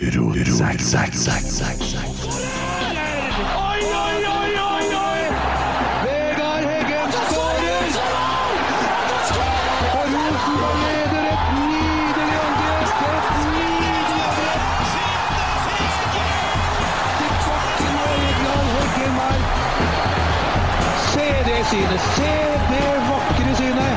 Zack, zack, zack, zack, zack. Oi, oi, oi, oi, oi! Vegard Heggen skårer! Og Rosenborg leder et nydelig angrep! Et nydelig angrep! Til kvarten og Egeland Heggen her. Se det synet! Se det vakre synet!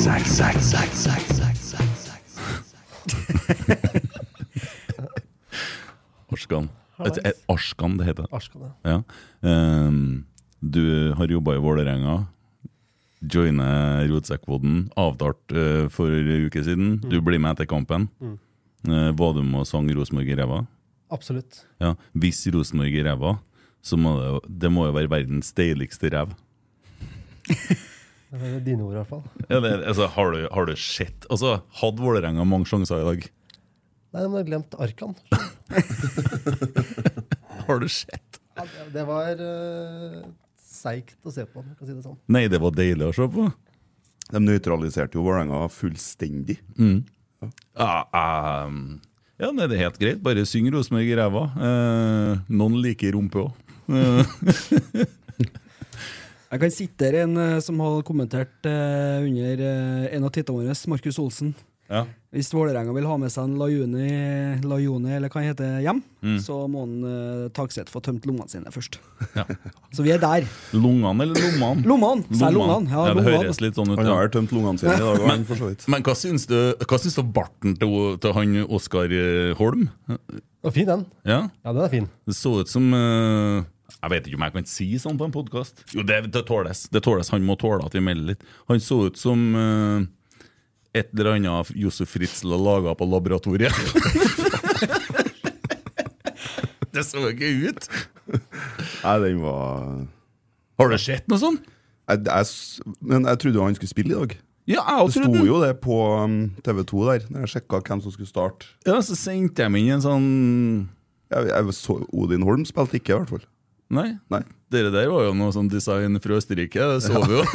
Zack, zack, zack, zack, zack, zack, zack, zack. Arskan. Et, et, Arskan, det heter. Arskan, ja. Ja. Ehm, du har jobba i Vålerenga. Joiner Rotsekkpodden. Avtalt eh, for en uke siden. Du blir med etter kampen. Eh, var du med og sang Rosenborg i ræva? Absolutt. Ja. Hvis Rosenborg i ræva, så må det, jo- det må jo være verdens deiligste ræv. Det er dine ord, i hvert fall. Ja, det, altså, har, du, har du sett Altså, Hadde Vålerenga mange sjanser i dag? Nei, men jeg har glemt Arkan. Har du sett? Ja, det- Det var eh, seigt å se på, for å si det sånn. Nei, det var deilig å se på. De nøytraliserte jo Vålerenga fullstendig. Ja, ehm, ja nei, det er helt greit. Bare syng Rosenborg i ræva. Eh, noen liker rumpe òg. Jeg kan sitere en eh, som har kommentert eh, under eh, en av titlene våre, Markus Olsen. Ja. Hvis Vålerenga vil ha med seg en Lajuni, Lajuni eller hva han heter, hjem, Mm. så må han eh, Takseth få tømt lommene sine først. Ja. Så vi er der. Lungene eller lommene? Lommene! Sa jeg lungene? Ja, det lommene. høres litt sånn ut. Han ja. har vel tømt lungene sine i dag, han, for så vidt. Men hva syns du Hva syns du om barten til, til han Oskar eh, Holm? Det var fin, den. Ja, Ja, den er fin. Det så ut som eh, Jeg vet ikke om jeg kan si sånn på en podkast. Jo, det, det tåles. Det tåles. Han må tåle at vi melder litt. Han så ut som eh, et eller annet Josef Fritzl har laga på laboratoriet. det så ikke ut! Nei, den var Har du sett noe sånt? jeg, jeg, s- Men jeg trodde jo han skulle spille i dag. Ja, jeg Det trodde sto den- jo det på um, TV2 der, når jeg sjekka hvem som skulle starte. Ja, så sendte jeg meg inn en sånn Jeg, jeg så Odin Holm spilte ikke, i hvert fall. Nei. Nei. Dere der var jo noe sånn design fra Østerrike, det så vi jo.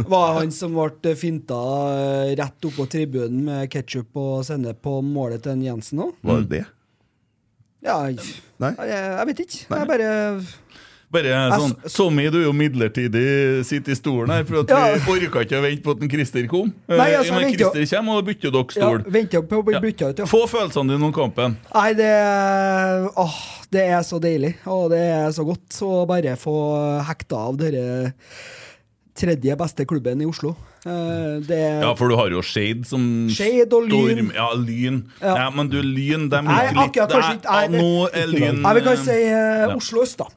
Var det han som ble finta eh, rett oppå tribunen med ketsjup og sennep på målet til en Jensen òg? Var det det? Ja, jeg, Nei. jeg, jeg vet ikke. Jeg bare Bare sånn Tommy, du er jo midlertidig sitt i stolen her, for at vi orka ikke å vente på at en Christer kom. Eh, Nei, altså, men jeg venter jo- Christer kommer, og da bytter dere ja, stol. venter på å bli Ja. bytta ut, ja. Få følelsene dine om kampen. Nei, det Åh, det er så deilig. Og det er så godt å bare få hekta av dere tredje beste klubben i Oslo. Eh, Det er Ja, for du har jo Shade som Shade og Lyn. storm- Ja, Lyn. Ja. Ja. men du, Lyn, de Nei, liker akkurat kanskje litt Nei, ikke. Nei, ja, Nå er det- Lyn Nei, vi kan si eh, ja. Oslo øst, da.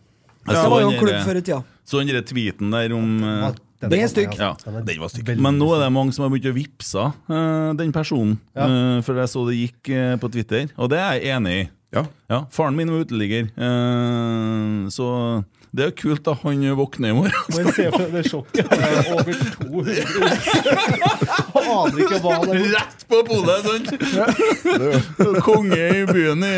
Jeg Det så var jo en den klubb der- før i tida. Så den der tweeten der om eh, den Den altså. er var- stygg. Ja, den var stygg. Men nå er det mange som har begynt å vippse eh, den personen. eh, for jeg så det gikk eh, på Twitter, og det er jeg enig i. Ja. Faren min var uteligger, eh, så det er kult da han våkner i morgen. Men se for det sjokket. her, Over 200 Aner ikke hva det er. Rett på polet, sånn! Konge i byen i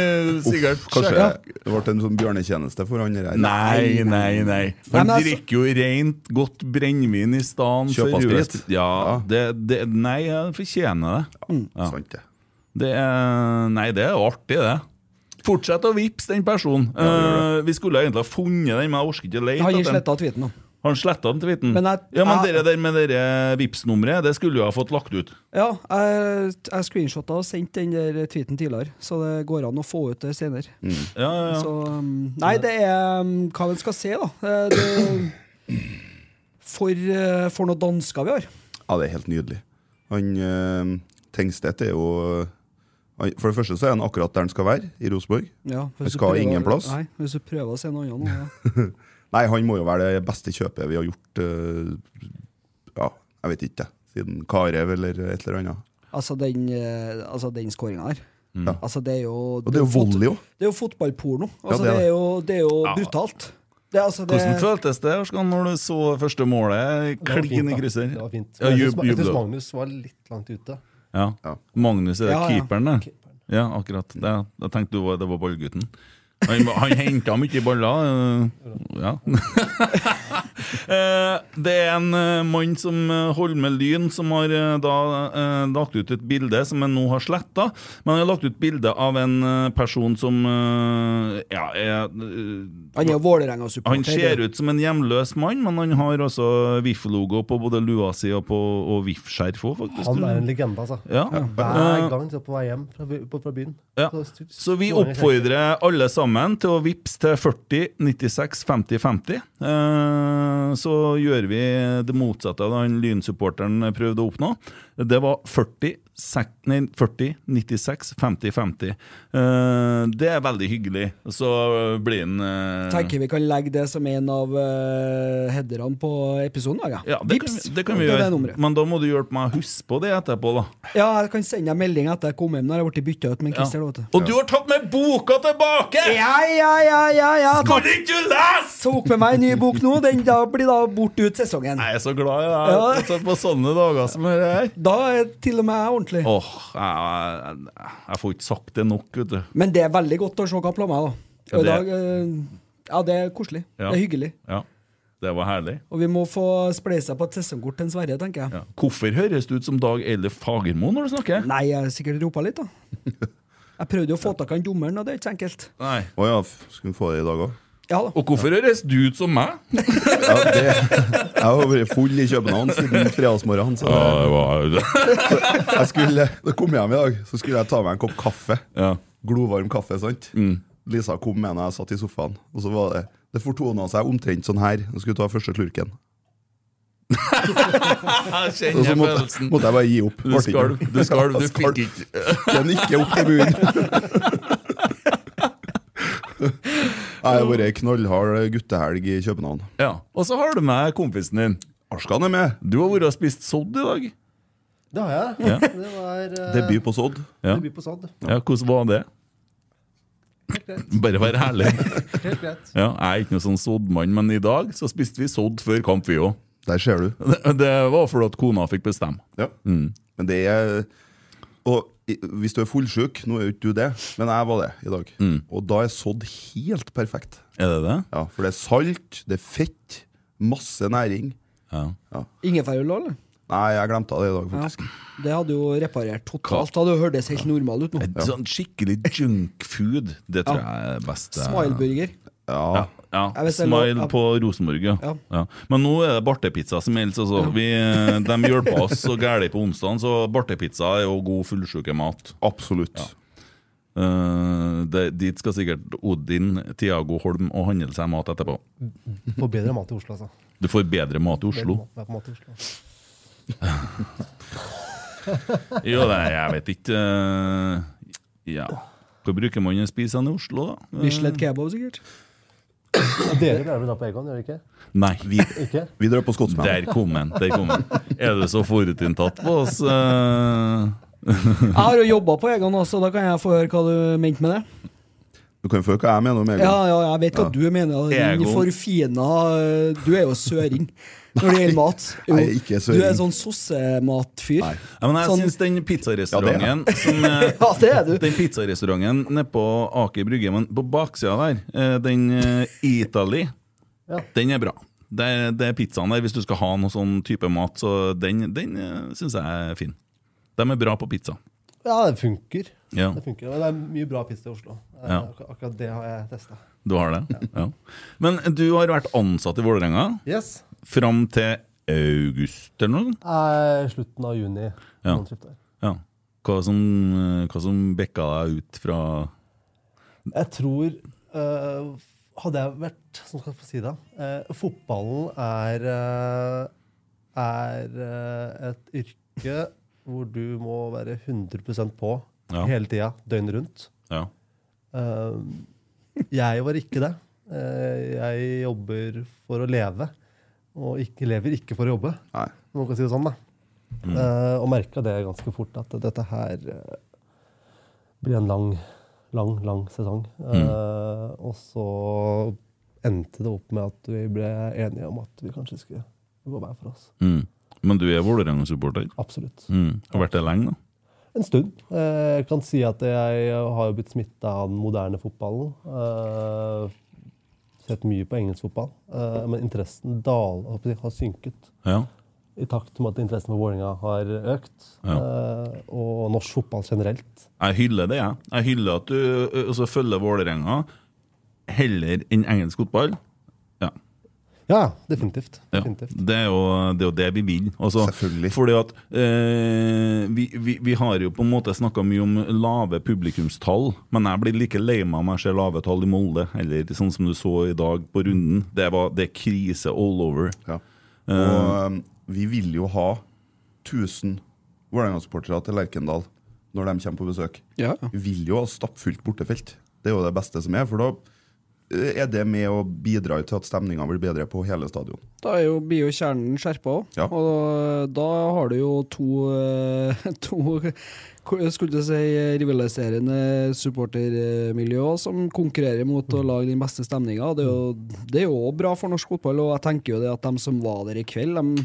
sikkert. Kanskje det ble en sånn bjørnetjeneste for han der. Nei, nei, nei. Han drikker jo rent godt brennevin i stedet Kjøper for sprit. rødsprit. Ja, det, det, nei, jeg fortjener det. Ja. Sant det. det er, nei, det er jo artig, det. Fortsett å vippse den personen. Eh, vi skulle egentlig ha funnet den, men jeg orker ikke å lete. Han gir etter den. sletta tweeten, da. Har han sletta den tweeten? Men jeg- ja, men jeg- dere der med dere Vipps-nummeret, det skulle jo ha fått lagt ut. Ja, jeg, jeg screenshotta og sendte den der tweeten tidligere, så det går an å få ut det senere. Ja, ja, ja. Så, um, nei, det er um, hva en skal se, da. Eh, Det, for, eh, for noen dansker vi har. Ja, det er helt nydelig. Han eh, Tengstedt er jo han, For det første så er han akkurat der han skal være, i Rosenborg. Ja, hvis han du skal prøver- ingen plass. Nei, hvis du prøver å se noe annet nå. Ja. Nei, han må jo være det beste kjøpet vi har gjort eh, Ja, jeg vet ikke, siden Karev eller et eller annet. Altså den, eh, altså, den skåringa der. Ja. Altså, det er jo Mm. Og det er jo volley òg. Det er jo fotballporno. Altså, det er det, er det. jo, det er jo Ja. brutalt. Det, er altså, det, Hvordan føltes det Arskan, når du så første målet? Det var fint, Klin i da. krysser. Det var fint. Ja, Men jeg jub, syns- jeg syns jubla. Magnus var litt langt ute. Ja. Magnus er det Ja, ja. keeperen, det. Ja, akkurat. Det, jeg tenkte du var, det var ballgutten. Han, var- han henta mye baller. øh, Ja. Eh, Det er en eh, mann som eh, holder med lyn, som har eh, da eh, lagt ut et bilde som han nå har sletta. Men han har lagt ut bilde av en eh, person som eh, ja, er eh, han er jo han Vålerenga-supporter. ser ut som en hjemløs mann, men han har også VIF-logo på både lua si og, på- og VIF-skjerf òg, faktisk. Han er en legende, altså. Ja. Eh, Hver gang så på vei hjem fra, by- på- fra byen. Ja. Så, Så vi oppfordrer alle sammen til å vippse til 40 96 50 50. Eh, Så gjør vi det motsatte av det han lynsupporteren prøvde å oppnå. Det var 40, sek- nei, 40 96 50 50. Eh, Det er veldig hyggelig. Så blir han eh, Tenker vi kan legge det som en av uh, headerne på episoden. da, ja, det, kan, vi- det kan vi Det er gjøre, det nummeret. men da må du hjelpe meg å huske på det etterpå. da Ja, jeg kan sende deg melding etter jeg kom hjem. Nå har jeg blitt bytta ut med en Christer. vet Og du har tatt med boka tilbake! Ja, ja, ja, ja, ja takk. Skulle ikke du lese?! Tok med meg en ny bok nå. Den da blir da borte ut sesongen. Jeg er så glad i deg Ja. Så på sånne dager som dette her. Da er til og med jeg ordentlig. Åh, jeg, jeg, jeg får ikke sagt det nok, vet du. Men det er veldig godt å se hva planer jeg har. Ja, Og i det- dag, eh, ja, det er koselig. Ja. Det er hyggelig. Ja, Det var herlig. Og vi må få spleisa på et sesongkort til en Sverre, tenker jeg. Ja. Hvorfor høres du ut som Dag Eilif Fagermo når du snakker? Nei, jeg har sikkert ropa litt, da. Jeg prøvde jo å få tak i han dommeren, og det er ikke så enkelt. Nei. Å ja, f- skulle vi få det i dag òg? Ja da. Og hvorfor høres du ut som meg? Ja, det- jeg har vært full i København siden fredagsmorgen. Så det, jeg skulle, da kom jeg hjem i dag, så skulle jeg ta meg en kopp kaffe. Ja. Mm. Glovarm kaffe, sant? Lisa kom med når jeg satt i sofaen. Og så var det Det fortona seg omtrent sånn her. Jeg skulle ta første slurken. Jeg Og så kjenner måtte, følelsen. måtte jeg bare gi opp. Du skalv, du skalv, du fikk ikke Den ikke opp til bunnen. Nei, Det har vært ei knallhard guttehelg i København. Ja. Og så har du med kompisen din. Arskan er med. Du har vært og spist sodd i dag. Det har jeg. Ja. Det var eh, Debut på Sodd. Ja. debut på Sodd. Ja, Hvordan var det? Bare vær ærlig. Helt greit. Ja, jeg er ikke noen sånn soddmann, men i dag så spiste vi sodd før kamp, vi òg. Der ser du. Det det var fordi at kona fikk bestemme. Ja. Men det er Og i- hvis du er fullsjuk, nå er jo ikke du det, men jeg var det i dag. Og da er sådd helt perfekt. Er det det? Mm. Ja, For det er salt, det er fett, masse næring. Ja. Ingefærøl, da, eller? Nei, jeg glemte det i dag, faktisk. Det hadde jo reparert totalt. Det hadde jo hørtes helt normal ut nå. Et Sånn skikkelig junkfood, det tror jeg er best. eh, Smileburger. Ja. Ja, Jeg vet det er lov- Smile ja. på Rosenborg, ja. Ja. ja. Men nå er det bartepizza som helst. Altså. Vi, eh, de hjelper oss så gærent på onsdag, så bartepizza er jo god fullsjukemat. Absolutt. Eh, det, dit skal sikkert Odin, Tiago Holm og handle seg mat etterpå. Får bedre mat i Oslo, altså. Du får bedre mat i Oslo. Bedre mat- mat i Oslo. Jo, det, jeg vet ikke eh, Ja. Hva bruker man å spise den i Oslo, da? Eh, Bislett kebab, sikkert. Og dere blir vel da på Egon, gjør dere ikke? Nei. Vi, Ikke? Vi drar på Skotsmann. Der kom den. der kom den. Er det så forutinntatt på oss? eh? Jeg har jo jobba på Egon også, da kan jeg få høre hva du mente med det. Du kan jo få høre hva jeg mener om Egon. Ja, ja, jeg vet hva Ja. du mener. Din Egon. forfina eh, Du er jo søring når det gjelder mat. Jo, Nei, jeg er ikke søring. Du er sånn sossematfyr. Ja, men jeg Sånn- syns den pizzarestauranten Ja, det er jeg. som eh, Ja, det er du. Den pizzarestauranten nede på Aker Brygge, men på baksida der, eh, den eh, Italy, den er bra. Det er, det er pizzaen der, hvis du skal ha noe sånn type mat, så den, den eh, syns jeg er fin. De er bra på pizza. Ja, det funker. Ja. Det funker. Og det er mye bra pizza i Oslo. Eh, Ja. Akkurat, akkurat det har jeg testa. Du har det? Ja. Men du har vært ansatt i Vålerenga Yes. fram til august eller noe? sånt? Eh, slutten av juni. Ja. noen skifter. ja. Hva som, hva som bekka deg ut fra Jeg tror eh, Hadde jeg vært Som skal jeg få si det? eh, fotballen er eh, er eh, et yrke hvor du må være 100 på Ja. hele tida, døgnet rundt. Ja. Eh, jeg var ikke det. Eh, jeg jobber for å leve, og ikke, lever ikke for å jobbe. Nei. Om man kan si det sånn, da. Mm. Eh, og merka det ganske fort, at dette her eh, blir en lang, lang, lang sesong. Mm. Eh, og så endte det opp med at vi ble enige om at vi kanskje skulle gå hver for oss. Mm. Men du er Vålerenga-supporter? Absolutt. Mm. Har vært det lenge, da? En stund. Eh, Jeg kan si at jeg har jo blitt smitta av den moderne fotballen. Eh, Sett mye på engelsk fotball. Eh, Men interessen dal, hva skal jeg si, har synket. Ja. I takt med at interessen for Vålerenga har økt. Eh, Og norsk fotball generelt. Jeg hyller det, jeg. Jeg hyller at du ø, også følger Vålerenga heller enn engelsk fotball. Ja, definitivt. Ja. definitivt. Det, er jo, det er jo det vi vil. Altså, Fordi at eh, vi, vi, vi har jo på en måte snakka mye om lave publikumstall, men jeg blir like lei meg om jeg ser lave tall i Molde, eller sånn som du så i dag på runden. Det, var, det er krise all over. Og Eh, um, vi vil jo ha 1000 Vålerenga-supportere til Lerkendal når de kommer på besøk. Vi vil jo ha stappfullt bortefelt. Det er jo det beste som er, for da eh, er det med å bidra til at stemninga blir bedre på hele stadion. Da er jo, blir jo kjernen skjerpa òg, Ja. og da har du jo to, eh, to ko- skulle jeg si, rivaliserende supportermiljø også, som konkurrerer mot å lage den beste stemninga. Det er jo- det er jo også bra for norsk fotball, og jeg tenker jo det at de som var der i kveld, de,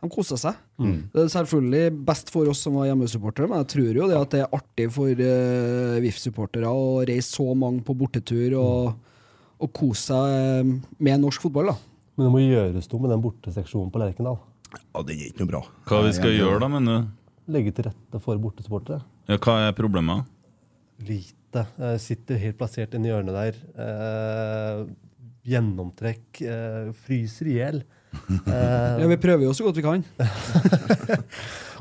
de kosa seg. Mm. Det er selvfølgelig best for oss som var hjemmesupportere, men jeg tror jo det at det er artig for eh, VIF-supportere å reise så mange på bortetur og, og kose seg eh, med norsk fotball. da. Men det må gjøres noe med den borteseksjonen på Lerkendal. Ja, det er ikke noe bra. hva vi skal gjøre da, mener du? Legge til rette for bortesupportere. Ja, hva er problemet? Lite. Eh, Sitter helt plassert inni hjørnet der. Eh, gjennomtrekk. Eh, fryser i hjel. Ja, vi prøver jo så godt vi kan.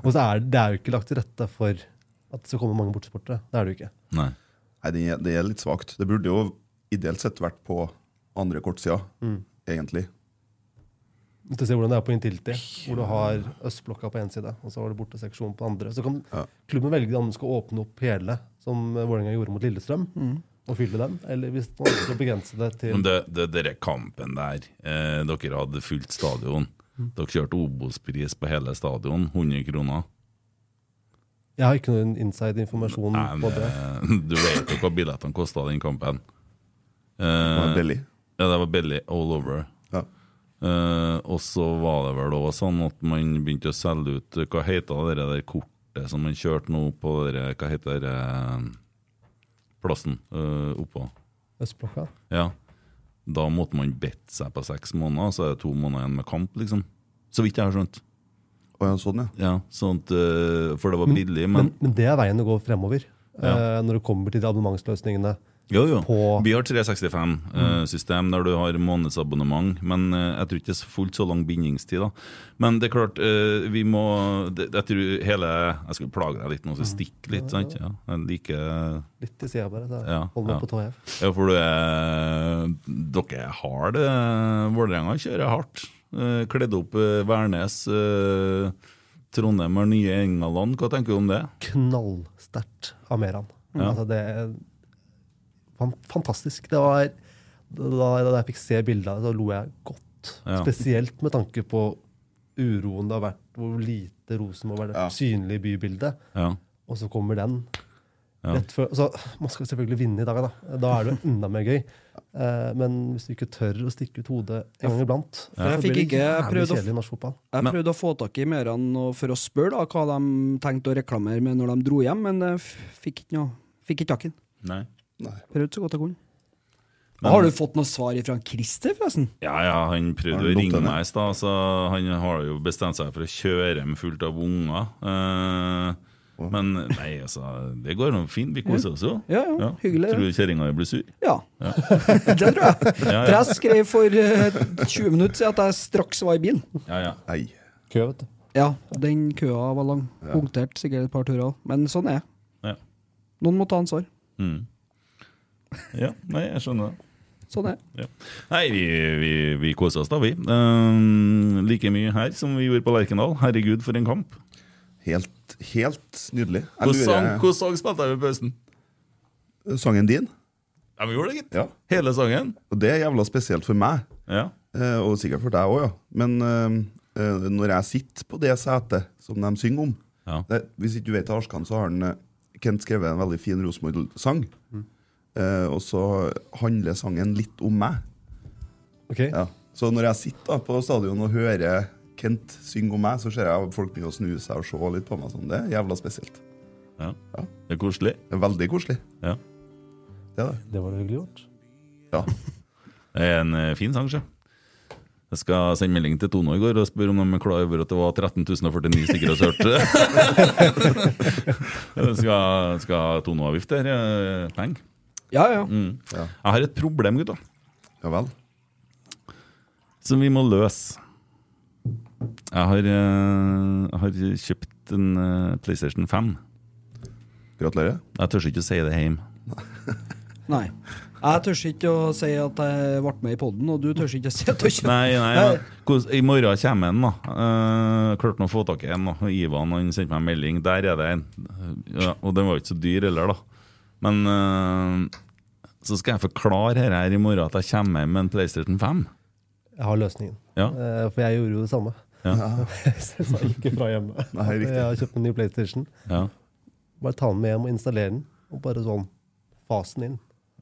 og så er det, det er jo ikke lagt til rette for at det skal komme mange bortesportere. Det er det jo ikke. Nei. det, er, det er litt svakt. Det burde jo ideelt sett vært på andre kortsida, Mm. egentlig. Hvis du ser hvordan det er på Intility, hvor du har østblokka på én side, og så har du borteseksjonen på andre. Så kan klubben velge om du skal åpne opp hele, som eh, Vålerenga gjorde mot Lillestrøm, Mm. og fylle den, eller hvis man skal begrense det til Men det, det, dere kampen der eh, Dere hadde fullt stadion. Dere kjørte Obos-pris på hele stadion. 100 kroner. Jeg har ikke noen inside-informasjon på det. Eh, Du vet jo hva billettene kosta den kampen. Eh, var billig. Ja, det var billig all over. Eh, og så var det vel òg sånn at man begynte å selge ut eh, Hva heter det der kortet som man kjørte nå på dere, Hva heter det eh, plassen eh, oppå? Østblokka. Ja. Da måtte man bedt seg på seks måneder, så er det to måneder igjen med kamp, liksom. Så vidt jeg har skjønt. sånn, ja. ja sånt, eh, for det var Men- billig, Men, men men det er veien å gå fremover. Ja. eh, når det kommer til de abonnementsløsningene Jo, jo. Vi har 365-system eh, der du har månedsabonnement, men eh, jeg tror ikke det er fullt så lang bindingstid. da. Men det er klart, eh, vi må det, Jeg tror hele Jeg skulle plage deg litt nå, så stikk litt. sant? Ja, jeg liker Litt til sida bare. Så ja, hold meg ja. på tå hev. Ja, for du er, dere er hard. eh, Vålerenga kjører hardt. Eh, Kledd opp eh, Værnes. eh, Trondheim har nye Engaland. Hva tenker du om det? Knallsterkt av Meran. Ja. Altså, det er fan- fantastisk. Det var da, da jeg fikk se bildet av det, så lo jeg godt. Ja. Spesielt med tanke på uroen det har vært, hvor lite Rosenborg har vært synlig i bybildet. Ja. Og så kommer den. Ja. Rett før, så man skal selvfølgelig vinne i dag, da. Da er det jo enda mer gøy. Eh, men hvis du ikke tør å stikke ut hodet en gang iblant For Jeg, så fikk blir det ikke, jeg, jævlig prøvde å, kjedelig i norsk fotball. jeg prøvde å få tak i Meran og- for å spørre da, hva de tenkte å reklamere med når de dro hjem, men jeg f- fikk ikke noe. Fikk ikke tak i den. Nei. Prøvde så godt jeg kunne. Men- har du fått noe svar fra Christer, forresten? Ja, ja, han Har prøvde han å dumt ringe henne? meg i stad, så han har jo bestemt seg for å kjøre hjem fullt av unger. Eh, men nei, altså, det går nå fint. Vi koser oss jo. Ja, ja, hyggelig, Tror ja. du kjerringa blir sur? Ja. Ja. Det tror jeg. Ja, ja. For jeg skrev for eh, 20 minutter siden at jeg straks var i bilen. Ja, ja. Kø, vet du. Ja, den køa var lang. Ja. Punktert sikkert et par turer òg. Men sånn er det. Ja. Noen må ta ansvar. Mm. Ja, nei, jeg skjønner det. Sånn er det. Ja. Nei, vi, vi, vi koser oss da, vi. Eh, like mye her som vi gjorde på Lerkendal. Herregud, for en kamp. Helt, helt nydelig. Jeg Hvordan sang, lurer- hvordan sang spilte jeg i pausen? Sangen din? Ja, vi gjorde det, gitt. Ja. Hele sangen? Og det er jævla spesielt for meg. Ja. Eh, og sikkert for deg òg, ja. Men eh, eh, når jeg sitter på det setet som de synger om det, Hvis ikke du vet Arskan, så har han, eh, Kent skrevet en veldig fin Rosenborg-sang. Eh, og så handler sangen litt om meg. Ja. Så når jeg sitter da på stadion og hører Kent synge om meg, så ser jeg folk begynne å snu seg og se litt på meg. Sånn. Det er jævla spesielt. Ja. Det er koselig. Det er veldig koselig. Ja. Det, er det. det var det hyggelig gjort. Ja. Det er en eh, fin sang, sjø. Jeg skal sende melding til Tone i går og spørre om de er klar over at det var 13.049 stykker som hørte. Jeg skal, skal ha Tone-avgift der. eh, Penger. Ja, ja. Mm. Ja. Jeg har et problem, gutta. Ja vel. Som vi må løse. Jeg har, eh, jeg har kjøpt en eh, PlayStation 5. Gratulerer. Jeg tør ikke å si det hjemme. Nei. Jeg tør ikke å si at jeg ble med i poden, og du tør ikke å si at du ikke Nei, nei, men hvordan- I morgen kommer en, da. Eh, klarte nå å få tak i en. da Ivan han sendte meg en melding. Der er det en. Ja, og den var jo ikke så dyr heller, da. Men eh, så skal jeg forklare her, her i morgen at jeg kommer hjem med en PlayStation 5. Jeg har løsningen. Ja. Eh, for jeg gjorde jo det samme. Ja. Så jeg sa ikke fra hjemme. Nei, riktig. Jeg har kjøpt en ny PlayStation. Ja. Bare ta den med hjem og installere den. Og bare sånn fasen inn.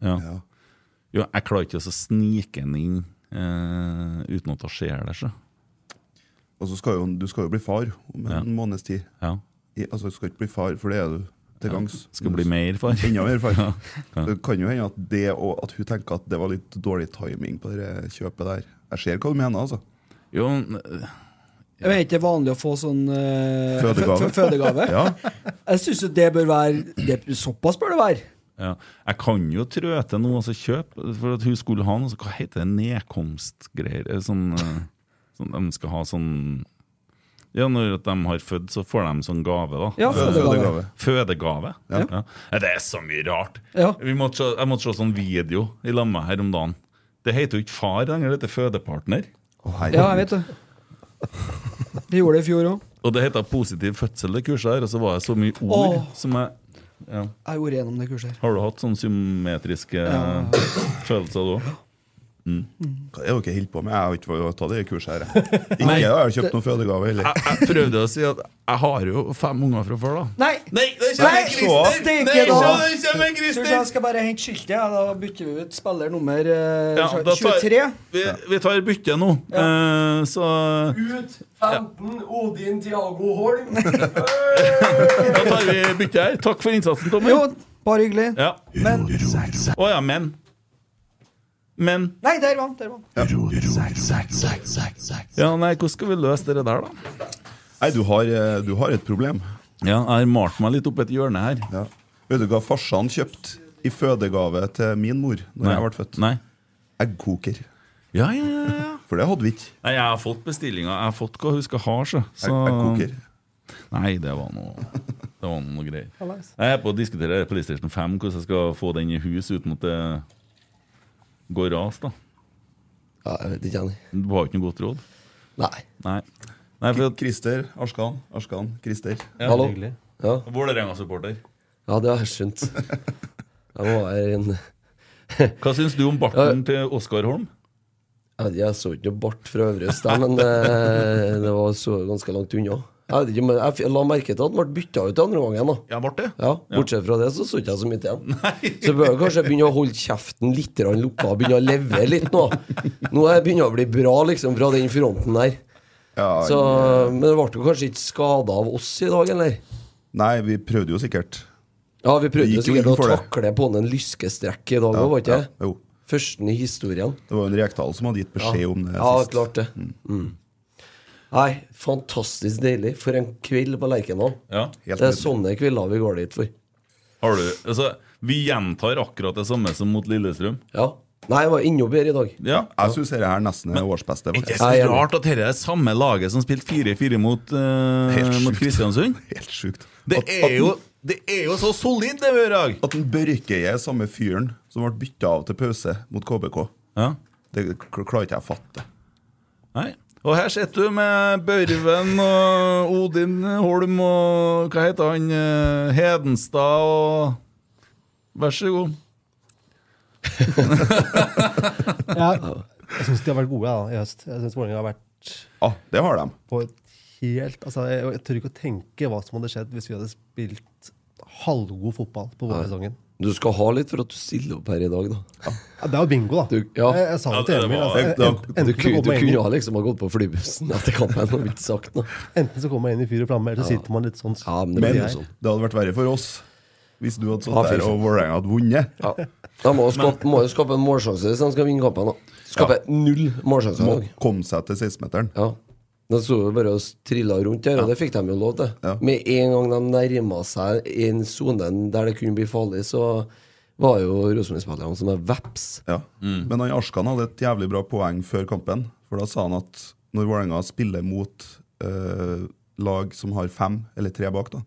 Ja. Jo, jeg klarer ikke å så snike den inn eh, uten at hun ser det. Så. Og så skal jo, du skal jo bli far om en Ja. måneds tid. Ja. I, altså, du skal ikke bli far, for det er du til Ja. gangs. Mm. Skal bli mer far. Enda mer far. Ja. Ja. Det kan jo hende at, det, og at hun tenker at det var litt dårlig timing på det kjøpet der. Jeg ser hva du mener, altså. Jo, Jeg vet, det er vanlig å få sånn eh, Fødegave. fø- fø- fødegave. Ja. Jeg syns jo det bør være det, Såpass bør det være. Ja. Jeg kan jo trø til noe, altså kjøpe For at hun skulle ha noe, så hva heter det, nedkomstgreier eh, sånn, eh, sånn, De skal ha sånn Ja, når at de har født, så får de sånn gave, da. Ja, fødegave. Fødegave. Ja. Ja. Ja, Det er så mye rart. Ja. Vi måtte se, jeg måtte se sånn video i lag med her om dagen. Det heter jo ikke far lenger, det heter fødepartner. Ja, jeg vet det. Vi gjorde det i fjor òg. Og det heter positiv fødsel, det kurset her, og så var det så mye ord Åh. som jeg ja. Jeg gjorde gjennom det kurset. her. Har du hatt sånn symmetriske Ja. følelser da? Mm. Hva er det dere holder på med? Jeg har ikke vært- tatt det kurset her. jeg. Ikke Nei. jeg har kjøpt noen fødegave heller. Jeg, jeg prøvde å si at jeg har jo fem unger fra før, da. Nei! Nei, det Nei, kommer Christer! steike Nei, da! så det kommer Christer! Tror du Jeg skal bare hente skiltet. Ja. Da bytter vi ut spiller nummer eh, Ja, da tar- 23. Vi, vi tar bytte nå. Eh, så Ut 15, Odin Tiago Holm. da tar vi bytte her. Takk for innsatsen, Tommy. Jo, bare hyggelig. Ja. Men Å ja, men. Men Nei, der var han! Der var han. Ja, nei, hvordan skal vi løse det der, da? Nei, du har, eh, du har et problem. Ja, jeg har malt meg litt opp et hjørne her. Vet du hva farsan kjøpte i fødegave til min mor Når Nei. jeg ble født. Nei. Eggkoker. Ja, ja, ja, ja. For det hadde vi ikke. Nei, jeg har fått bestillinga. Jeg har fått hva hun skal ha. Så. Så... Jeg- Nei, det var noe Det var noe greier. Ja, nice. Jeg er på å diskutere PlayStation 5, hvordan jeg skal få den i hus uten at det går ras. da Ja, jeg vet ikke, Annie. Du har ikke noe godt råd? Nei. Nei. Christer Arskan. Arskan Christer. Ja. Hallo. Hyggelig. Ja. Vålerenga-supporter. ja, det har jeg skjønt. Jeg må være en Hva syns du om barten til Oskar Holm? Jeg, vet ikke, jeg så ikke noe bart fra Øvrest der, men det, det var så ganske langt unna. Jeg, vet ikke, men jeg f- la merke til at han ble bytta ut andre gangen. da Ja, Marte. Ja, Bortsett fra det så så ikke jeg så mye til han. Så bør jeg kanskje begynne å holde kjeften litt grann lukka og begynne å levere litt nå. Nå er jeg begynner jeg å bli bra liksom fra den fronten der. så, eh, men det ble jo kanskje ikke skada av oss i dag, eller? Nei, vi prøvde jo sikkert. Ja, vi prøvde Vi jo gikk jo sikkert inn å for det. takle på han en lyskestrekk i dag òg, var ikke det? jo. Førsten i historien. Det var jo en Rekdal som hadde gitt beskjed Ja. om det Ja, sist. Mm. klart det. Mm. Nei, fantastisk deilig. For en kveld på Lerkendal. Ja. Det er sånn- sånne kvelder vi går dit for. Har du, altså, vi gjentar akkurat det samme som mot Lillestrøm. Ja. Nei, jeg var enda bedre i dag. Ja. Jeg syns dette her nesten er årsbeste. Er det faktisk. så rart at dette er samme laget som spilte 4-4 mot, eh, Helt mot sjukt. Kristiansund? Helt sjukt. Det At- at er jo den- det er jo så solid, det vi gjør i dag! At en Børkeie er samme fyren som ble bytta av til pause mot KBK. Ja. Det k- klarer ikke jeg å fatte. Nei. Og her sitter du med Børven og Odin Holm og hva heter han eh, Hedenstad og Vær så god. Ja, jeg syns de har vært gode da, i høst. Jeg synes Vålerenga har vært Ja, Ah, det har de. På et helt, altså, jeg, jeg tør ikke å tenke hva som hadde skjedd hvis vi hadde spilt halvgod fotball på vårsesongen. Du skal ha litt for at du stiller opp her i dag, da. Ja, det er jo bingo, da. jeg, jeg sa det til Emil. Altså, Du, en- du, enten, så kommer kunne- du man inn kunne i- ha liksom ha gått på flybussen etter kampen og ikke sagt noe. enten så kommer man inn i fyr og flamme, eller så Ja. sitter man litt sånn. Ja, men Men det hadde vært verre for oss hvis du hadde Ja, stått fy der og Vålerenga hadde vunnet. De må jo skape, må jo skape en målsjanse hvis de skal vinne kampen. da Skape null målsjanser i Må dag. komme seg til 16-meteren. Ja. De sto jo bare og trilla rundt der, og det fikk de jo lov til. Med en gang de nærma seg en sone der det kunne bli farlig, så var jo Rosenborg-spillerne som er veps. Ja. Men han Arskan hadde et jævlig bra poeng før kampen. For da sa han at når Vålerenga spiller mot eh, lag som har fem eller tre bak, da,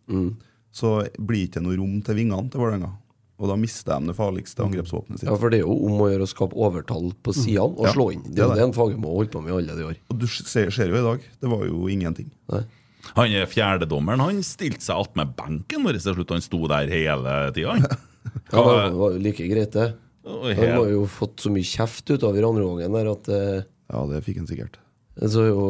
så blir det ikke noe rom til vingene til Vålerenga. Og da mister de det farligste angrepsvåpenet sitt. Ja, for det er jo om å gjøre å skape overtall på sidene og Ja, slå inn. Det det er er jo det en Fagermo har holdt på med i alle de år. Og du ser, ser jo i dag, det var jo ingenting. Han er fjerdedommeren. Han stilte seg attmed benken vår til slutt. Han sto der hele tida, han. Ja, det var jo like greit, det. Oi, Han hel- har jo fått så mye kjeft utover andre gangen der at eh, Ja, det fikk han sikkert. Så jo,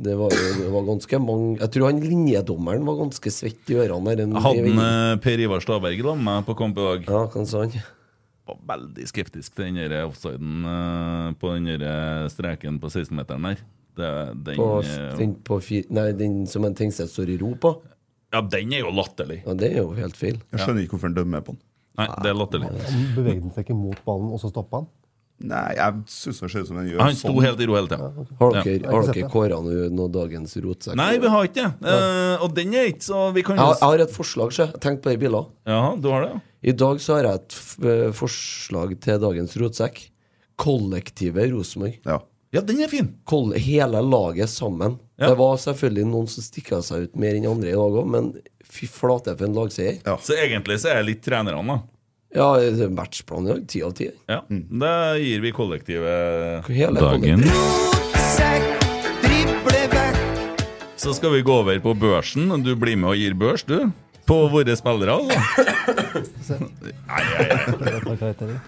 det var jo det var ganske mange Jeg tror han linjedommeren var ganske svett i ørene. der, en- Hadde han, eh, Per Ivar Staberg sammen med meg på kamp i dag? Ja, hva sa han? Var veldig skeptisk til den der offsiden eh, på den der streken på 16-meteren der. Det, den, på, eh, den, på fi, nei, den som en Tengstedt står i ro på. Ja, den er jo latterlig. Ja, det er jo helt feil. Jeg skjønner ikke hvorfor han dømmer på den. Nei, det er latterlig. Han beveget den seg ikke mot ballen, og så stoppa han. Nei, jeg syns han ser ut som han gjør sånn. Han sto helt i ro hele tida. Har dere, har dere kåra nå- nå dagens rotsekk? Nei, vi har ikke det. Eh, og den er ikke så Vi kan Jeg, har- jeg har et forslag, sjø. Tenk på de bilene. Ja, du har det, ja. I dag så har jeg et f eh, forslag til dagens rotsekk. Kollektivet Rosenborg. Ja. den er fin. hele laget sammen. Det var selvfølgelig noen som stikka seg ut mer enn andre i dag òg, men fy flate for en lagseier. Så egentlig så er jeg litt trenerne, da. Ja, det er matchplan i dag. Ti av ti. Ja, Da gir vi kollektivet Hele dagen. Sekk, drible vekk. Så skal vi gå over på børsen. Du blir med og gir børs, du. På våre spillere, altså. Nei, nei, nei.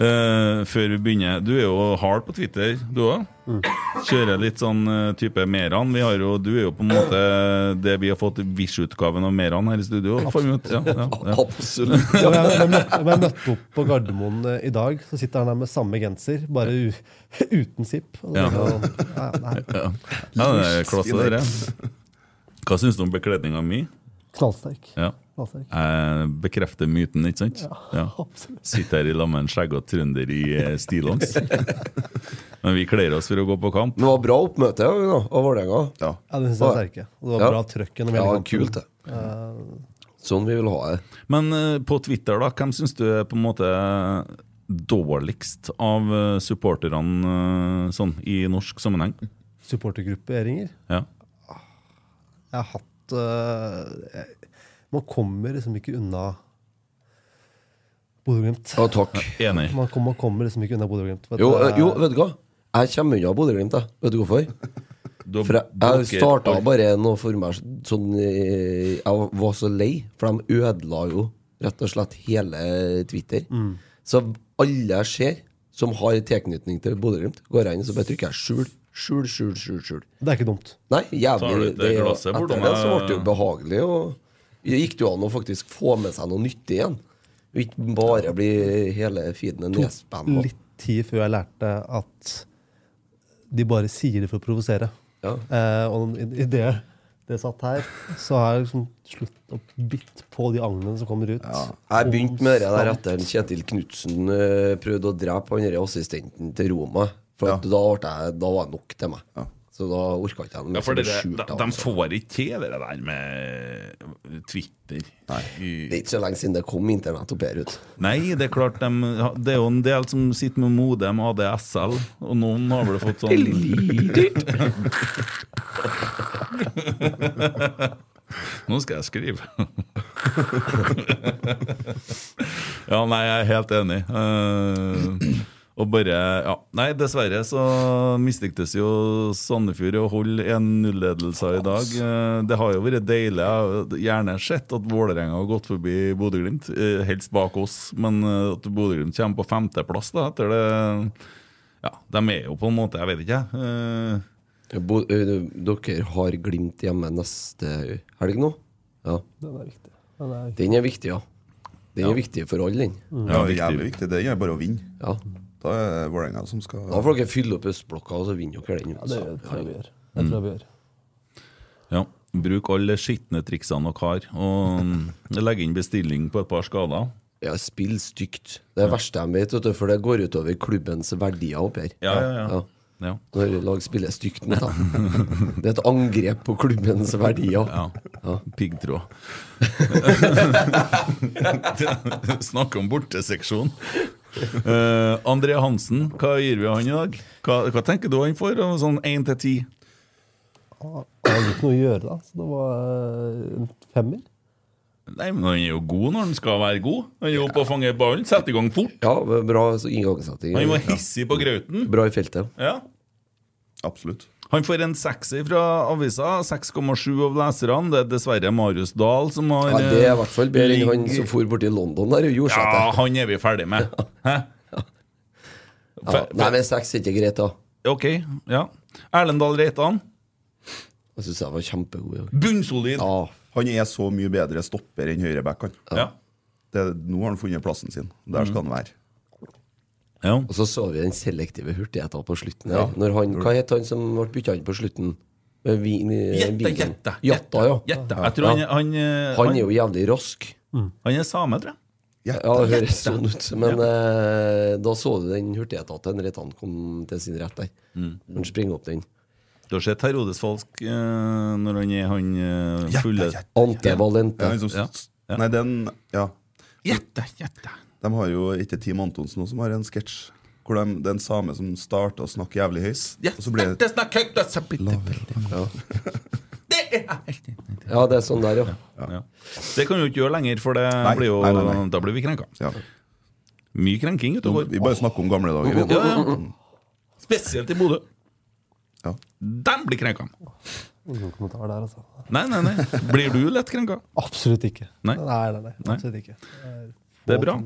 Eh, før vi begynner Du er jo hard på Twitter, du òg. Mm. Kjører litt sånn eh, type Meran. Vi har jo, du er jo på en måte det vi har fått Vish-utgaven av Meran her i studio. får vi ut. Ja, ja, ja. Absolutt. Ja, men jeg, jeg, møtte, jeg møtte opp på Gardermoen eh, i dag, så sitter han der med samme genser, bare u, uten zipp. Og det Ja. er jo- ja, ja, nei. Ja. ja, det er klasse, det der. Hva syns du om bekledninga mi? Knallsterk. Ja. Knallsterk. Jeg bekrefter myten, ikke sant? Ja, absolutt. Sitter her i lag med en skjeggete trønder i eh, stillongs. Men vi kler oss for å gå på kamp. Men det var bra oppmøte ja, da, av Vålerenga. Ja. Ja, det synes jeg er sterke. Og det var bra trøkk gjennom hele ja, kampen. Kult, det. Eh, Sånn vi vil ha det. Men eh, på Twitter, da, hvem syns du er på en måte dårligst av eh, supporterne eh, sånn, i norsk sammenheng? Supportergrupperinger. Ja. Jeg har hatt øh, jeg, Man kommer liksom ikke unna Bodø-Glimt. Ja, takk. Enig. Man, kom, man kommer liksom ikke unna Bodø-Glimt. vet Jo, du. eh, jo, vet du hva? Jeg kommer unna Bodø-Glimt, jeg. Vet du hvorfor? Du For jeg, blokker jeg starta alt. bare noe for meg sånn eh, Jeg var så lei, for de ødela jo rett og slett hele Twitter. Mm. Så alle jeg ser som har tilknytning til Bodø-Glimt, går jeg inn og så bare trykker jeg skjul, skjul, skjul, skjul. skjul. Det er ikke dumt. Nei, Så har jævlig du det, et er jo- glass her Etter borte, det men- så ble det jo behagelig, og det gikk det jo an å faktisk få med seg noe nyttig igjen. Og ikke bare bli hele feeden en tok nespam. litt tid før jeg lærte at de bare sier det for å provosere. Eh, og i, i det det satt her, så har jeg liksom slutt å bitt på de agnene som kommer ut. Jeg begynte med det der etter en Kjetil Knutsen eh, prøvde å drepe han der assistenten til Roma. For at da, ble jeg, da var det nok til meg. Så da orka ikke jeg noe mer, Ja, for så det, det de, skjulte jeg, de altså. får ikke til det der med Twitter. Det er ikke så lenge siden det kom internett opp her ut. Nei, det er klart de, Det er jo en del som sitter med Modem ADSL, og noen har vel fått sånn Nå skal jeg skrive. ja, nei, jeg er helt enig. Eh, og bare ja. Nei, dessverre så mislyktes jo Sandefjord i å holde 1-0-ledelser i dag. Eh, det har jo vært deilig. Jeg har gjerne sett at Vålerenga har gått forbi Bodø-Glimt, eh, helst bak oss, men eh, at Bodø-Glimt kommer på femteplass da, etter det Ja, de er jo på en måte Jeg Eh, vet ikke, jeg. Bo, ø, dere har Glimt hjemme neste helg nå? Ja. Den er viktig. Den er viktig. Mm. Den er viktig, ja. Den Ja. er viktig for alle, den. Ja, det er jævlig viktig. Det er bare å vinne. Ja. Da er det Vålerenga som skal Da får dere fylle opp østblokka, og så vinner dere den. Ja, det tror jeg vi gjør. Det tror jeg vi gjør. Ja. Bruk alle skitne triksene dere har, og mm, legg inn bestilling på et par skader. Ja, spill stygt. Det er det verste jeg vet, vet du, for det går utover klubbens verdier oppi her. Ja, ja, ja. Ja. Når lag spiller stygt mot dem. Det er et angrep på klubbens verdier. Ja. Piggtråd. Snakk om borteseksjon. Eh, André Hansen, hva gir vi han i dag? Hva, hva tenker du han får? av Sånn 1 til 10? Jeg hadde ikke noe å gjøre da, så det var eh, en femmer. Nei, men han er jo god når han skal være god. Han er jo oppe og fanger ballen, setter i gang fort. Ja, bra inngangssetting. Han var hissig på grauten. Bra i feltet. Ja. Absolutt. Han får en sekser fra avisa. 6,7 av leserne. Det er dessverre Marius Dahl som har Ja, det er i hvert eh, fall bedre enn han ligger- som for borti London der og gjorde seg Ja, til. han er vi ferdig med. Hæ? Ja. Nei, men seks er ikke greit, da. Ok, ja. Erlendal Reitan. Jeg syns jeg var kjempegod. i dag. Bunnsolid. Han er så mye bedre stopper enn høyreback, han. Ja. Det, nå har han funnet plassen sin. Der skal han være. Og så så vi den selektive hurtigheten på slutten. her Ja. Når han, hva het han som ble bytta inn på slutten? Med vi- Jette, Viking. Jette, Jatta, ja. Jette. Jeg tror han- Ja. han, Han er eh, han- jo jævlig rask. Han er same, tror jeg. Ja, det høres sånn ut. Men eh, da så du den hurtigheten til Reitan kom til sin rett der. Mm. Han springer opp den. Du har sett Herodes Falsk eh, når han er han eh, fulle Ante Valente. Ja, han som- Ja. Ja. Nei, den Ja. Gjette, gjette. De har jo ikke Team Antonsen også, som har en sketsj hvor de, det er en same som starter å snakke jævlig høyt. Og så blir det Ja. ja, det er sånn der, ja. Ja. Det kan du ikke gjøre lenger, for det Nei, blir jo, nei, nei, nei. da blir vi krenka. Ja. Mye krenking ute og går. Vi bare snakker om gamle dager. vi. Ja, ja. Spesielt i Bodø. Ja. De blir krenka. Ingen kommentar der, altså. Nei, nei, nei. Blir du lett krenka? Absolutt ikke. Nei. nei, nei. nei. Nei. Absolutt ikke. Det er bra.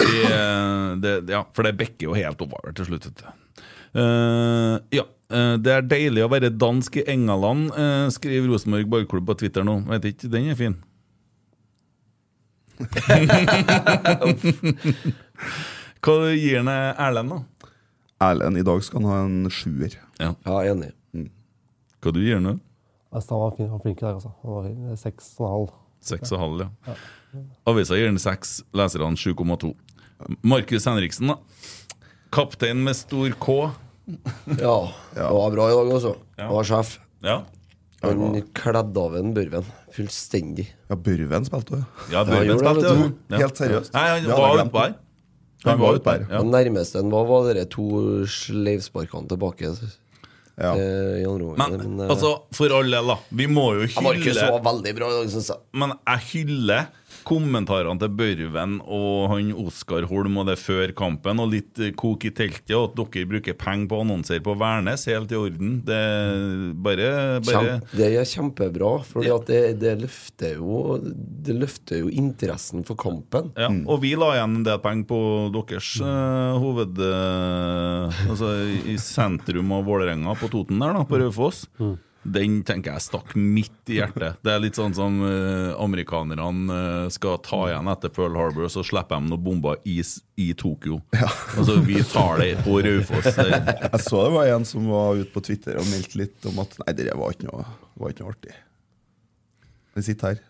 Det, det, ja, for det bekker jo helt oppover til slutt. vet du. Eh, ja, eh, det er deilig å være dansk i Engaland, eh, skriver Rosenborg Borgklubb på Twitter nå. Vet ikke, den er fin. Hva gir han Erlend, da? Erlend, i dag skal han ha en sjuer. Ja, enig. Hva du gir han nå? Altså, han var fin- han var flink i dag, altså. Han var fin. Seks og en halv. Seks og halv, ja. Avisa gir den seks, leserne 7,2. Markus Henriksen, da. Kaptein med stor K. Ja, det var bra i dag også. Han var sjef. Ja. Han kledde av en Børven. Fullstendig. Ja, Børven spilte du? Ja, Børven spilte, ja. Ja. Helt seriøst. Nei, han var utpå her. Han var utpå her, ja. Det nærmeste han var, var de to sleivsparkene tilbake. Ja. eh, I andre omgang. Men, eh, altså, for all del, da. Vi må jo Han var ikke hylle så veldig bra i dag, syns jeg. Men jeg hyller kommentarene til Børven og han Oskar Holm og det før kampen, og litt eh, kok i teltet, og at dere bruker penger på annonser på Værnes, helt i orden. Det er bare, bare Kjempe, det er kjempebra, for det, det, løfter jo, det løfter jo interessen for kampen. Ja, og vi la igjen en del penger på deres eh, hoved... eh, altså i- i sentrum av Vålerenga, på Toten der, da, på Raufoss. Den tenker jeg stakk midt i hjertet. Det er litt sånn som eh, amerikanerne eh, skal ta igjen etter Pearl Harbor, så slipper de noen bomber i, s- i Tokyo. Altså, vi tar det på Raufoss. Det- Jeg så det var en som var ute på Twitter og meldte litt om at Nei, det var ikke noe, var ikke noe artig. Vi sitter her.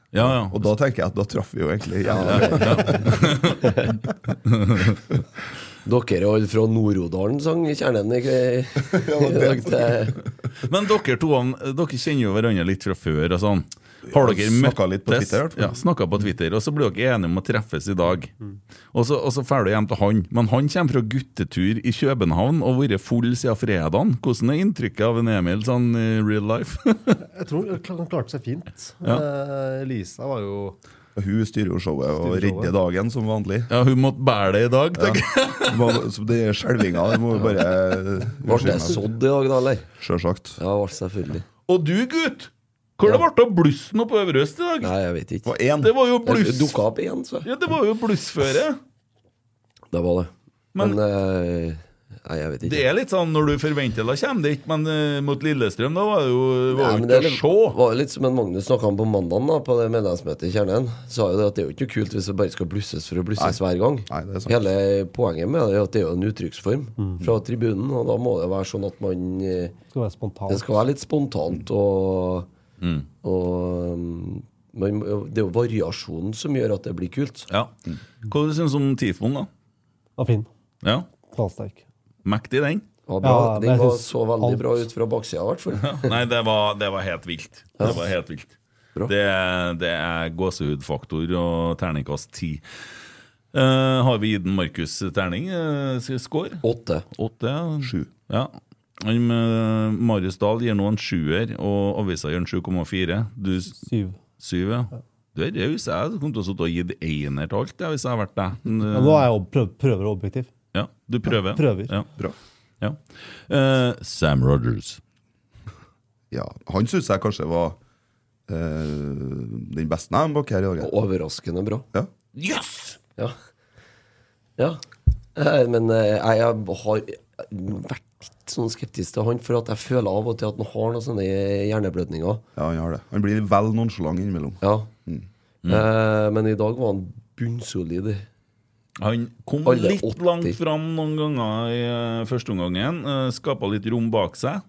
Og da tenker jeg at da traff vi jo egentlig jævla bra. Dere og alle fra Nord-Odalen sang i kjernen i i dag. Det- Men dere to dere kjenner jo hverandre litt fra før. Og sånn. Har dere Ja, snakket møttes? litt på Twitter, i hvert fall. ja, snakka på Twitter, og så blir dere enige om å treffes i dag. Og så, og så drar du hjem til han. Men han kommer fra guttetur i København og har vært full siden fredagen. Hvordan er inntrykket av en Emil sånn i real life? Jeg tror han klarte seg fint. Ja. Eh, Lisa var jo Hun styrer jo showet og Styrer showet. redder dagen som vanlig. Ja, hun måtte bære det i dag, tenker jeg. Så det er skjelvinga, det må vi bare Ble det sådd i dag, da, eller? Sjølsagt. Ja, ble selvfølgelig. Og du, gutt! Hvor det ble av blussen oppe på Øvre Øst i dag? Nei, jeg vet ikke. Det var jo bluss. Det Eh, dukket opp igjen, så. Ja, det var jo blussføre. Det var det. Men, eh, Nei, jeg vet ikke. Det er litt sånn når du forventer det kommer det ikke, men eh, mot Lillestrøm da var det jo var Nei, jo men ikke det er litt- var jo litt som en Magnus snakka om på mandag, på det medlemsmøtet i Kjernen. Sa jo det at det er jo ikke noe kult hvis det bare skal blusses for å blusses hver gang. Hele poenget med det er at det er jo en uttrykksform fra tribunen, og da må det være sånn at man eh, Mm. Skal være spontan. Det skal være litt spontant, og, Mm. og um, man, Det er jo variasjonen som gjør at det blir kult. Ja. Hva syns du synes om Tifoen, da? Var fin. Ja. Knallsterk. Mektig, den. Ja, bra. Ja, Den men jeg Den var så veldig bra ut fra baksida, i hvert fall. Nei, det var, det var helt vilt. Det Ja. var helt vilt. Det, det er gåsehudfaktor og terningkast ti. Eh, har vi gitt en Markus terning? Uh, score? Åtte. ja. Ja. Han med Marius Dahl gir nå en sjuer, og avisa gir en 7,4. Du s- Syv. Syv, ja. Du er raus. Jeg kom til å sitte og gitt einer til alt jeg, hvis jeg hadde vært deg. Men, Men nå er jeg ob- prøv- prøver å være objektiv. Ja, du prøver. Prøver. Ja. Ja. Eh, Sam Rogers. Ja, Han syns jeg kanskje var eh, den beste jeg bak her i dag. Overraskende bra. Ja. Yes! Ja. ja. Eh, Men eh, jeg jeg har vært litt sånn skeptisk til han, for at jeg føler av og til at han har noen sånne hjerneblødninger. Ja, Han har det. Han blir vel nonchalant innimellom. Ja. Mm. Eh, Men i dag var han bunnsolid. Han kom Alle litt langt fram noen ganger i eh, første omgangen. Uh, Skapa litt rom bak seg.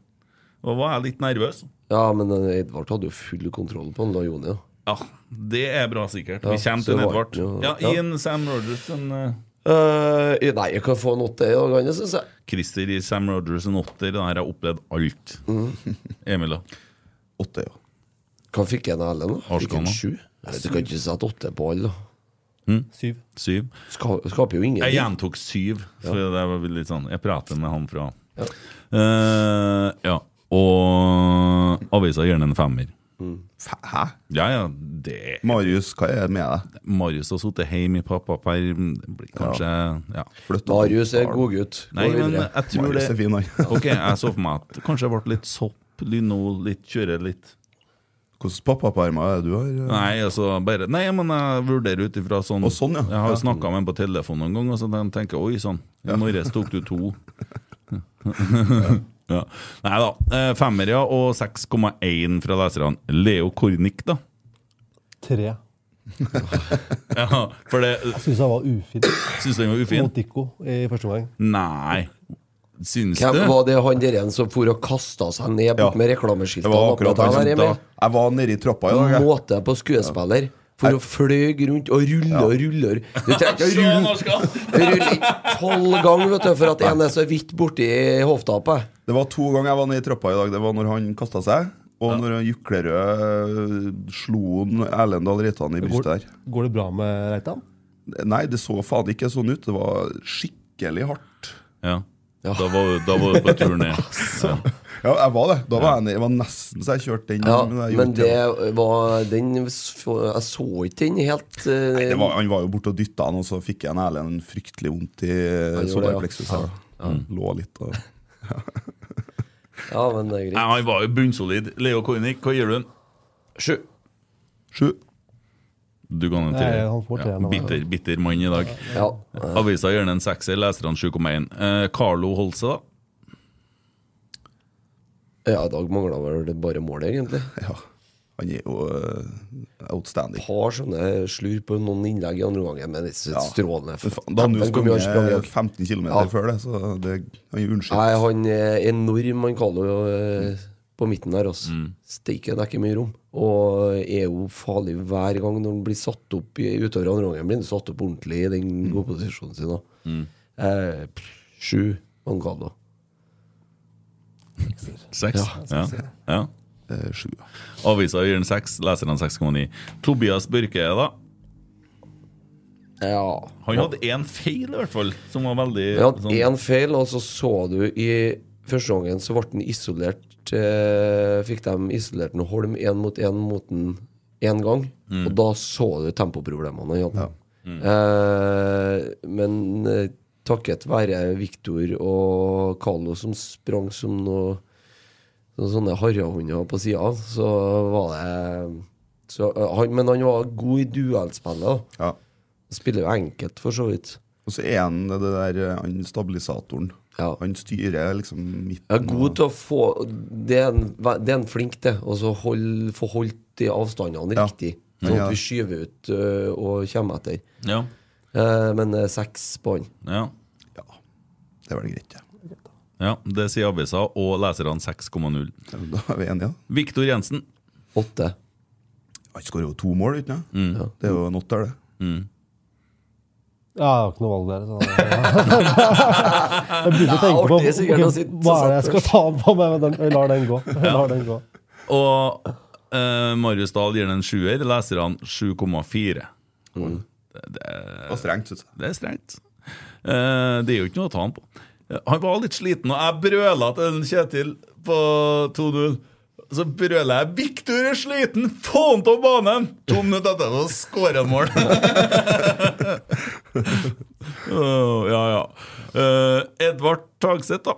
Og var jeg litt nervøs. Ja, men eh, Edvard hadde jo full kontroll på han da, Joni. da. Ja, det er bra sikkert. Ja, Vi kommer så til var- Edvard. Ja, ja, ja. I en Sam Rogers en eh, Eh, nei, jeg kan få en åtte i dag, Hanne, syns jeg. Christer i Sam Rogers en åtter. Der har jeg opplevd alt. Mm. Emil, da? Åtte, ja. Hva fikk jeg av Erlend? da? Fikk Arskan, en da? sju? Nei, Du kan ikke sette åtte på alle, da. Syv. Hm? Syv. Ska- Skaper jo Jeg ingenting. gjentok syv. For det var litt sånn Jeg prater med han fra Ja. Eh, ja. Og avisa gir den en femmer. Hæ? Ja, ja, det Marius, hva er det med deg? Marius har sittet hjemme i pappaperm. det blir Kanskje ja. Marius er god gutt. Gå Nei, men videre. jeg tror det Marius er fin, han. Ok, jeg så for meg at kanskje det ble litt sopp, lino, litt kjøre litt Hvilke pappapermer er det du eh? har? Nei, altså bare Nei, men jeg vurderer ut ifra sånn, Jeg Ja. har jo snakka med en på telefon noen gang, og så de tenker oi sånn, i morges tok du to. ja. Nei da. eh, Femmer, ja, og 6,1 fra leserne. Leo Kornic, da. Tre. Ja, for det Jeg syns han var ufin. Syns du han var ufin? Mot Dico i første omgang. Nei. Syns Hvem du? var det han der igjen som for og kasta seg ned bort med reklameskiltet? Det var Han var akkurat på han som der, Emil. da- Jeg var nede i trappa i dag. jeg. Måte på skuespiller. For å fløy rundt og rulle og rulle og rulle. Du trenger ikke å rulle rulle i tolv ganger vet du, for at en er så vidt borti hoftapet. Det var to ganger jeg var nede i trappa i dag. Det var når han kasta seg, Og når Juklerød slo han Erlendal Reitan i brystet Går, der. går det bra med Reitan? Nei, det så faen ikke sånn ut. Det var skikkelig hardt. Ja. Da var, da var du på tur ned. Ja. Ja, jeg var det. Da var jeg, ned- jeg var nesten så jeg kjørte den. Ja, jeg men gjorde ikke det. det var den Jeg så ikke den helt eh, Nei, det var, han var jo borte og dytta han, og så fikk jeg en Erlend fryktelig vondt i Han gjorde det, ja. solarpleksus. her, da. Ja. Mm. Lå litt og Ja, men det er Nei, greit. han var jo bunnsolid. Leo Koinik, hva gir du den? Sju. Sju. Du ga den en Nei, han får treer. tre Ja, nå. bitter, bitter mann i dag. Ja. Eh, Avisa gjør den en sekser, leserne 7,1. Eh, Carlo Holse, da? Ja, i dag mangla vel det bare målet, egentlig. Ja. Han er jo eh, outstanding. Har sånne slurp på noen innlegg i andre omgang, men det er Ja. Men strålende. faen, Da hadde han jo Den kom jo og sprang i sprunget dag. 15 km Ja. før det, så det, han er unnskyld. Nei, han er enorm, han Carlo, eh, på midten der. Altså. Steike, det er ikke mye rom. Og er jo farlig hver gang når han blir satt opp i, utover andre gangen. Blir han satt opp ordentlig i den gode posisjonen sin. Da. Mm. Eh, pff, sju, han Carlo. Seks? Ja. Eh, Ja. ja. Sju. Avisa gir den seks, leserne 6,9. Tobias Børke, da? Ja. Han hadde én feil, i hvert fall, som var veldig Han hadde sånn- én feil, og så så du i første gangen så ble han isolert eh, Fikk de isolert en Holm én mot én mot en én gang, Mm. og da så du tempoproblemene han hadde. Mm. Eh, men eh, takket være Viktor og Carlo som sprang som noe noen sånne harrehunder på sida, så var det så, eh, han, Men han var god i duellspillet. da. Spiller jo enkelt, for så vidt. Og så er han det der eh, han stabilisatoren. Han styrer liksom midten. Jeg er god til å få Det er en, det er en flink til. Og så hold, få holdt de avstandene Ja. riktig. Ja, Sånn ja. at vi skyver ut ø, og kommer etter. Ja. Eh, men eh, seks på han. Ja. Det var det greit, ja. ja. Det sier avisa, og leserne 6,0. Da er vi enige, da. Viktor Jensen. Åtte. Han skårer jo to mål, ikke sant? Mm. Det er jo en åtter, det. Ja, jeg har ikke noe valg der. Så. jeg begynner å tenke på artig sikkert å ok, sitte hva og er det jeg sette skal ta på meg, men den, jeg lar den gå. Jeg lar den gå. Og eh, Marius Dahl gir den en sjuer, leserne 7,4. Mm. Det, det, var strengt, syns jeg. Det er strengt. Eh, det er jo ikke noe å ta han på. Eh, Han var litt sliten, og jeg brøla til en Kjetil på 2-0. Så brøler jeg 'Viktor er sliten! Få han av banen!' To minutter etterpå skårer han mål. Åh, ja, ja. Eh, Edvard Tagseth, da.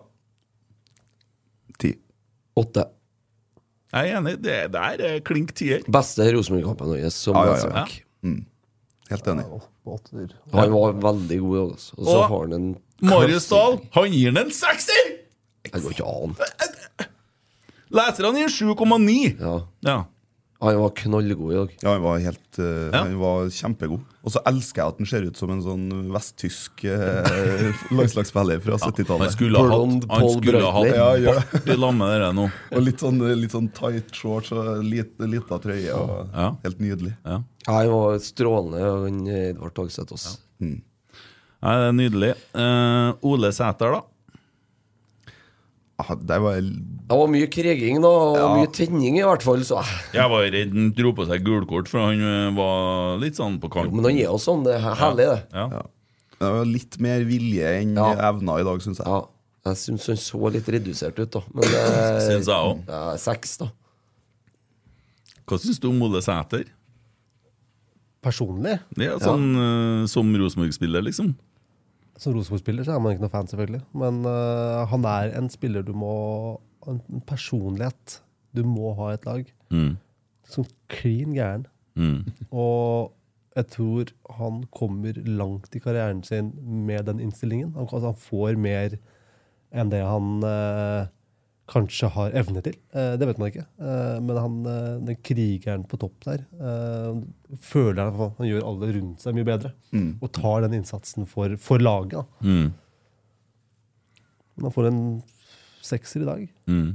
Åtte. Jeg er enig. Det der er klink tier. Beste Rosenborg-kampen vår som Ja, ja, ja. venstreback. Helt enig. Han var veldig god. Altså. Og så Og har han en Marius Dahl, han gir den en sekser! Det går ikke an. Leserne gir 7,9. Ja. ja. Han var knallgod i dag. Ja, han var, helt, eh, han var kjempegod. Og så elsker jeg at han ser ut som en sånn vesttysk eh, landslagsspiller fra Han 70-tallet. skulle ha hatt Han skulle ha hatt Ja, gjør det. bart i lammet der nå. Og litt sånn, litt sånn tight shorts og lite, lita trøye. Og Ja. Helt nydelig. Ja. Ja, han var strålende, han eh, Edvard Tagseth også. Nei, det er nydelig. Eh, Ole Sæter, da? Ah, der var jeg Det var mye kriging da, og Ja. mye tenning i hvert fall. Så. Jeg var redd han dro på seg gulkort, for han eh, var litt sånn på kant. Men han er jo sånn. Det er herlig, det. Ja. Det var litt mer vilje enn evner i dag, syns jeg. Jeg syns han så litt redusert ut, da. Men eh, Syns jeg òg. ja, Seks, da. Hva syns du om Ole Sæter? Personlig, Det er sånn eh, som Rosenborg-spiller, liksom. som Rosenborg-spiller, så er man ikke noe fan, selvfølgelig. Men øh, han er en spiller du må En en personlighet du må ha i et lag. Mm. Som klin gæren. Mm. Og jeg tror han kommer langt i karrieren sin med den innstillingen. Han, altså, han får mer enn det han eh, kanskje har evne til. Eh, det vet man ikke. Eh, men han, eh, den krigeren på topp der eh, føler jeg at han gjør alle rundt seg mye bedre. Mm. Og tar den innsatsen for, for laget. Da. Mm. Men han får en sekser i dag. Mm.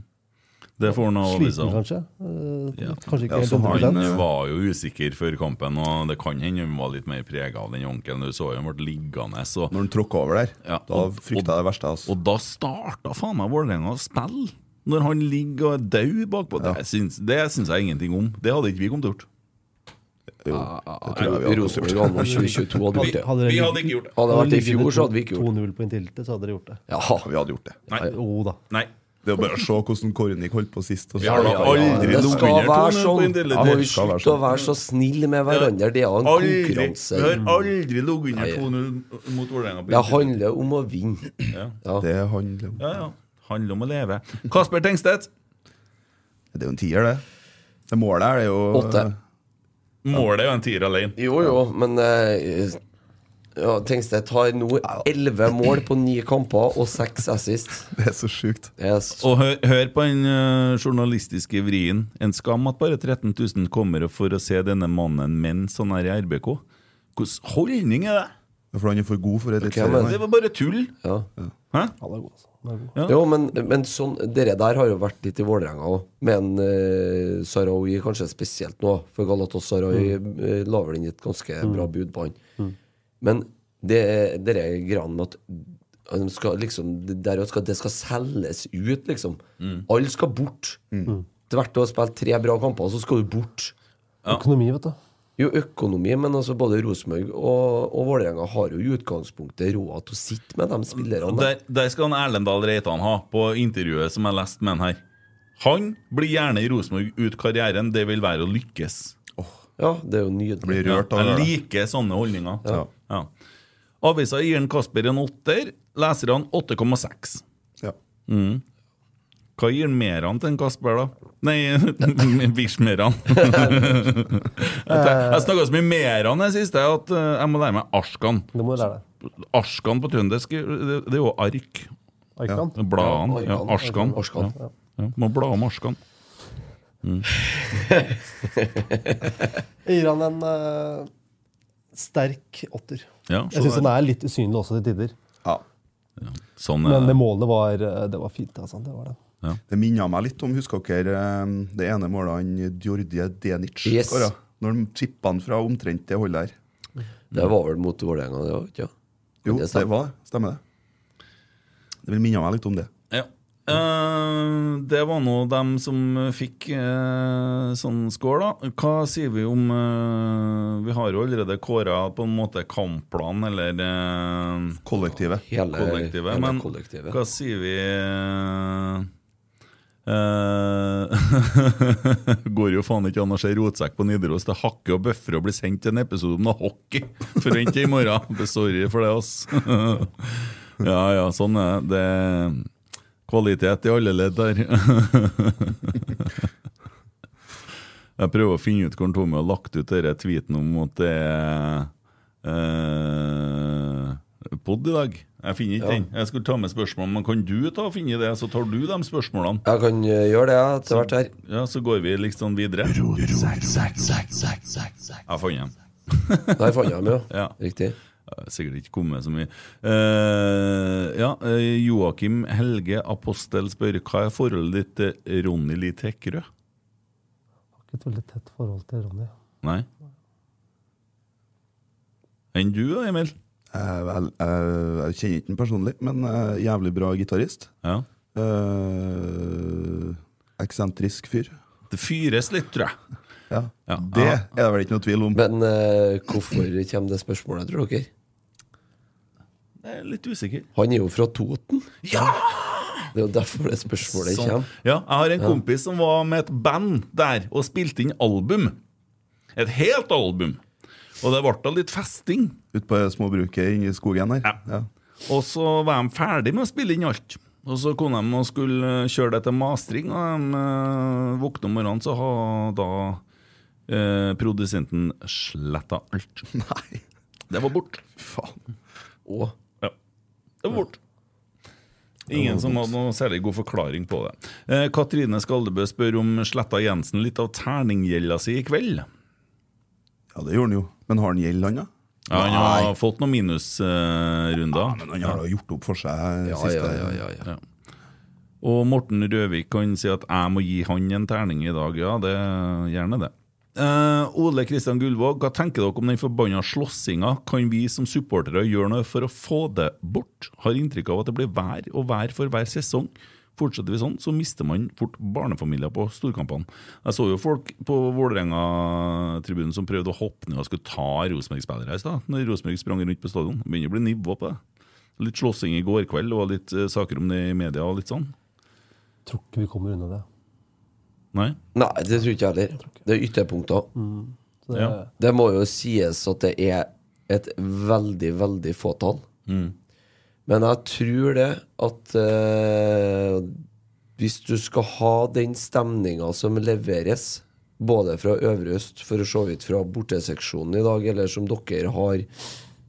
Det får han av Sliten, avisa. kanskje. Eh, liksom. Ja. Kanskje ikke Ja, helt sånn så 100%. han eh, var jo usikker før kampen, og det kan hende han var litt mer prega av den onkelen. Du så jo han ble liggende. Så. Når han tråkka over der, ja, da frykta jeg det verste. Altså. Og da starta faen meg Vålerenga å spille Når han ligger og er død bakpå, det syns det syns jeg ingenting om. Det hadde ikke vi kommet til å gjøre. jeg Rosenborg hadde vært 2022 hadde gjort det. dere Vi ligget- hadde ikke gjort det. Hadde det vært i ligget fjor, så hadde vi to- ikke gjort det. 2-0 på Intility, så hadde dere gjort det. Ja, vi hadde gjort det. Jo da. Det er bare å se hvordan Kornik holdt på sist. og så- Ja, ja, ja, ja. Det skal være sånn. Da må vi Det skal være slutte å sånn. være så snille med hverandre. Det er en Aldri- konkurranse. Vi har aldri ligget Nei. under 2-0 mot Vålerenga. på Det Intility. handler om å vinne. Ja. Det handler om Ja, ja. Handler om å leve. Kasper Tengstedt. Det er jo en tier, det. Det målet her det er jo Åtte. Målet er jo en tier alene. Jo, jo, men eh, ja, Tengstedt har nå elleve mål på ni kamper og seks assist. Det er så sjukt. Og hør, hør på den eh, journalistiske vrien. En skam at bare 13 000 kommer for å se denne mannen mens han er i RBK. Hvilken holdning er det? For han er for god for et men- Det var bare tull. Ja. Hæ? Ja. Jo, men, men sånn, dere der har jo vært litt i Vålerenga òg, med en eh, Sarawi kanskje spesielt nå. For Galatasaray mm. la vel inn et ganske Mm. bra bud på han. Mm. Men det er- det er greia med at han skal, liksom, det, der skal, det skal selges ut, liksom. Alle skal bort. Mm. Tvert å spille tre bra kamper, så skal du bort. Økonomi, vet du. Jo, økonomi, men altså både Rosenborg og, og Vålerenga har jo i utgangspunktet råd til å sitte med de spillerne. Og Der, der skal han Erlendal Reitan ha, på intervjuet som jeg leste med han her. Han blir gjerne i Rosenborg ut karrieren. Det vil være å lykkes. Ja, det er jo nydelig. Blir rørt av Jeg det. liker sånne holdninger. Ja. Ja. Avisa gir en Kasper en åtter, leserne 8,6. Ja. Mm. Hva gir mer han til en Kasper, da? Nei, Vishmeran. jeg tenk- jeg snakka så mye mer han det siste at eh, jeg må lære meg Ashkan. Det må du lære Ashkan på trøndersk, det det er jo ark. Arkan? Ja, Bladene. Ja, Ja, arkan. Ashkan. Ashkan, Ja. Ja, må bla om Ashkan. Mm. Jeg gir han en eh, sterk åtter. Ja. jeg syns han er litt usynlig også til tider. Sånn er Men det. det målet var, eh, det var fint. Altså. Det var det. Det minner meg litt om husker dere eh, det ene målet han Djordje Denic Yes. skåra? Når han chippa han fra omtrent det holdet her. Det Mm. var vel mot Vålerenga, det òg? Ja. Jo, det, var det. Stemmer det. Det vil minne meg litt om det. Ja. Eh, det var nå dem som fikk eh, sånn score, da. Hva sier vi om eh, Vi har jo allerede kåra på en måte kampplan, eller eh, Kollektivet. Hele- kollektivet. hele men kollektivet. hva sier vi eh, eh, Går jo faen ikke an å se rotsekk på Nidaros. Det hakker og bøffer å bli sendt til en episode om noe hockey! Forvent det i morgen. Sorry for det, ass. ja ja, sånn er det. det. Kvalitet i alle ledd der. Jeg prøver å finne ut hvor Tommy har lagt ut denne tweeten om at det er eh, pod i dag. Jeg finner Ja. ikke den. Jeg skulle ta med spørsmålene, men kan du ta og finne det? Så tar du de spørsmålene. Jeg kan eh, gjøre det jeg, etter hvert her. Ja, Så går vi liksom videre. Jeg fant dem. Der fant jeg dem, ja. Riktig. Jeg har Sikkert ikke kommet så mye. Eh, ja, eh, Joakim Helge Apostel spør hva er forholdet ditt til Ronny Li Tekrø? Ikke Et veldig tett forhold til Ronny. Nei? Enn du da, Emil? Eh, vel, eh, jeg kjenner ikke den personlig, men eh, jævlig bra gitarist. Ja. Eh, eksentrisk fyr. Det fyres litt, tror jeg. Ja. Ja. Det er det vel ikke noe tvil om. Men eh, hvorfor kommer det spørsmålet, tror dere? Jeg er litt usikker. Han er jo fra Toten. Det er jo derfor det spørsmålet Sånn. kommer. Ja, jeg har en Ja. kompis som var med et band der og spilte inn album. Et helt album. Og det ble da litt festing. Ute på småbruket inne i skogen her. Ja. Og så var de ferdig med å spille inn alt. Og så kom de og skulle eh, kjøre det til mastring, og de eh, våkna om morgenen, så har da eh, produsenten sletta alt. Nei. Det var borte. Faen. Å. Ja. Det var borte. Ingen som hadde noe særlig god forklaring på det. Eh, Katrine Skaldebø spør om Sletta Jensen litt av terninggjelda si i kveld. ja, det gjorde han jo. Men har han gjeld, han, da? Ja, han har fått noen minusrunder. Men han har da gjort opp for seg Ja, siste ja, ja, ja, ja. Og Morten Røvik kan si at 'jeg må gi han en terning i dag'. Ja, det gjerne det. Eh, Ole Kristian Gullvåg, hva tenker dere om den forbanna slåssinga? Kan vi som supportere gjøre noe for å få det bort? Har inntrykk av at det blir hver og hver for hver sesong. Fortsetter vi sånn, så mister man fort barnefamilier på storkampene. Jeg så jo folk på Vålerenga-tribunen som prøvde å hoppe ned og skulle ta Rosenborg-spillere i stad, når Rosenborg sprang rundt på stadion. Det begynner å bli nivå på det. Litt slåssing i går kveld og litt eh, saker om det i media og litt sånn. Tror ikke vi kommer unna det. Nei? Nei, det tror ikke jeg heller. Det er ytterpunkter. Mm. Så Det, det- Ja. må jo sies at det er et veldig, veldig fåtall. Mm. Men jeg tror det at eh, hvis du skal ha den stemninga som leveres, både fra Øvre Øst, for så vidt fra borteseksjonen i dag, eller som dere har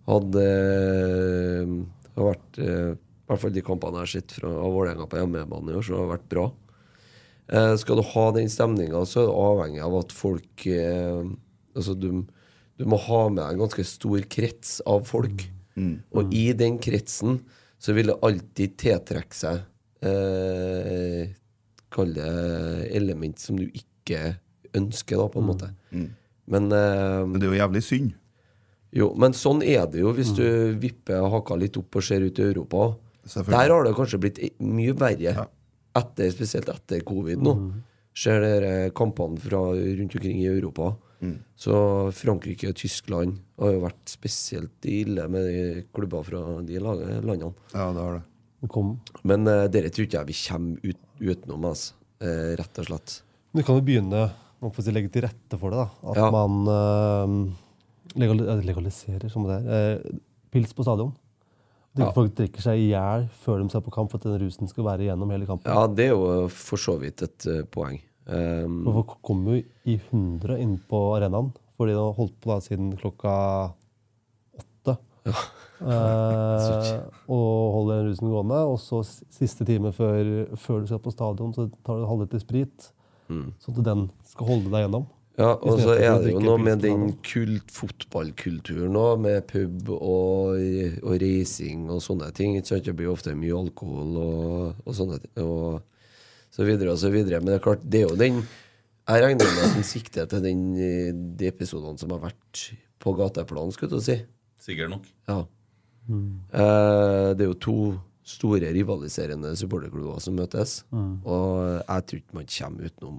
hatt eh, har vært, eh, I hvert fall de kampene jeg har sett fra av Vålerenga på hjemmebane i år, så har det vært bra. Eh, skal du ha den stemninga, så er du avhengig av at folk eh, Altså, du, du må ha med deg en ganske stor krets av folk. Og i den kretsen så vil det alltid tiltrekke seg eh, Kall det element som du ikke ønsker, da, på en måte. Men Det er jo jævlig synd. Jo, men sånn er det jo hvis du vipper haka litt opp og ser ut i Europa. Selvfølgelig. Der har det kanskje blitt i- mye verre, etter, spesielt etter covid nå. Mm. Ser dere kampene fra rundt omkring i Europa. Mm. Så Frankrike og Tyskland har jo vært spesielt ille med de klubber fra de la- landene. Ja, det har det. Men uh, dere tror ikke jeg vi kommer ut, utenom, altså. Eh, rett og slett. Men du kan jo begynne man får si, legge til rette for det. da. At Ja. man eh, legali eh, legaliserer som det er, eh, pils på stadion. At ikke Ja. folk drikker seg i hjel før de ser på kamp for at den rusen skal være igjennom hele kampen. Ja, det er jo for så vidt et eh, poeng. Um, For folk kommer jo i hundre inn på arenaen, fordi de har holdt på da siden klokka åtte. Eh, og holder den rusen gående. Og så s- siste time før, før du skal på stadion, så tar du en halvliter sprit. Mm. Sånn at den skal holde deg gjennom. Ja, og så Istedenfor å er det jo drikke noe pils med på den stadion. kult fotballkulturen òg, med pub og, og racing og sånne ting. Ikke sant? Det blir ofte mye alkohol og, og sånne ting. Og så videre og så videre. Men det er klart, det er jo den Jeg regner med at den sikter til den, eh, de episodene som har vært på gateplan, skulle jeg til å si. Sikkert nok. Ja. Mm. Eh, det er jo to store rivaliserende supporterklubber som møtes. Mm. Og jeg tror ikke man kommer utenom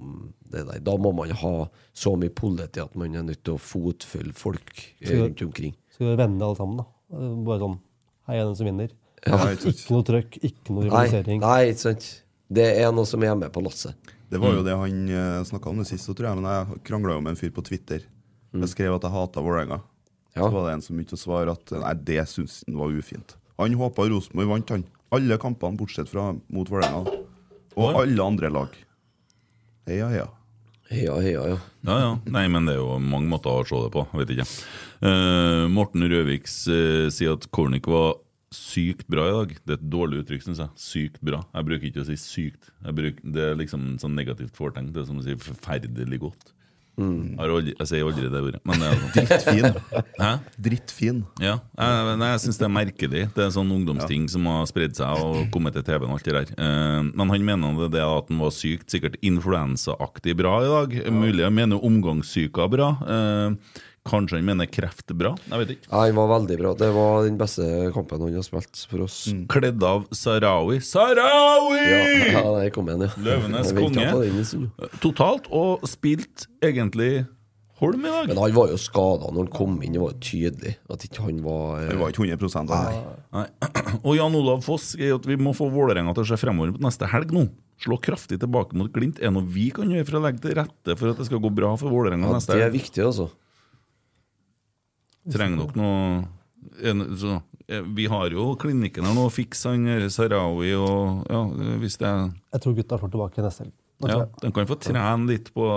det der. Da må man ha så mye politi at man er nødt til å fotfølge folk eh, Skal- rundt omkring. Skal vi vende alle sammen, da? Eh, Bare sånn Hei, er den som vinner. Ja. Altså, Ikke noe trøkk, ikke noe Nei, rivalisering. nei, ikke sant. Det er noe som er med på lasset. Det var Mm. jo det han snakka om det sist, så tror jeg, men jeg krangla jo med en fyr på Twitter. Mm. Jeg skrev at jeg hata Vålerenga. Så var det en som begynte å svare at nei, det syns han var ufint. Han håpa Rosenborg vant, han. Alle kampene bortsett fra mot Vålerenga. Og alle andre lag. Heia, heia. Heia, heia, ja. Ja, ja. Nei, men det er jo mange måter å se det på. Jeg vet ikke. Eh, Morten Røviks eh, sier at Kornik var sykt bra i dag. Det er et dårlig uttrykk, syns jeg. Sykt bra. Jeg bruker ikke å si sykt. Jeg bruker, det er liksom sånn negativt fortegn. Det er som å si forferdelig godt. Mm. Jeg, har aldri, jeg sier aldri det ordet. Men det er altså- Drittfin. Hæ? Drittfin. Ja. Jeg, nei, jeg syns det er merkelig. Det er sånn ungdomsting som har spredd seg og kommet til TV-en. og alt det der. Eh, men han mener det, det at han var sykt sikkert influensaaktig bra i dag. Mulig han mener omgangssyka bra. Eh, kanskje han mener kreft bra. Jeg vet ikke. Ja, Han var veldig bra. Det var den beste kampen han har spilt for oss. Kledd av Sarawi. Sarawi! Ja, ja, der kom han, ja. Løvenes Jeg ventet på den en konge. stund, Totalt, og spilt egentlig Holm i dag. Men han var jo skada når han kom inn. Det var jo tydelig at ikke han var eh, Han var ikke 100 Nei. Nei. Og Jan Olav Foss sier at vi må få Vålerenga til å se fremover på neste helg nå. Slå kraftig tilbake mot Glimt. Er det noe vi kan gjøre for å legge til rette for at det skal gå bra for Vålerenga Ja, neste det er helg? viktig, altså. Trenger dere noe en, så, eh, Vi har jo klinikken her nå. Fiks han eh, Sarawi og ja, eh, hvis det er Jeg tror gutta slår tilbake neste helg. Nå tror Ja, jeg. de kan få trene litt på,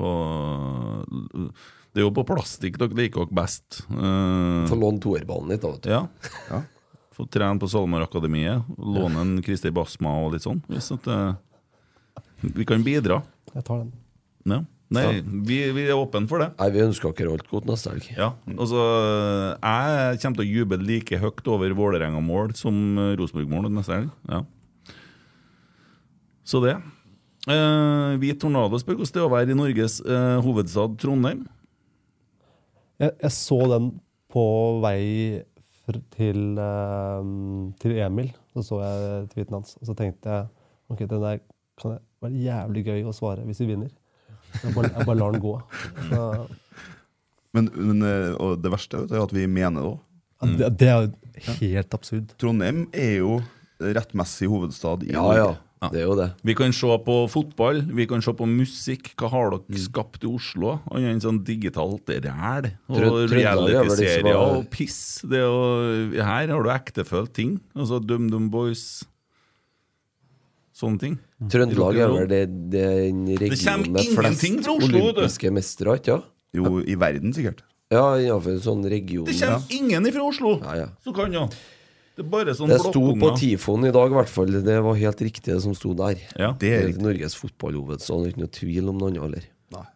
på Det er jo på plastikk dere liker dere best. eh. Få låne toerballen litt, da. vet du. Ja. Få trene på SalMar-akademiet. Låne en Christer Basma og litt sånn. Hvis at, eh, vi kan bidra. Jeg tar den. Ja. Nei, vi, vi er åpne for det. Nei, Vi ønsker dere alt godt neste helg. Ja, Mm. altså Jeg kommer til å juble like høyt over Vålerenga-mål som eh, Rosenborg-mål neste helg. Ja. Så det. Eh, Hvit tornado spør hvordan det er å være i Norges eh, hovedstad Trondheim. Jeg, jeg så den på vei til, til, eh, til Emil, så så jeg tweeten hans, og så tenkte jeg ok, den der kan jeg- være jævlig gøy å svare hvis vi vinner. Jeg bare, jeg bare lar den gå. Så, Men, men eh, og det verste vet du, er at vi mener det òg. Mm. Ja, det- det er jo helt absurd. Trondheim er jo rettmessig hovedstad i Ja, ja. Ja. Det er jo det. Vi kan se på fotball, vi kan se på musikk. Hva har Mm. dere skapt i Oslo? Annet enn sånn digitalt ræl Trø- og Trøndelag er vel det som realityserier var- og piss. Det er jo, her har du ektefølt ting. Altså DumDum Boys, sånne ting. Mm. Trøndelag er vel Rock'n'roll. det, det er den Det regionen kommer med flest ingenting fra Oslo, vet du. olympiske mestere, ikke sant? Jo, i verden sikkert. Ja, innenfor en sånn region. Det kommer ingen fra Oslo Ja, ja. som kan jo Det er bare sånn Det sto på blokkunger. Tifoen i dag, i hvert fall. Det var helt riktig, det som sto der. det er riktig. Norges fotballhovedstad. Det er Ikke noe tvil om noe annet, eller?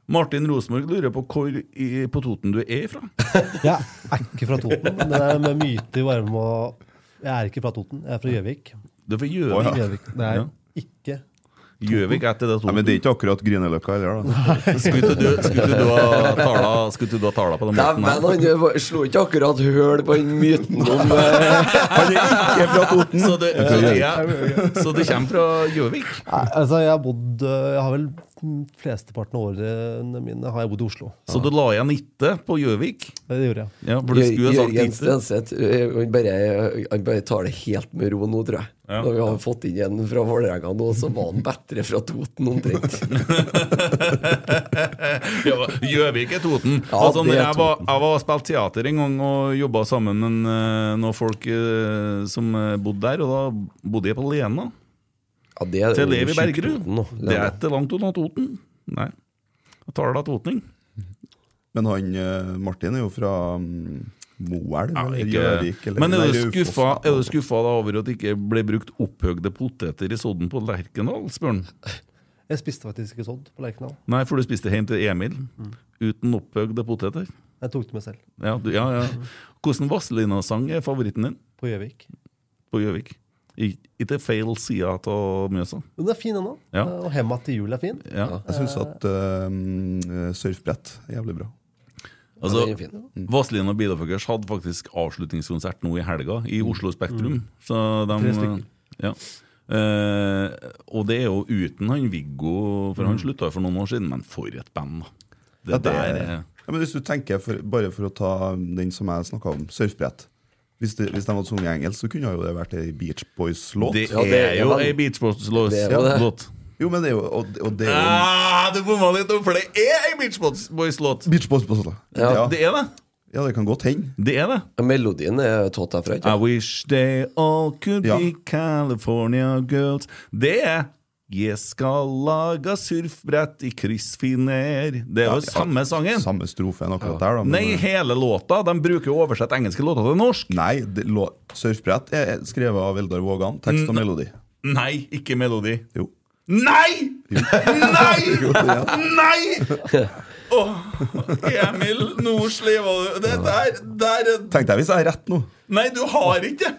Martin Rosenborg lurer på hvor i, på Toten du er ifra. Jeg er ikke fra Toten. Det der med myte i varme og Jeg er ikke fra Toten, jeg er fra Gjøvik. Du er fra Å, ja. Gjøvik. Det er Ja. ikke Gjøvik etter det Nei, men det er ikke akkurat Grünerløkka heller, da. Skulle ikke du- skulle ikke du ha tala- skulle ikke du ha tala på den måten Dæven, her? han var- slo ikke akkurat høl på den myten om eh, Han er ikke fra Toten! Så det, så, det, ja. Gjøvik. så det kommer fra Gjøvik? Nei, altså, jeg har bodd øh, Jeg har vel den flesteparten av årene mine har jeg bodd i Oslo. Så du la igjen itte på Gjøvik? Det gjorde jeg. Ja, for du skulle ha sagt Jørgen itte. Stenseth eh, han bare, han bare tar det helt med ro nå, tror jeg. Ja. Når vi har fått inn en fra Vålerenga nå, så var han bedre fra Toten omtrent. Ja, Gjøvik er Toten. Ja, altså, det når er jeg, var, jeg var og spilte teater en gang og jobba sammen med en, eh, noen folk eh, som eh, bodde der, og da bodde jeg på Lena. Ja, det er Til Levi jo Bergerud. Toten nå, Lena. Det er ikke langt unna Toten. Nei. Jeg tar det av Totning. Men han eh, Martin er jo fra mm, Moelv Ja, eller ikke- Gjøvik eller Men er Nei, du Raufoss. skuffa, er du skuffa da over at det ikke ble brukt opphøgde poteter i sodden på Lerkendal, spør han? Jeg spiste faktisk ikke sodd på Lerkendal. Nei, for du spiste hjem til Emil uten opphøgde poteter. Jeg tok det med selv. Ja, du, ja, ja. Hvordan Vazelina-sang er favoritten din? På Gjøvik. På Gjøvik. I- Ikke feil side av Mjøsa. Men den er fin ennå. Eh, Ja. Og hemma til jul er fin. Ja. Jeg syns at eh, surfbrett er jævlig bra. Altså, Ja, den er Mm. fin. Vazelina og Bilofuckers hadde faktisk avslutningskonsert nå i helga, i Oslo Spektrum. Mm. Så de, Tre stykker. Ja. Eh, og det er jo uten han Viggo, for han Mm. slutta jo for noen år siden, men for et band, da. Det Ja, det der er- er ja, men hvis du tenker, for, Bare for å ta den som jeg snakka om, surfbrett. Hvis, det, hvis de hadde sunget engelsk, så kunne jo det vært ei Beach Boys-låt. Det Ja, det er er jo vel- ei Beach Boys-låt. Det er jo det. Låt. Jo, men det er jo Og, og det er jo ah, Du bomma litt, nå, for det er ei Beach Boys- Boys-låt! Beach Boys-låt. Ja. Det er det. Ja, det kan godt hende. Det er det. Melodien er tatt derfra, ikke I wish they all could Ja. be California girls. Det er Jeg skal lage surfbrett i kryssfiner. Det er Ja, jo ja. samme sangen. Samme strofen akkurat der, da. men- Nei, hele låta. De bruker jo å oversette engelske låter til norsk. Nei, det, lå, surfbrett er er skrevet av Eldar Vågan. Tekst og Mm. melodi. Nei, ikke melodi. Jo. Nei! Nei! Nei! Åh, Emil, nå sleva du Det der, der er- Tenk deg hvis jeg har rett nå. Nei, du har ikke det!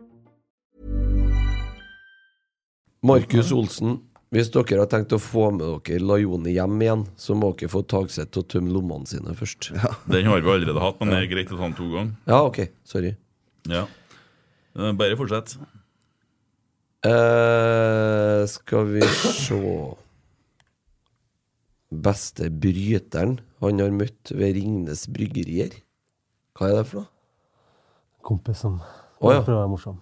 Mhm. Markus Olsen, hvis dere har tenkt å få med dere Lajoni hjem igjen, så må dere få Tagseth til å tømme lommene sine først. Den har vi allerede hatt, men det er greit å ta den to ganger. Ja, ok. Sorry. Ja. Eh, Bare fortsett. Eh, skal vi se Beste bryteren han har møtt ved Ringnes Bryggerier. Hva er det for noe? Kompisen. Å, ja. Prøv å være morsom.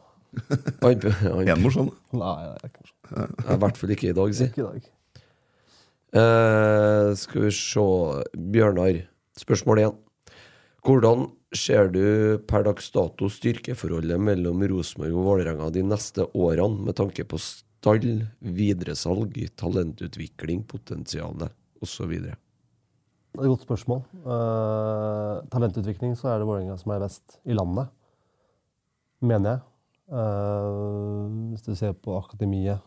Han, han, Er han morsom? Nei, det er ikke morsom. I hvert fall ikke i dag, si. Ikke i dag. Eh, skal vi se Bjørnar, spørsmål én. Hvordan ser du per dags dato styrkeforholdet mellom Rosenborg og Vålerenga de neste årene, med tanke på stall, videresalg, talentutvikling, potensialet osv.? Det er et godt spørsmål. Eh, talentutvikling så er det Vålerenga som er best i landet, mener jeg. Eh, hvis du ser på akademiet,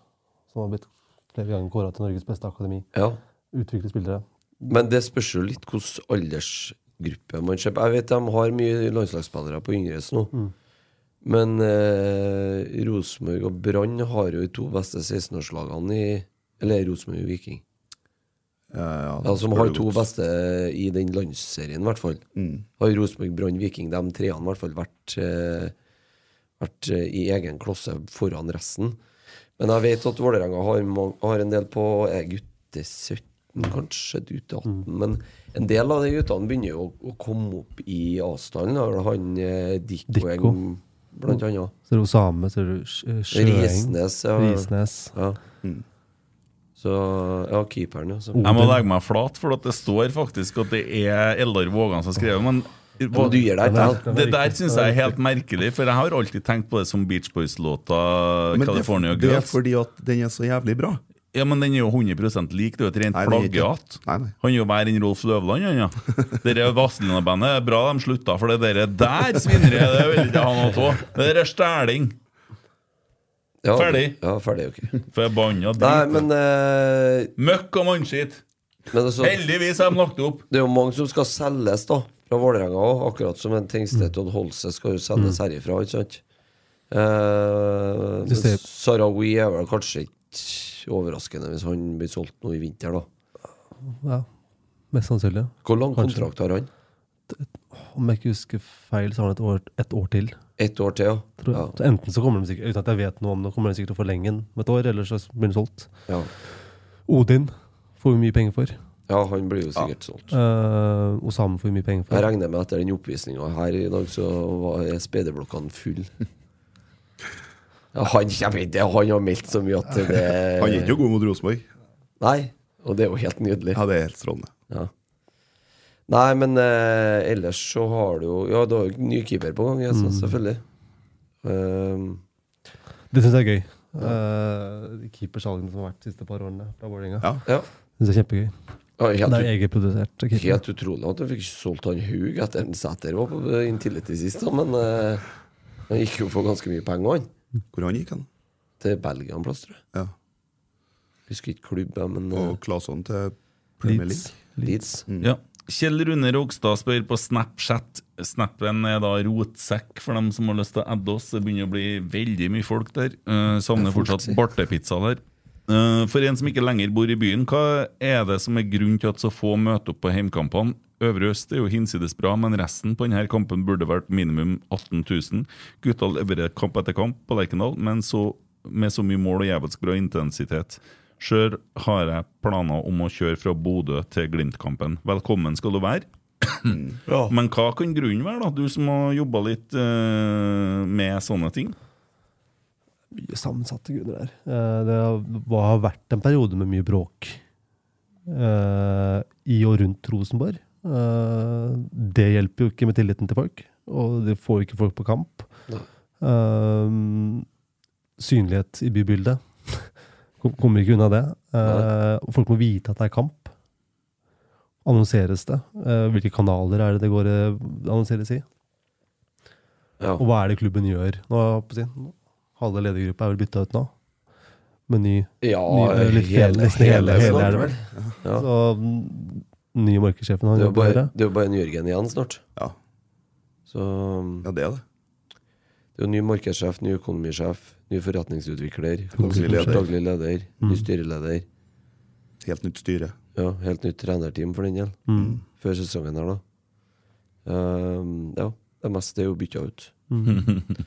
som har blitt flere ganger kåra til Norges beste akademi. Ja. Utvikle spillere. Men det spørs jo litt hvilken aldersgruppe man ser på. Jeg vet de har mye landslagsspillere på yngres nå. Mm. Men eh, Rosenborg og Brann har jo de to beste 16-årslagene i Eller Rosenborg og Viking. ja, ja, som spør Altså, har du to godt. beste i den landsserien, i hvert fall. Mm. Har Rosenborg, Brann, Viking, de treene i hvert fall vært, eh, vært eh, i egen klosse foran resten. Men jeg vet at Vålerenga har, mang- har en del på eh, gutte 17, kanskje gutte 18. Men en del av de guttene begynner jo å, å komme opp i avstanden. Da har Han eh, Dikko, er god, blant annet. Ser du Osame, ser du Sj- Sjøeng. Risnes, ja. Risnes. Ja. Så Ja, keeperen, ja. så- Jeg må legge meg flat, for at det står faktisk at det er Eldar Vågan som har skrevet. Men men du gir deg ikke, da. det der syns jeg er helt merkelig, for jeg har alltid tenkt på det som Beach Boys-låta Men det, California er- det er Girls. fordi at den er så jævlig bra. Ja, men den er jo 100 lik. Det er jo et rent Nei, den er ikke- plagiat. Han er jo verre enn Rolf Løvland, han, ja. Dere Vazelina-bandet er bra de slutta, for det dere der, svinnere, det vil ikke jeg ha noe av. Det der er stæling. Ja, Ferdig. Ja, ferdig, ok. Forbanna drit. Nei, men eh, Møkk og mannskitt. Heldigvis har de lagt det opp. Det er jo mange som skal selges da fra Vålerenga òg, akkurat som en Tengstedt og en Holse skal jo selges Mm. herifra. ikke sant? Det Eh, ser- Sarawi er vel kanskje ikke overraskende hvis han blir solgt nå i vinter, da. Ja, mest sannsynlig. Hvor lang Kanskje. kontrakt har han? Om jeg ikke husker feil, så har han et år, et år til. Ett år til, ja. Tror jeg. Ja. Så enten så kommer de sikkert, uten at jeg vet noe om det, kommer de sikkert til å forlenge den med et år, eller så blir den solgt. Ja. Odin får vi mye penger for. Ja, han blir jo sikkert solgt. Eh, Osame får vi mye penger for. Jeg regner med at etter den oppvisninga her i dag, så var er speiderblokkene full. Ja, han, jeg vet, det, han har meldt så mye at det Han er ikke noe god mot Rosenborg. Nei, og det er jo helt nydelig. Ja, det er helt strålende. Ja. Nei, men eh, ellers så har du jo Ja, du har jo ny keeper på gang, jeg, så, Mm. selvfølgelig. Ehm, Det syns jeg er gøy. Eh, de Keepersalgene som har vært de siste par årene fra Vålerenga. Ja. Ja. Det syns jeg er kjempegøy. ja, helt det er ut- egenprodusert keeper. Helt utrolig at du fikk solgt han Haug etter en Sæter var på eh, Intility sist, da, men eh, han gikk jo for ganske mye penger, han. Hvor han gikk han? Til Belgia en plass, tror jeg. Ja. Husker ikke klubb, jeg, men eh, Og Claesson til Premier League. Leeds. Mm. Ja. Kjell Rune Rogstad spør på Snapchat. Snappen er da rotsekk for dem som har lyst til å adde oss. Det begynner å bli veldig mye folk der. Eh, savner fortsatt bartepizza der. Eh, for en som ikke lenger bor i byen, hva er det som er grunnen til at så få møter opp på heimkampene? Øvre Øst er jo hinsides bra, men resten på denne kampen burde vært minimum 18 000. Gutta leverer kamp etter kamp på Lerkendal, men så med så mye mål og jævelsk bra intensitet. Sjøl har jeg planer om å kjøre fra Bodø til Glimt-kampen. Velkommen skal du være. Mm. Men hva kan grunnen være, da? Du som har jobba litt eh, med sånne ting. Mye sammensatte grunner der. Eh, det har, hva har vært en periode med mye bråk eh, i og rundt Rosenborg. Eh, det hjelper jo ikke med tilliten til folk, og det får jo ikke folk på kamp. Eh, synlighet i bybildet. Kom- Kommer ikke unna det. Eh, og folk må vite at det er kamp. Annonseres det? Eh, hvilke kanaler er det det går eh, annonseres i? Og hva er det klubben gjør? Nå, holdt jeg på å si, halve ledergruppa er vel bytta ut nå. med ny, Ja, ny eh, litt hele- hele, nesten hele, hele hele, flåten, elva. vel? Ja. Så mm, nye markedssjefen Det han er jo jobber bare, der. det er jo bare en Jørgen igjen snart. Ja. Så, ja, det er det. Det er jo ny markedssjef, ny økonomisjef, ny forretningsutvikler, Konsulent. daglig leder, ny Mm. styreleder. Helt nytt styre. Ja, helt nytt trenerteam for den del. Mm. Før sesongen her, da. Ehm, ja, det meste er jo bytta ut.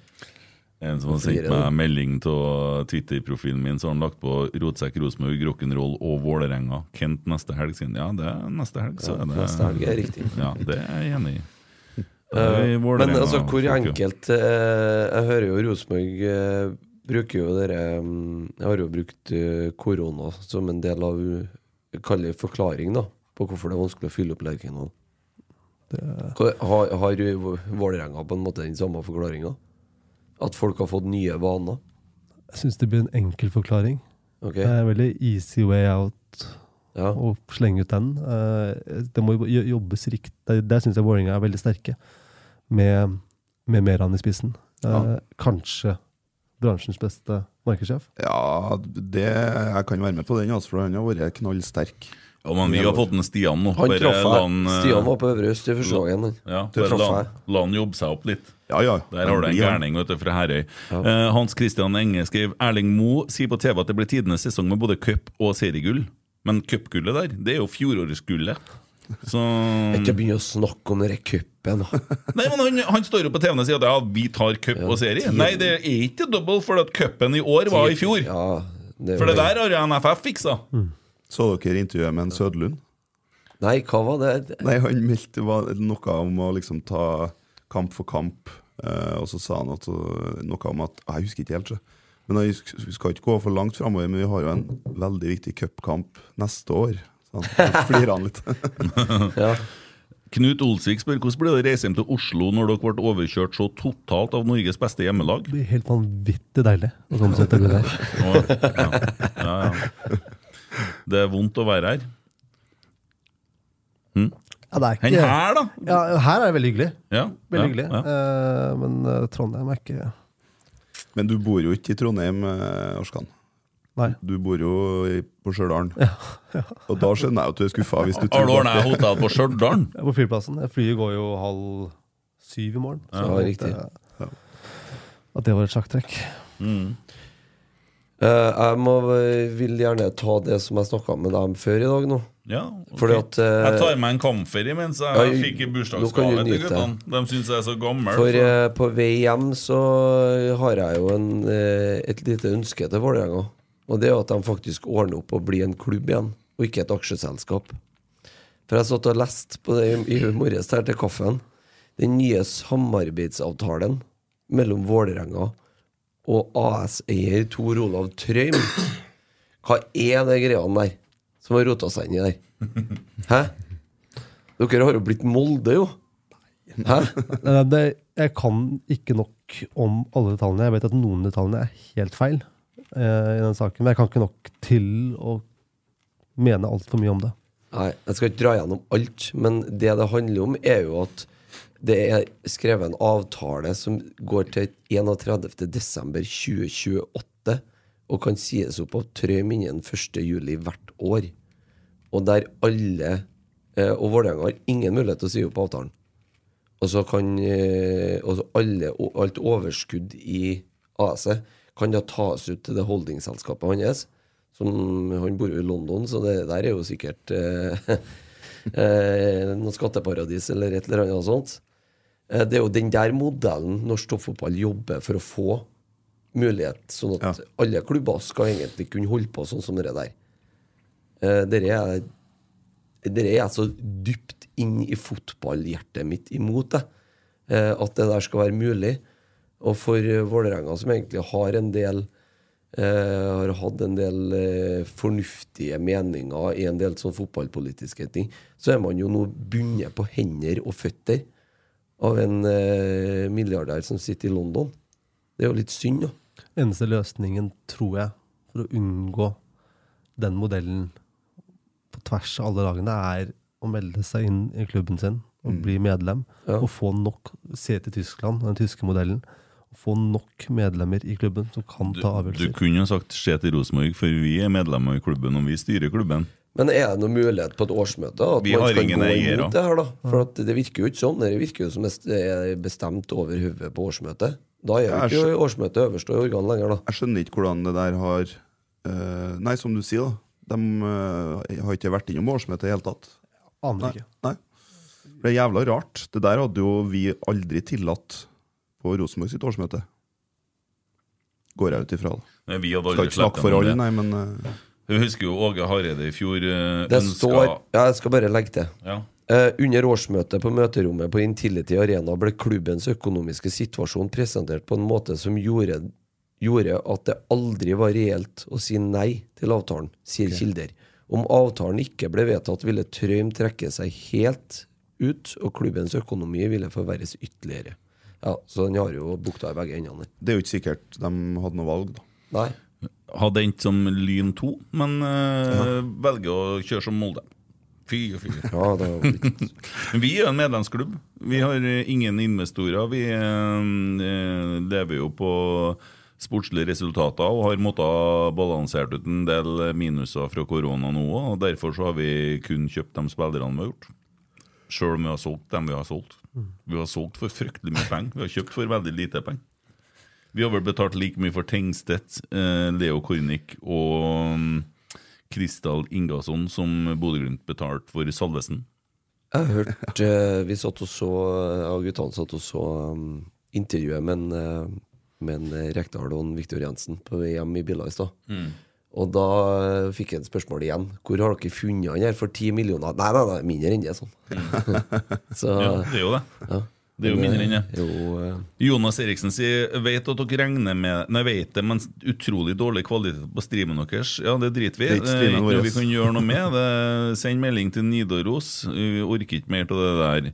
En som har sendt meg melding av Twitter-profilen min, så har han lagt på Rotsekk, Rosenborg, Rock'n'Roll og Vålerenga. Kent neste helg, sier han. Ja, det er neste helg, så Ja, er det neste helg er riktig. Ja, det er jeg enig i. Da er vi i Eh, Men Vålerenga, altså, hvor folk, jo. enkelt eh, Jeg hører jo Rosenborg eh, bruker jo dere mm, Jeg har jo brukt eh, korona som en del av eh, Kaller det forklaring, da, på hvorfor det er vanskelig å fylle opp Lerkendal. Hva- Har, har jo Vålerenga på en måte den samme forklaringa? At folk har fått nye vaner? Jeg syns det blir en enkel forklaring. Ok. Det er veldig easy way out Ja. å slenge ut den. Eh, Det må jo jo- jobbes riktig. Der syns jeg Vålerenga er veldig sterke, med, med Meran i spissen. Eh, Ja. Kanskje bransjens beste markedssjef. Ja, det, jeg kan være med på den, altså, for han har vært knallsterk. Ja, men vi har fått en Stian nå. Han Bare traff la jeg. eh, Stian var på Øvre Øst i første gangen. han. Ja, Det bare traff la, jeg. la han jobbe seg opp litt. Ja, ja. Der har du en Ja. gærning vet du, fra Herøy. Eh, Hans Christian Enge skrev Erling Mo sier på TV at det blir tidenes sesong med både cup og seriegull. Men cupgullet der, det er jo fjorårsgullet. Så Ikke begynn å snakke om den cupen. da. Nei, men han, han står jo på TV-en og sier at ja, vi tar cup og serie. tiden. Nei, det er ikke double, for at cupen i år var i fjor. det for det var- der har jo NFF fiksa. Så dere intervjuet med en Sødlund? Nei, hva var det? Nei, Han meldte var noe om å liksom ta kamp for kamp. eh, og så sa han at, eh, noe om at Jeg husker ikke helt. så. Men jeg husker- Vi skal ikke gå for langt framover, men vi har jo en veldig viktig cupkamp neste år. Så han så flirer han litt. Knut Olsvik spør hvordan ble det å reise hjem til Oslo når dere ble overkjørt så totalt av Norges beste hjemmelag? Det blir helt vanvittig deilig å komme seg ut av det der. Å, ja. Ja, ja. Det er vondt å være her. Hm? Ja, det er Den her, da? Ja, her er det veldig hyggelig. Ja, veldig ja, hyggelig. Eh, men eh, Trondheim er ikke Men du bor jo ikke i Trondheim, eh, Arskan. Nei. Du bor jo i- på Stjørdal. Og da skjønner jeg at du er skuffa. hvis du Har du tror ordna at det- hotell på Stjørdal? Jeg er på flyplassen. Flyet går jo halv syv i morgen. Ja, jeg håper riktig. jeg- At det var et sjakktrekk. Mm. Eh, jeg må, eh, vil gjerne ta det som jeg snakka med dem før i dag nå. Ja, ok. Fordi at eh, Jeg tar meg en kamfer imens jeg ja, fikk i nå kan du bursdagsgave til nyte. guttene. De syns jeg er så gammel. For så- eh, på vei hjem så har jeg jo en, eh, et lite ønske til Vålerenga. Og det er jo at de faktisk ordner opp og blir en klubb igjen, og ikke et aksjeselskap. For jeg satt og leste på det i i morges her til kaffen. Den nye samarbeidsavtalen mellom Vålerenga og E AS-eier Tor Olav Trøim. Hva er det greiene der som har rota seg inn i der? Hæ? Dere har jo blitt Molde, jo. Hæ? Nei, nei, det, jeg kan ikke nok om alle detaljene. Jeg vet at noen detaljer er helt feil eh, i den saken, men jeg kan ikke nok til å mene altfor mye om det. Nei, jeg skal ikke dra gjennom alt, men det det handler om, er jo at det er skrevet en avtale som går til 31.12.2028 og kan sies opp av Trøim innen 1.7 hvert år. Og der alle eh, Og Vålerenga har ingen mulighet til å si opp avtalen. Og så kan eh, og så alle, og alt overskudd i AS-et kan da tas ut til det holdingselskapet hans. Som, han bor jo i London, så det der er jo sikkert eh, eh, noe skatteparadis eller et eller annet sånt. Eh, det er jo den der modellen norsk toppfotball jobber for å få mulighet, sånn at alle klubber skal egentlig kunne holde på sånn som det der. Eh, dere er dere er så dypt inn i fotballhjertet mitt imot det. Eh, at det der skal være mulig. Og for eh, Vålerenga, som egentlig har en del eh, Har hatt en del eh, fornuftige meninger i en del sånn fotballpolitiske ting, så er man jo nå bundet på hender og føtter av en eh, milliardær som sitter i London. Det er jo litt synd, da. Eneste løsningen, tror jeg, for å unngå den modellen på tvers av alle lagene, er å melde seg inn i klubben sin og Mm. bli medlem. Ja. Og få nok Se til Tyskland, den tyske modellen. få nok medlemmer i klubben som kan ta Du avgjørelser. kunne jo sagt se til Rosenborg, for vi er medlemmer i klubben, og vi styrer klubben. Men er det noen mulighet på et årsmøte at Vi har man kan ingen gå eiere. imot det her, da? For at det virker jo ikke sånn. Det virker jo som det er bestemt over hodet på årsmøtet. Da er jo ikke årsmøtet øverste organ lenger, da. Jeg skjønner ikke hvordan det der har eh, Nei, som du sier, da. De eh, har ikke vært innom årsmøtet i det hele tatt. Aner Nei, ikke. Nei. Det er jævla rart. Det der hadde jo vi aldri tillatt på Rosenborg sitt årsmøte. Går jeg ut ifra, da. Nei, vi hadde Skal aldri ikke snakke for alle, gjennom nei, det. men eh, Vi husker jo Åge Hareide i fjor eh, Det ønska står ja, Jeg skal bare legge til. Ja. Eh, under årsmøtet på møterommet på Intility Arena ble klubbens økonomiske situasjon presentert på en måte som gjorde, gjorde at det aldri var reelt å si nei til avtalen, sier Ok. kilder. Om avtalen ikke ble vedtatt, ville Trøim trekke seg helt ut, og klubbens økonomi ville forverres ytterligere. Ja, Så den har jo bukta i begge endene. det er jo ikke sikkert de hadde noe valg, da. Nei. Hadde endt som Lyn 2, men eh, velger å kjøre som Molde. Fy og fy. Ja, det var Men vi er en medlemsklubb. Vi har eh, ingen investorer. Vi eh, lever jo på sportslige resultater og har måttet balansert ut en del minuser fra korona nå òg. og Derfor så har vi kun kjøpt de spillerne vi har gjort. Sjøl om vi har solgt dem vi har solgt. Vi har solgt for fryktelig mye penger. Vi har kjøpt for veldig lite penger. Vi har vel betalt like mye for Tengstedt, eh, Leo Kornic og mm, Kristal Ingasson som Bodø-Glimt betalte for Salvesen. Jeg har hørt eh, Vi satt og så eh, Jeg og guttene satt og så um, intervjuet med en, eh, med en eh, Rekdal og en Viktor Jensen på vei hjem i biler i stad. Mm. Og da eh, fikk jeg et spørsmål igjen. Hvor har dere funnet han her for 10 millioner? Nei, nei, nei, mindre enn det, sånn. Så- Ja, det er jo det. Ja. Det er jo Men, mindre enn det. eh, jo, eh, Jonas Eriksen sier Vet at dere regner med Nei, vet det, men utrolig dårlig kvalitet på streamen deres. Ja, det driter vi i. Det er Det ikke er streamen ikke noe vår. vi kan gjøre noe med. Det, send melding til Nidaros. Vi orker ikke mer av det der.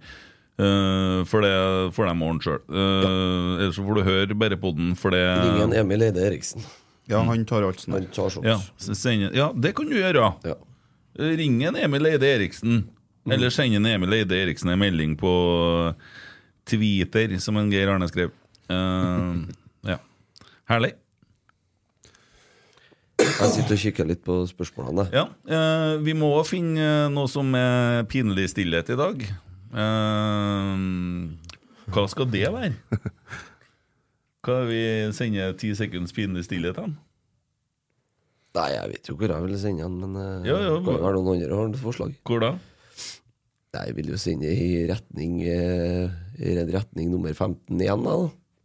Eh, for det får de ordne sjøl. Ellers så får du høre bare på den, for det Ring en Emil Eide Eriksen. Ja, han tar alt sånn. Han tar sånt. Eh. Ja, så send- ja, det kan du gjøre. Eh, Ring en Emil Eide Eriksen, eller send en Emil Eide Eriksen en melding på eh, Twitter, som en Geir Arne skrev. Eh, ja. Herlig. Jeg sitter og kikker litt på spørsmålene. Ja, eh, vi må finne eh, noe som er pinlig stillhet i dag. Eh, hva skal det være? Hva er vi sender ti sekunds pinlig stillhet hen? Nei, jeg vet jo hvor jeg vil sende han, men eh, Ja, ja, kan men- jo være noen andre har et forslag. Hvor da? Nei, jeg vil jo sende i retning eh, i ren retning nummer 15 igjen, da.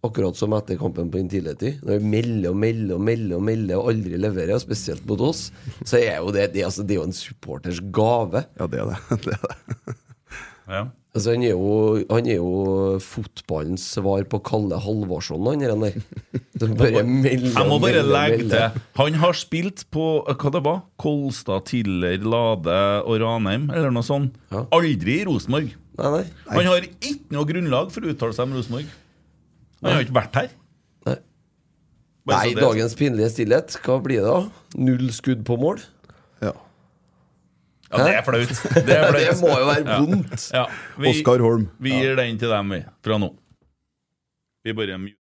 Akkurat som etter kampen på Intility. Når vi melder og melder og melder og melder og aldri leverer, spesielt mot oss, så er jo det det, altså, det er jo en supporters gave. Ja, det er det. det, er det. Ja. Altså, han, er jo, han er jo fotballens svar på Kalle Halvorsson, han der. Som bare melder Jeg må og bare melder og legge melder. til Han har spilt på eh, hva det var? Kolstad, Tiller, Lade og Ranheim, eller noe sånt. Aldri i Rosenborg. Han har ikke noe grunnlag for å uttale seg om Rosenborg. Han har ikke vært her. Bare Nei, så det er dagens pinlige stillhet. Hva blir det, da? Null skudd på mål? Ja. Ja, det er flaut. Det, er flaut. Det må jo være Ja. vondt. Ja. Vi- Oskar Holm. Vi gir den til dem, vi. Fra nå. Vi bare mute.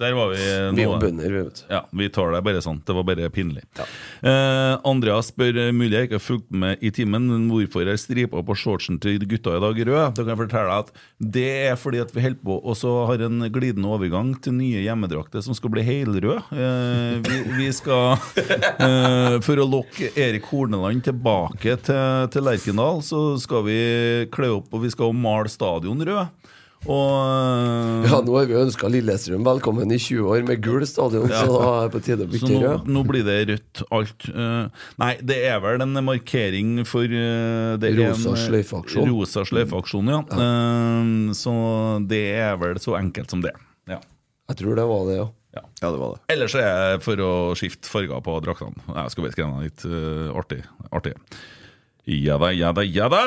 Der var vi nå. Vi er jo bønder, vi, vet Ja, vi tar det bare sånn. Det var bare pinlig. Eh, Andreas spør eh, mulig jeg ikke har fulgt med i timen, men hvorfor er stripa på shortsen til gutta i dag rød? Da kan jeg fortelle deg at det er fordi at vi holder på og så har en glidende overgang til nye hjemmedrakter som skal bli helrøde. Eh, vi, vi skal eh, For å lokke Erik Horneland tilbake til, til Lerkendal, så skal vi kle opp og vi skal male stadion rød. eh, Og Ja, nå har vi ønska Lillestrøm velkommen i 20 år med gul stadion, Ja. så da er det på tide å Så bytte nå, rød. nå blir det rødt alt. Eh, nei, det er vel en markering for eh, det er Rosa en, eh, sløyfeaksjon. Rosa sløyfeaksjon, ja. Eh, så det er vel så enkelt som det. Ja. Jeg tror det var det, ja. Ja, det var det. Ellers er det for å skifte farger på draktene. Nei, Jeg skal bare skrive noe litt eh, artig. artig. Ja da, ja da, ja da!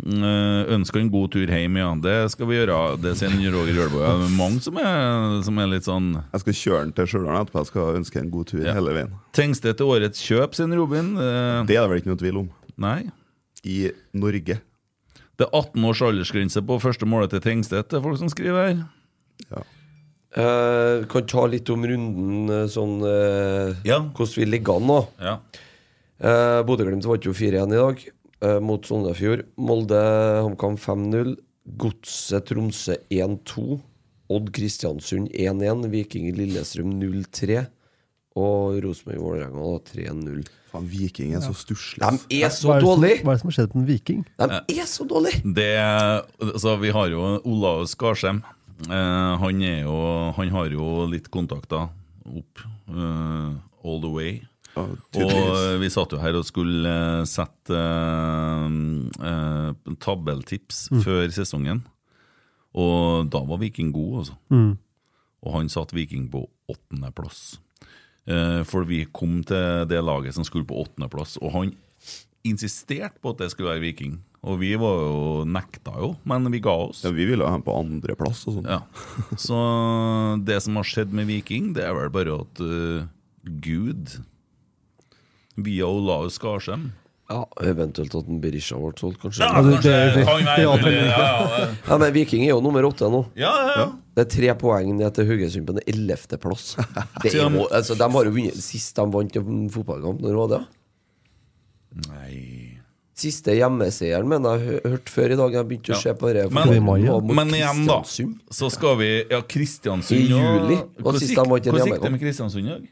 Eh, Ønsker en god tur hjem, ja. Det skal vi gjøre. Det sier en Roger Jølbo. Ja, det er mange som er, som er litt sånn Jeg skal kjøre den til Stjørdal etterpå. Jeg skal ønske en god tur hele veien. Trengs det til årets kjøp, sier Robin? Eh, Det er det vel ikke noe tvil om. Nei. I Norge. Det er 18 års aldersgrense på første målet til Tengstedt, det er folk som skriver her. Eh, kan ta litt om runden, eh, sånn eh, hvordan vi ligger an nå. Ja. Eh, Bodø-Glimt vant jo 4-1 i dag eh, mot Sognefjord. Molde-HamKam 5-0. Godset-Tromsø 1-2. Odd-Kristiansund 1-1. Viking-Lillestrøm 0-3. Og Rosenborg-Vålerenga da 3-0. Faen, Viking er så stusslig. De er så Hva er det som- dårlige! Hva er det som har skjedd med en viking? De er så dårlige! Det, altså, vi har jo Olav Skarsheim. Eh, han, er jo, han har jo litt kontakter opp eh, all the way. og eh, tydeligvis. vi satt jo her og skulle eh, sette eh, eh, tabelltips Mm. før sesongen. Og da var Viking god, altså. Mm. Og han satt Viking på åttendeplass. Eh, for vi kom til det laget som skulle på åttendeplass, og han insisterte på at det skulle være Viking. Og vi var jo nekta jo, men vi ga oss. Ja, vi ville ha dem på andreplass og sånn. Ja. Så det som har skjedd med Viking, det er vel bare at eh, Gud, via Olaus Skarsheim Ja, eventuelt at en Berisha ble solgt, kanskje. Ja, kanskje det kan være Ja, mulig, ja, ja, det- Ja, men Viking er jo nummer åtte nå. Ja, ja, ja. Det er tre poeng ned til Haugesund på den ellevte plass. Det er jo, altså, de har jo vunnet Sist de vant en fotballkamp, når var det? Nei Siste hjemmeseieren, mener jeg har hørt før i dag. Jeg begynte å se på det. Men, Det var mot men igjen, da, Kristiansund. så skal vi Ja, Kristiansund I juli. og- Og Hvordan sist gikk- de vant en hvordan gikk det hjemmekamp. med Kristiansund i dag?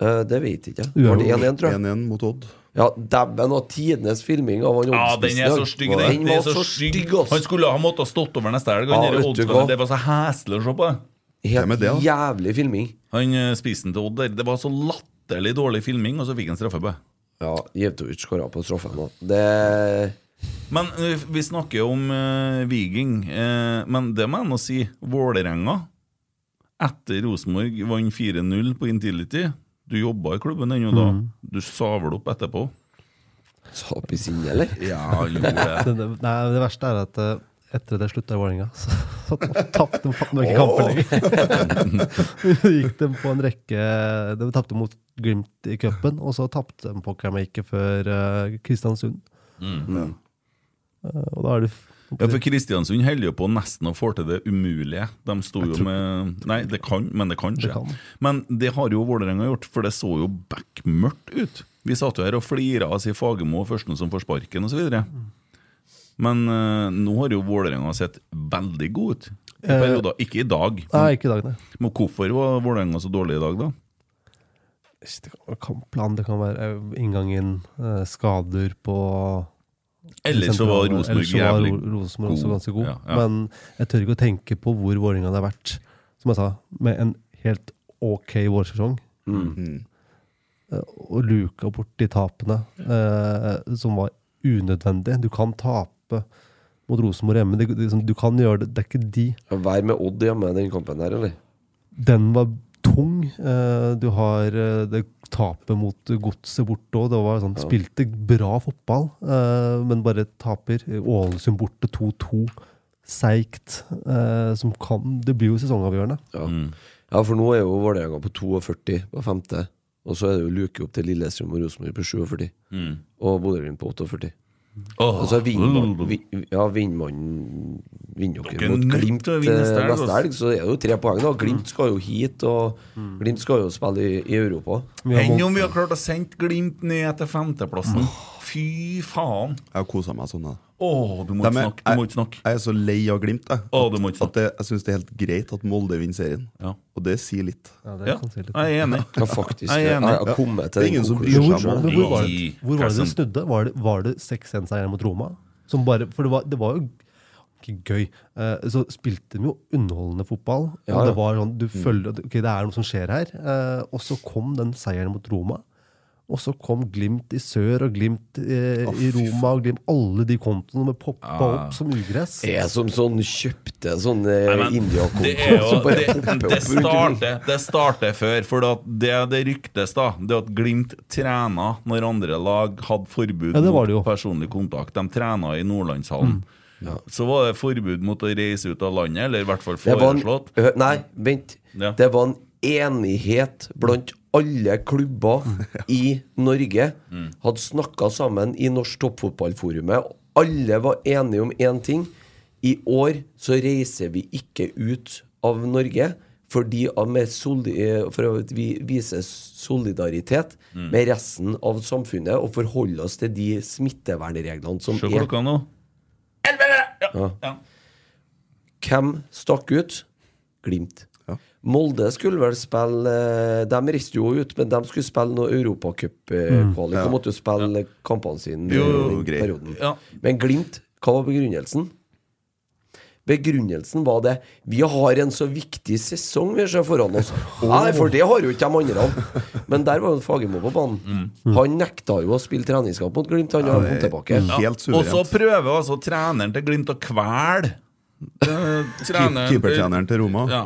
Eh, det vet ikke jeg. Var det 1-1, tror jeg? 1-1 mot Odd. Ja, dæven av tidenes filming av han Ja, Oddspissen den i er dag. så stygg. Og Den, Den den er var så så stygg. Han skulle ha måttet ha stått over neste helg. Ja, han der vet du Oddsen, hva? det var så heslig å se på. Helt Hvem er det, da? jævlig filming. Han eh, spisen til Odd der. Det var så latterlig dårlig filming, og så fikk han straffe på det. Ja, Jevtovic skåra på straffen. da. Det Men eh, vi snakker om eh, Viking. eh, men det må jeg nå si. Vålerenga, etter Rosenborg vant 4-0 på Intility Du jobba i klubben ennå da. Mhm. Du sa vel opp etterpå? Sa opp i sinnet, eller? Ja, han gjorde Det, det. det, nei, det verste er at eh, etter det slutta i Vålerenga, så, så tapte de faen ikke Åh. kampen lenger. Så gikk de på en rekke De tapte mot Glimt i cupen, og så tapte de pokermaker før eh, Kristiansund. Mm. Eh, og da er det Ja, for Kristiansund holder jo på nesten å få til det umulige. De sto jo tror- med Nei, det kan, men det kan Det skje. kan. Men det har jo Vålerenga gjort, for det så jo bekmørkt ut. Vi satt jo her og flira av si Fagermo og Førsten som får sparken, osv. Men eh, nå har jo Vålerenga sett veldig god ut. I Eh, perioder. Ikke i dag. Nei, ikke i dag, nei. Men hvorfor var Vålerenga så dårlig i dag, da? Det kan være kampplan, det kan være eh, inngangen, eh, skader på Ellers så var Rosenborg Ellers så var jævlig Ro- Rosenborg også god. ganske god. Ja, ja. Men jeg tør ikke å tenke på hvor Vålerenga er hadde vært, som jeg sa, med en helt ok vårsesong. Mm. Eh, Og luka bort de tapene eh, som var unødvendige. Du kan tape mot Rosenborg hjemme. Det, det, liksom, du kan gjøre det. Det er ikke de Vær med Odd hjemme i den kampen der, eller? den var tung. Eh, Du har eh, det tapet mot godset borte òg. Det var sånn, Ja. spilte bra fotball, eh, men bare taper. Ålesund borte 2-2. Seigt. eh, Som kan Det blir jo sesongavgjørende. Ja, Mm. ja for nå er jo Vålerenga på 42 på femte. Og så er det jo luke opp til Lillestrøm og Rosenborg på 47. Mm. Og Bodø-Glimt på 48. Åh. og så vinner man, vi, ja, vinner man vinner Dere dere er mot nødt Glimt til å vinne eh, neste helg, neste altså. Mm. helg, så er det jo tre poeng. da Glimt skal jo hit, og Mm. Glimt skal jo spille i, i Europa. Enn om vi har klart å sende Glimt ned til femteplassen? Fy faen! Jeg har kosa meg sånn. Jeg. Åh, du Dem må ikke er- snakke. Du må ikke snakke. Jeg er så lei av Glimt. Jeg, Åh, du må ikke at det, jeg syns det er helt greit at Molde vinner serien. Og det sier litt. Ja, jeg er enig. Ja, faktisk. Jeg er enig. Jeg har kommet til Det er den ingen som bryr Men seg Hvor, men om Molde. hvor var det, hvor var det det snudde? Var det, var det 6-1-seieren mot Roma? Som bare, for det var, det var jo ikke gøy. Eh, så spilte de jo underholdende fotball. Ja, Og ja. det var sånn, du Mm. følger at ok, det er noe som skjer her. Eh, og så kom den seieren mot Roma. Og så kom Glimt i sør og Glimt eh, i Roma og Glimt Alle de kontoene poppa opp som ugress. Jeg som sånn kjøpte sånne men, Det India-konto er jo, som bare det, popper det, opp rundt starter, det starter før, for at det det ryktes, da, det er at Glimt trena når andre lag hadde forbud Ja, det var det Mm. mot personlig kontakt. De trena i Nordlandshallen. Så var det forbud mot å reise ut av landet, eller i hvert fall Det var en- foreslått. Hø- Nei, vent. Det var en enighet blant alle klubber i Norge. Mm. Hadde snakka sammen i Norsk Toppfotballforumet. Alle var enige om én ting. I år så reiser vi ikke ut av Norge fordi av med soli eh, for at vi viser solidaritet Mm. med resten av samfunnet og forholder oss til de smittevernreglene som Se er. klokka nå. Ja. Hvem stakk ut? Glimt. Molde skulle vel spille eh, De reiste jo ut, men de skulle spille noe Mm. europacupkvalik. De Ja. måtte jo spille kampene sine Jo, i den greit. perioden. Ja. Men Glimt, hva var begrunnelsen? Begrunnelsen var det Vi har en så viktig sesong vi ser foran oss. Nei, for det har jo ikke de andre. Men der var jo Fagermo på banen. Mm. Han nekta jo å spille treningskamp mot Glimt. Han har kommet tilbake. Ja, Og så prøver altså treneren til Glimt å kvele eh, treneren- Keepertreneren til Roma. Ja.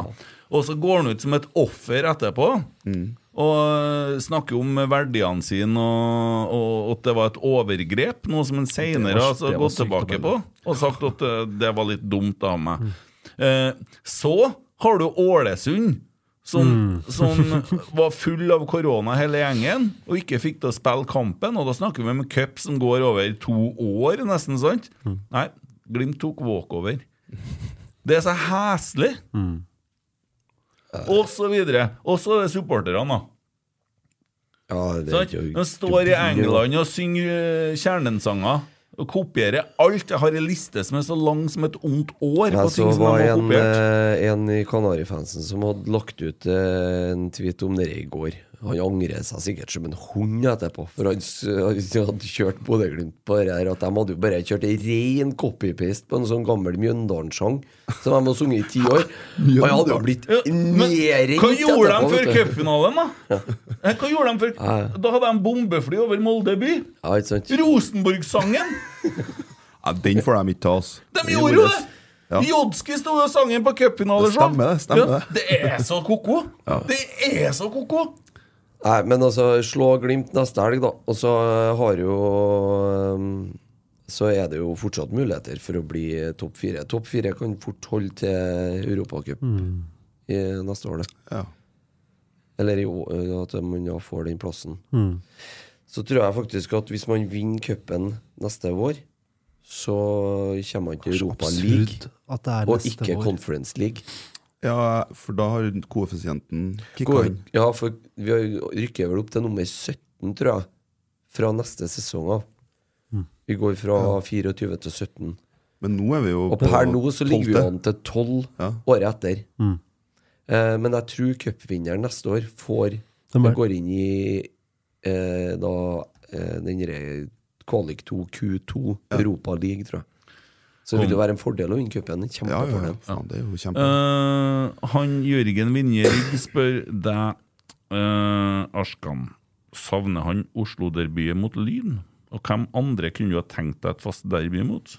Og så går han ut som et offer etterpå. Mm. Og eh, snakker om verdiene sine, og, og at det var et overgrep, noe som han Det senere var- har altså, det var gått sykt tilbake å på og sagt at eh, det var litt dumt av meg. Mm. Eh, så har du Ålesund, som, Mm. som var full av korona hele gjengen, og ikke fikk til å spille kampen. Og da snakker vi om en cup som går over to år, nesten, sant? Mm. Nei, Glimt tok walkover. Det er så heslig! Mm. Og så videre. Og så er det supporterne, da. Sant? De står i England og synger eh, kjernensanger. Og kopierer alt. Jeg har en liste som er så lang som et ondt år. Jeg på så ting som var de har en, kopiert. eh, en i Kanarifansen som hadde lagt ut eh, en tweet om det i går. Han angrer seg sikkert som en hund etterpå, for han, s- han hadde kjørt Bodø-Glimt på det her. At de hadde jo bare kjørt en ren copy-paste på en sånn gammel Mjøndalen-sang som de har sunget i ti år. Han hadde jo blitt nedringt Hva gjorde de etterpå, før vet du. cupfinalen, da? Eh, Hva gjorde de før? Ja, ja. Da hadde de bombefly over Molde by. Ja, ikke sant? Rosenborg-sangen! Ja, den får de ikke ta, oss. De gjorde jo det! Jodski sto og sang den på cupfinaleshow. Det stemmer det, stemmer Ja, det. det er så ko-ko! Det er så ko-ko! Nei, men altså, slå Glimt neste helg, da. Og så eh, har jo um, Så er det jo fortsatt muligheter for å bli eh, topp fire. Topp fire kan fort holde til Europacup Mm. i eh, neste år, det. Eller i, å- ø, at man da får den plassen. Mm. Så tror jeg faktisk at hvis man vinner cupen neste vår, så kommer man til Europa League at det er og neste ikke vår. Conference League. Ja, for da har koeffisienten kicka Går, inn. ja, for vi har- rykker vel opp til nummer 17, tror jeg, fra neste sesong av. Mm. Vi går fra 24 til 17. Men nå er vi jo Og på per nå så ligger vi jo tolvte. an til 12 året etter. Mm. Eh, men jeg tror cupvinneren neste år får Hvem er det? går inn i eh, da eh, den derre kvalik 2, Q2, Europa League, tror jeg. Så det Mm. vil jo være en fordel å vinne cupen. En Kjempefordel. Eh, han Jørgen Vinje Rygg spør deg, eh, Askan, savner han Oslo-derbyet mot Lyn? Og hvem andre kunne du ha tenkt deg et fast derby mot?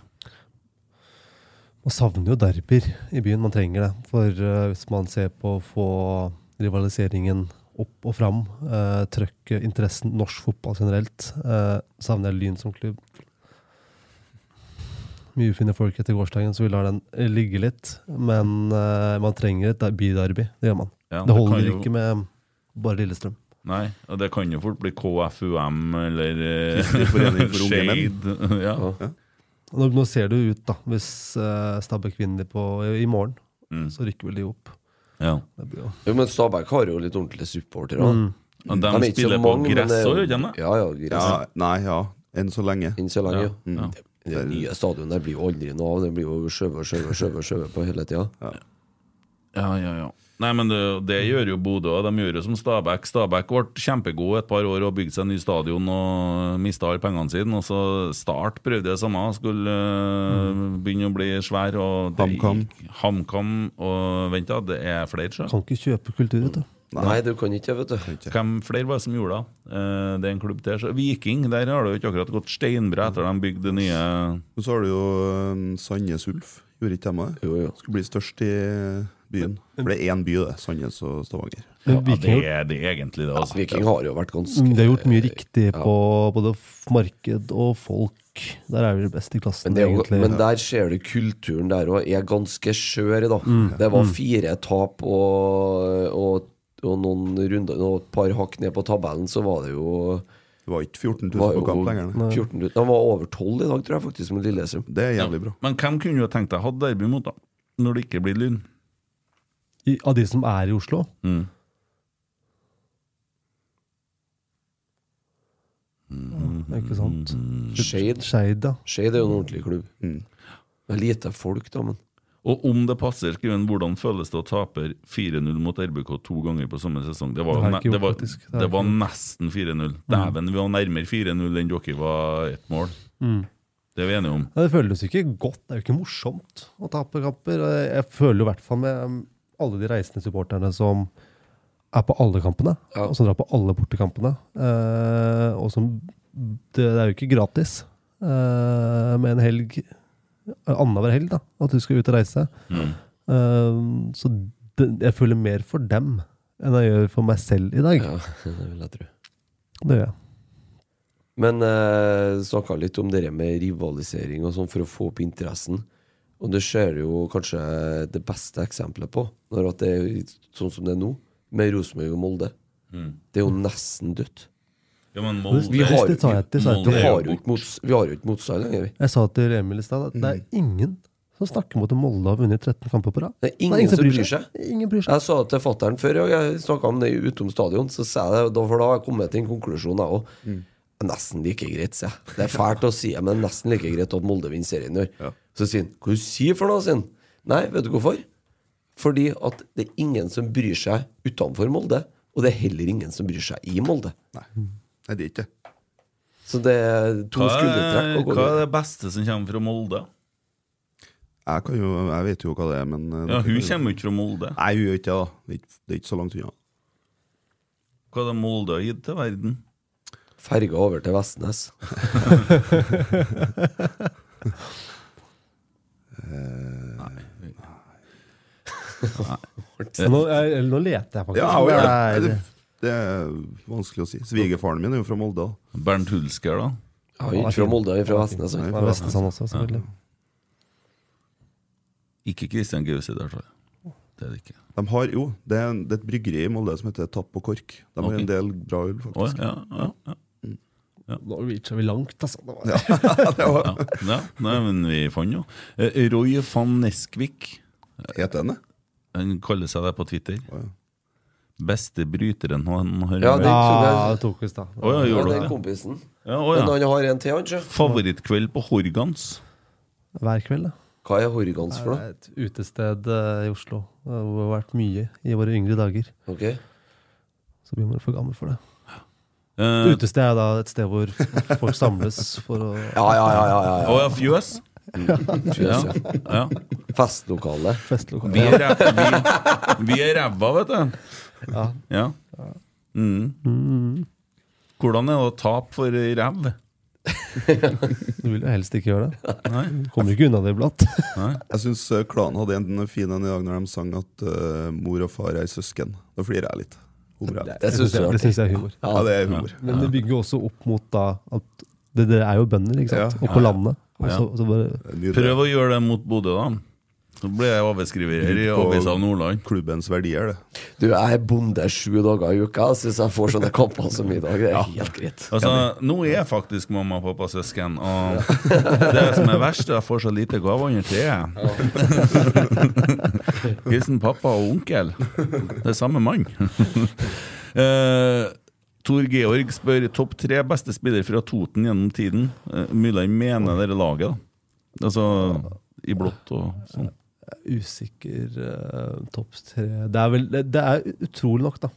Man savner jo derbyer i byen. Man trenger det. For eh, hvis man ser på å få rivaliseringen opp og fram, uh, trøkke interessen norsk fotball generelt, eh, savner jeg Lyn som klubb. Mye ufine folk etter gårsdagen, så vi lar den eh, ligge litt. Men eh, man trenger et der- byderby. Det gjør man. Ja, det det holder kan jo- ikke med bare Lillestrøm. Nei, og det kan jo fort bli KFUM eller eh, Kristelig Forening for Unge Menn. Shade. Ja. Nå, nå ser det jo ut, da. Hvis uh, Stabæk vinner på, i, i morgen, så rykker vel de opp. Mm. Ja. Det blir jo Jo, men Stabæk har jo litt ordentlige supportere. Mm. Og de er ikke så spiller på men gress det er jo- også, gjør de det? Ja, ja, gress. Ja, nei, ja. Enn så lenge. Enn så lenge, ja. Mm. Det, det nye stadionet der blir jo aldri noe av. Det blir jo skjøvet og skjøvet skjøvet skjøvet på hele tida. ja, ja, ja. Nei, men det, det gjør jo Bodø. og De gjør jo som Stabæk. Stabæk ble kjempegod et par år og bygde seg ny stadion og mista alle pengene sine. Og så Start prøvde det samme. Skulle eh, Mm. begynne å bli svær. Og det HamKam. gikk- HamKam og Vent, da. Det er flere, sjø. Kan ikke kjøpe kultur, vet du. Nei, du kan ikke, vet du. Hvem flere var det som gjorde det? Eh, Det er en klubb til. så Viking, der har det jo ikke akkurat gått steinbra etter de bygde det nye Og så har du jo um, Sandnes Ulf. Gjorde ikke de det? Skulle bli størst i byen. For det er én by, det. Sandnes og Stavanger. ja, Men Viking- det, er, det er egentlig det. Altså. Viking har jo vært Mm, De har gjort mye riktig på både f- marked og folk. Der er vi best i klassen, Men, det er jo, egentlig. men der ser du kulturen der òg er ganske skjør, da. Mm. Det var Mm. fire tap og, og, og noen runder og et par hakk ned på tabellen, så var det jo Det var ikke 14 000 på kamp lenger, nei. 14 000. De var over 12 i dag, tror jeg, faktisk, med Lillestrøm. Det er jævlig bra. Men hvem kunne jo tenkt deg hadde derby mot, da? Når det ikke blir Lyn? I, av de som er i Oslo. Mm. Ja, ikke sant? Skeid. Skeid, ja. Skeid er jo en ordentlig klubb. Det er lite folk, da, men Og om det passer, skriver han, hvordan føles det å tape 4-0 mot RBK to ganger på samme sesong? Det var, Det har jeg ne- ikke gjort, det var, faktisk. Det har det jeg var ikke nesten 4-0. Dæven, vi var nærmere 4-0 enn dere var ett mål. Mm. Det er vi enige om. Ja, det føles jo ikke godt. Det er jo ikke morsomt å tape kamper. Og Jeg føler jo i hvert fall med um, alle de reisende supporterne som er på alle kampene, Ja. og som drar på alle bortekampene. eh, og som det, det er jo ikke gratis eh, med en helg eh, Annenhver helg, da, at du skal ut og reise. Mm. Eh, så det, jeg føler mer for dem enn jeg gjør for meg selv i dag. det vil jeg tro. Det gjør jeg. Men eh, snakka litt om det med rivalisering og sånn for å få opp interessen. Og det ser jo kanskje det beste eksempelet på, når at det er sånn som det er nå, med Rosenborg og Molde. Mm. Det er jo nesten dødt. Ja, men Molde- vi har, Det tar jeg til, vi, sa jeg til. vi har jo ikke mots- vi har jo ikke motstand lenger. vi. Jeg sa til Emil i stad at det Mm. er ingen som snakker om at Molde har vunnet 13 kamper på rad. Det er ingen, som bryr seg. Ingen bryr seg. Jeg sa det til fatter'n før, og jeg snakka om det utom stadion. Så sa jeg det, og da- for da har jeg kommet til en konklusjon, jeg òg. Nesten like greit, sier jeg. Det er fælt å si, men det er nesten like greit at Molde vinner serien i år. Så sier han Hva du sier for noe, sier han. Nei, vet du hvorfor? Fordi at det er ingen som bryr seg utenfor Molde. Og det er heller ingen som bryr seg i Molde. Nei, det er ikke Så det er to Hva er, skuldertrekk. å gå hva er videre. det beste som kommer fra Molde? Jeg, kan jo, jeg vet jo hva det er, men eh, Ja, dere- Hun kommer jo ikke fra Molde. Nei, hun gjør ikke det, da. Det er ikke- Det er ikke så langt unna. Hva er det Molde har gitt til verden? Ferga over til Vestnes. Så nå, jeg, eller nå leter jeg faktisk. Ja, og, Det er- det, det er vanskelig å si. Svigerfaren min er jo fra Molde. da. Bernt Hulsker, da? Ja, han er ikke fra Molde, han er fra Vestnes, altså. han. Nei, det er Vestnesand også, selvfølgelig. Ikke Christian Gause der, tror jeg. Det er det ikke. De har jo, det er, en- det er et bryggeri i Molde som heter Tapp og Kork. De har Ok. en del bra øl, faktisk. Å, ja, ja, Nå reacher vi langt, altså. Det var- Ja, ja. Nei, men vi fant jo. Eh, Roy van Neskvik. Heter han det? Han kaller seg det på Twitter. Beste bryteren han har Ja, den tok jeg. det tok vi i stad. Å, ja, gjorde Ja, du den det? kompisen. Ja, å, ja. Men han har en til, han, sjø. Favorittkveld på Horgans. Hver kveld, da. Hva er Horgans for Det noe? er et utested eh, i Oslo. eh, Hvor det har vært mye i våre yngre dager. Ok. Så blir man for gammel for det. Eh. Utested er da et sted hvor folk samles for å Å ja, fjøs? Fjøs, ja. ja. Festlokale. Festlokale. Vi er ræv- vi- vi er ræva, vet du. Ja. ja. Mm. Hvordan er det å tape for ræv? Du vil jo helst ikke gjøre det. Nei. Du kommer jo ikke unna det iblant. Jeg syns klanen hadde en fin en i dag når de sang at eh, mor og far er søsken. Da flirer jeg litt. Humor er litt. Det synes jeg- det synes jeg er humor. Ja, det er humor. Men det bygger jo også opp mot da at det, Dere er jo bønder, ikke sant? Og på landet. Altså, Og så, og så bare, Prøv å gjøre det mot Bodø, da. Så blir jeg overskriver i På Avisa Nordland. Klubbens verdier, det. Du, jeg er bonde sju dager i uka. Jeg syns jeg får sånne kamper som i dag. Det er helt greit. Altså, nå er jeg faktisk mamma og pappa søsken, og det som er verst, er at jeg får så lite gaver under treet. Hilsen pappa og onkel. Det er samme mann. Eh, Tor Georg spør topp tre beste spiller fra Toten gjennom tiden. Uh, Myrland mener dere laget, da. Altså i blått og sånn. usikker eh, topp tre det er, vel, det, det er utrolig nok, da.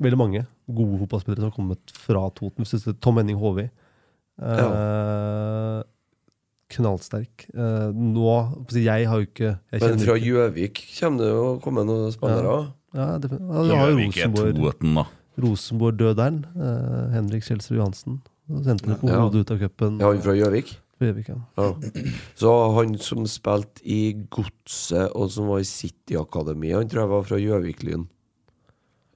Veldig mange gode fotballspillere som har kommet fra Toten. Hvis du ser Tom Henning Håvi. Eh, Knallsterk. Eh, nå på å si, Jeg har jo ikke jeg Men kjenner fra ikke- Gjøvik kommer det jo komme noen spillere. Ja. Ja, det, ja, du har jo Gjøvik er Rosenborg, toeten, da. Rosenborg-døderen. eh, Henrik Kjelsrud Johansen. Og Sendte det på Ja. hodet ut av cupen. Ja, han fra Gjøvik? Fra Gjøvik, ja. Så han som spilte i Godset, og som var i City-akademiet, han tror jeg var fra Gjøvik-Lyn.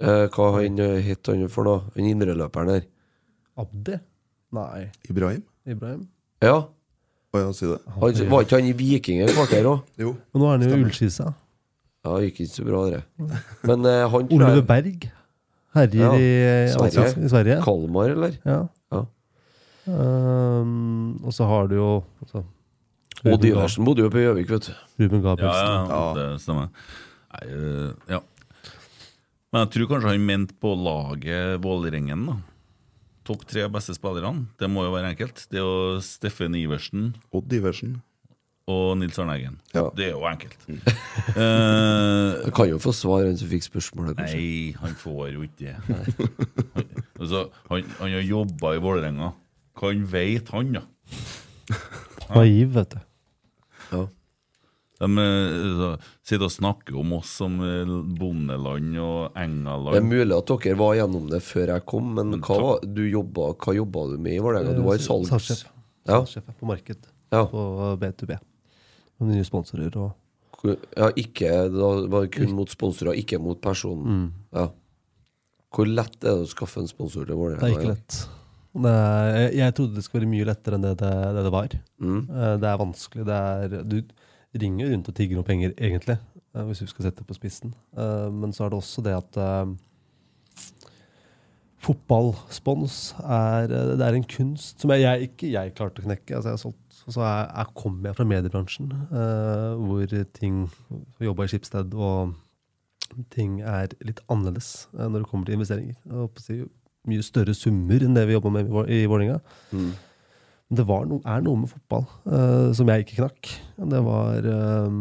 Eh, hva han eh, het han for noe? Han indreløperen her. Abdi? Nei. Ibrahim? Ibrahim? Ja. ja si det. Han, var ikke han i Viking et kvarter òg? Jo. Men nå er han jo i Ullskisa. Ja, det gikk ikke så bra, det. Men eh, han tror Oliver jeg- Berg herjer Ja. i, eh, Sverige. i Sverige. Kalmar, eller? Ja. Ja. Ehm, og så har du jo altså, Odd Iversen bodde jo på Gjøvik, vet du. Ruben Ja, Gabrielsen. ja, det stemmer. Nei, øh, ja. Men jeg tror kanskje han mente på laget Vålerengen, da. Topp tre beste spillerne. Det må jo være enkelt. Det er jo Steffen Iversen. Odd Iversen. Og Nils Arne Eggen. Ja. Det er jo enkelt. Eh, Han kan jo få svar, han som fikk spørsmålet, kanskje. Nei, han får jo ikke det. Han- altså, han, han har jobba i Vålerenga. Hva han veit, han, da? Naiv, vet du. De eh, så, sitter og snakker om oss som eh, bondeland og engaland. Det er mulig at dere var gjennom det før jeg kom, men hva, ta- var- du jobba, hva jobba du med i Vålerenga? Du var i salgs... Salgssjef. Ja. Salgssjef på marked. Ja. På B2B. Med nye sponsorer og ja, ikke Da var det kun mot sponsorer, ikke mot personen. Mm. Ja. Hvor lett er det å skaffe en sponsor til Vålerenga? Det er ikke lett. Det er, jeg- jeg trodde det skulle være mye lettere enn det det, det, det var. Mm. Eh, Det er vanskelig. Det er, du ringer rundt og tigger om penger, egentlig, eh, hvis du skal sette det på spissen. Eh, Men så er det også det at eh, fotballspons er, eh, det er en kunst som jeg, jeg ikke jeg klarte å knekke. Altså jeg har solgt, og så er, er, kommer jeg fra mediebransjen, eh, hvor ting jobba i Schibsted og ting er litt annerledes eh, når det kommer til investeringer. Jeg holdt på å si, mye større summer enn det vi jobba med i Vå- i Vålerenga. Mm. Men det var no, er noe med fotball eh, som jeg ikke knakk. Det var eh,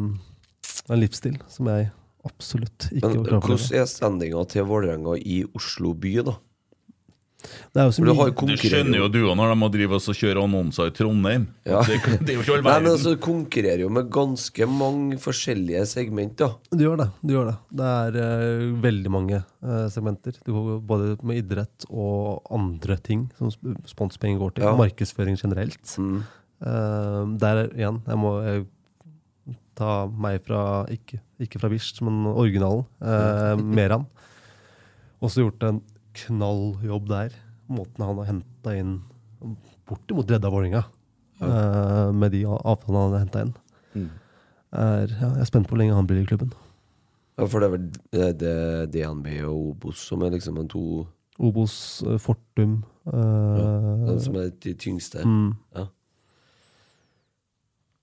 en livsstil som jeg absolutt ikke Men var klar for. hvordan er standinga til Vålerenga i Oslo by, da? Det er jo så For du mye- har jo Du skjønner jo du òg når de må drive oss og kjøre annonser i Trondheim. Ja. Det, det er jo ikke all Nei, men verden. altså, Du konkurrerer jo med ganske mange forskjellige segment, da. Du gjør det. du gjør Det Det er eh, veldig mange eh, segmenter. Du går både med idrett og andre ting som sp- sponspenger går til. Ja. Mm. Markedsføring generelt. Eh, der er igjen Jeg må eh, ta meg fra Ikke, ikke fra Wisht, men originalen. eh, Meran. Også gjort en knalljobb der. Måten han har henta inn bortimot redda Vålerenga eh, med de avtalene han har henta inn. Mm. Er, ja, jeg er spent på hvor lenge han blir i klubben. Ja, For det er vel eh, det er DNB og Obos som er liksom en to Obos, eh, Fortum eh, Den som er de tyngste. Mm. Ja.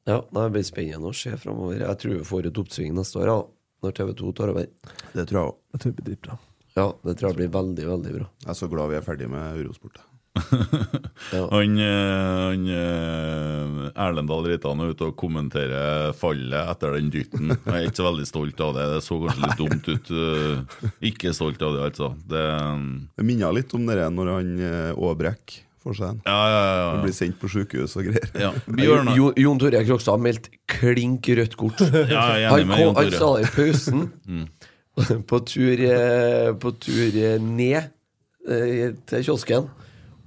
ja, nei, det blir spennende å se framover. Jeg tror vi får et oppsving neste år, ja, når TV2 tar over. Det tror jeg òg. Jeg tror det blir dritbra. Ja, det tror jeg blir veldig, veldig bra. Jeg er så glad vi er ferdig med Eurosport. Han, eh, han eh, Erlend Dahl Reitan er ute og kommenterer fallet etter den dytten. Jeg er ikke så veldig stolt av det. Det så kanskje litt dumt ut. eh, Ikke stolt av det, altså. Det, Det minner litt om det der når han eh, Aabrekk får seg en. ja, ja, ja. Han blir sendt på sykehus og greier. Ja, Jon, Jon Tore Krokstad har meldt klink rødt kort. jeg er enig han, med Jon Mm. han Tore. sa det i pausen. på, tur, eh, på tur eh, ned eh, til kiosken.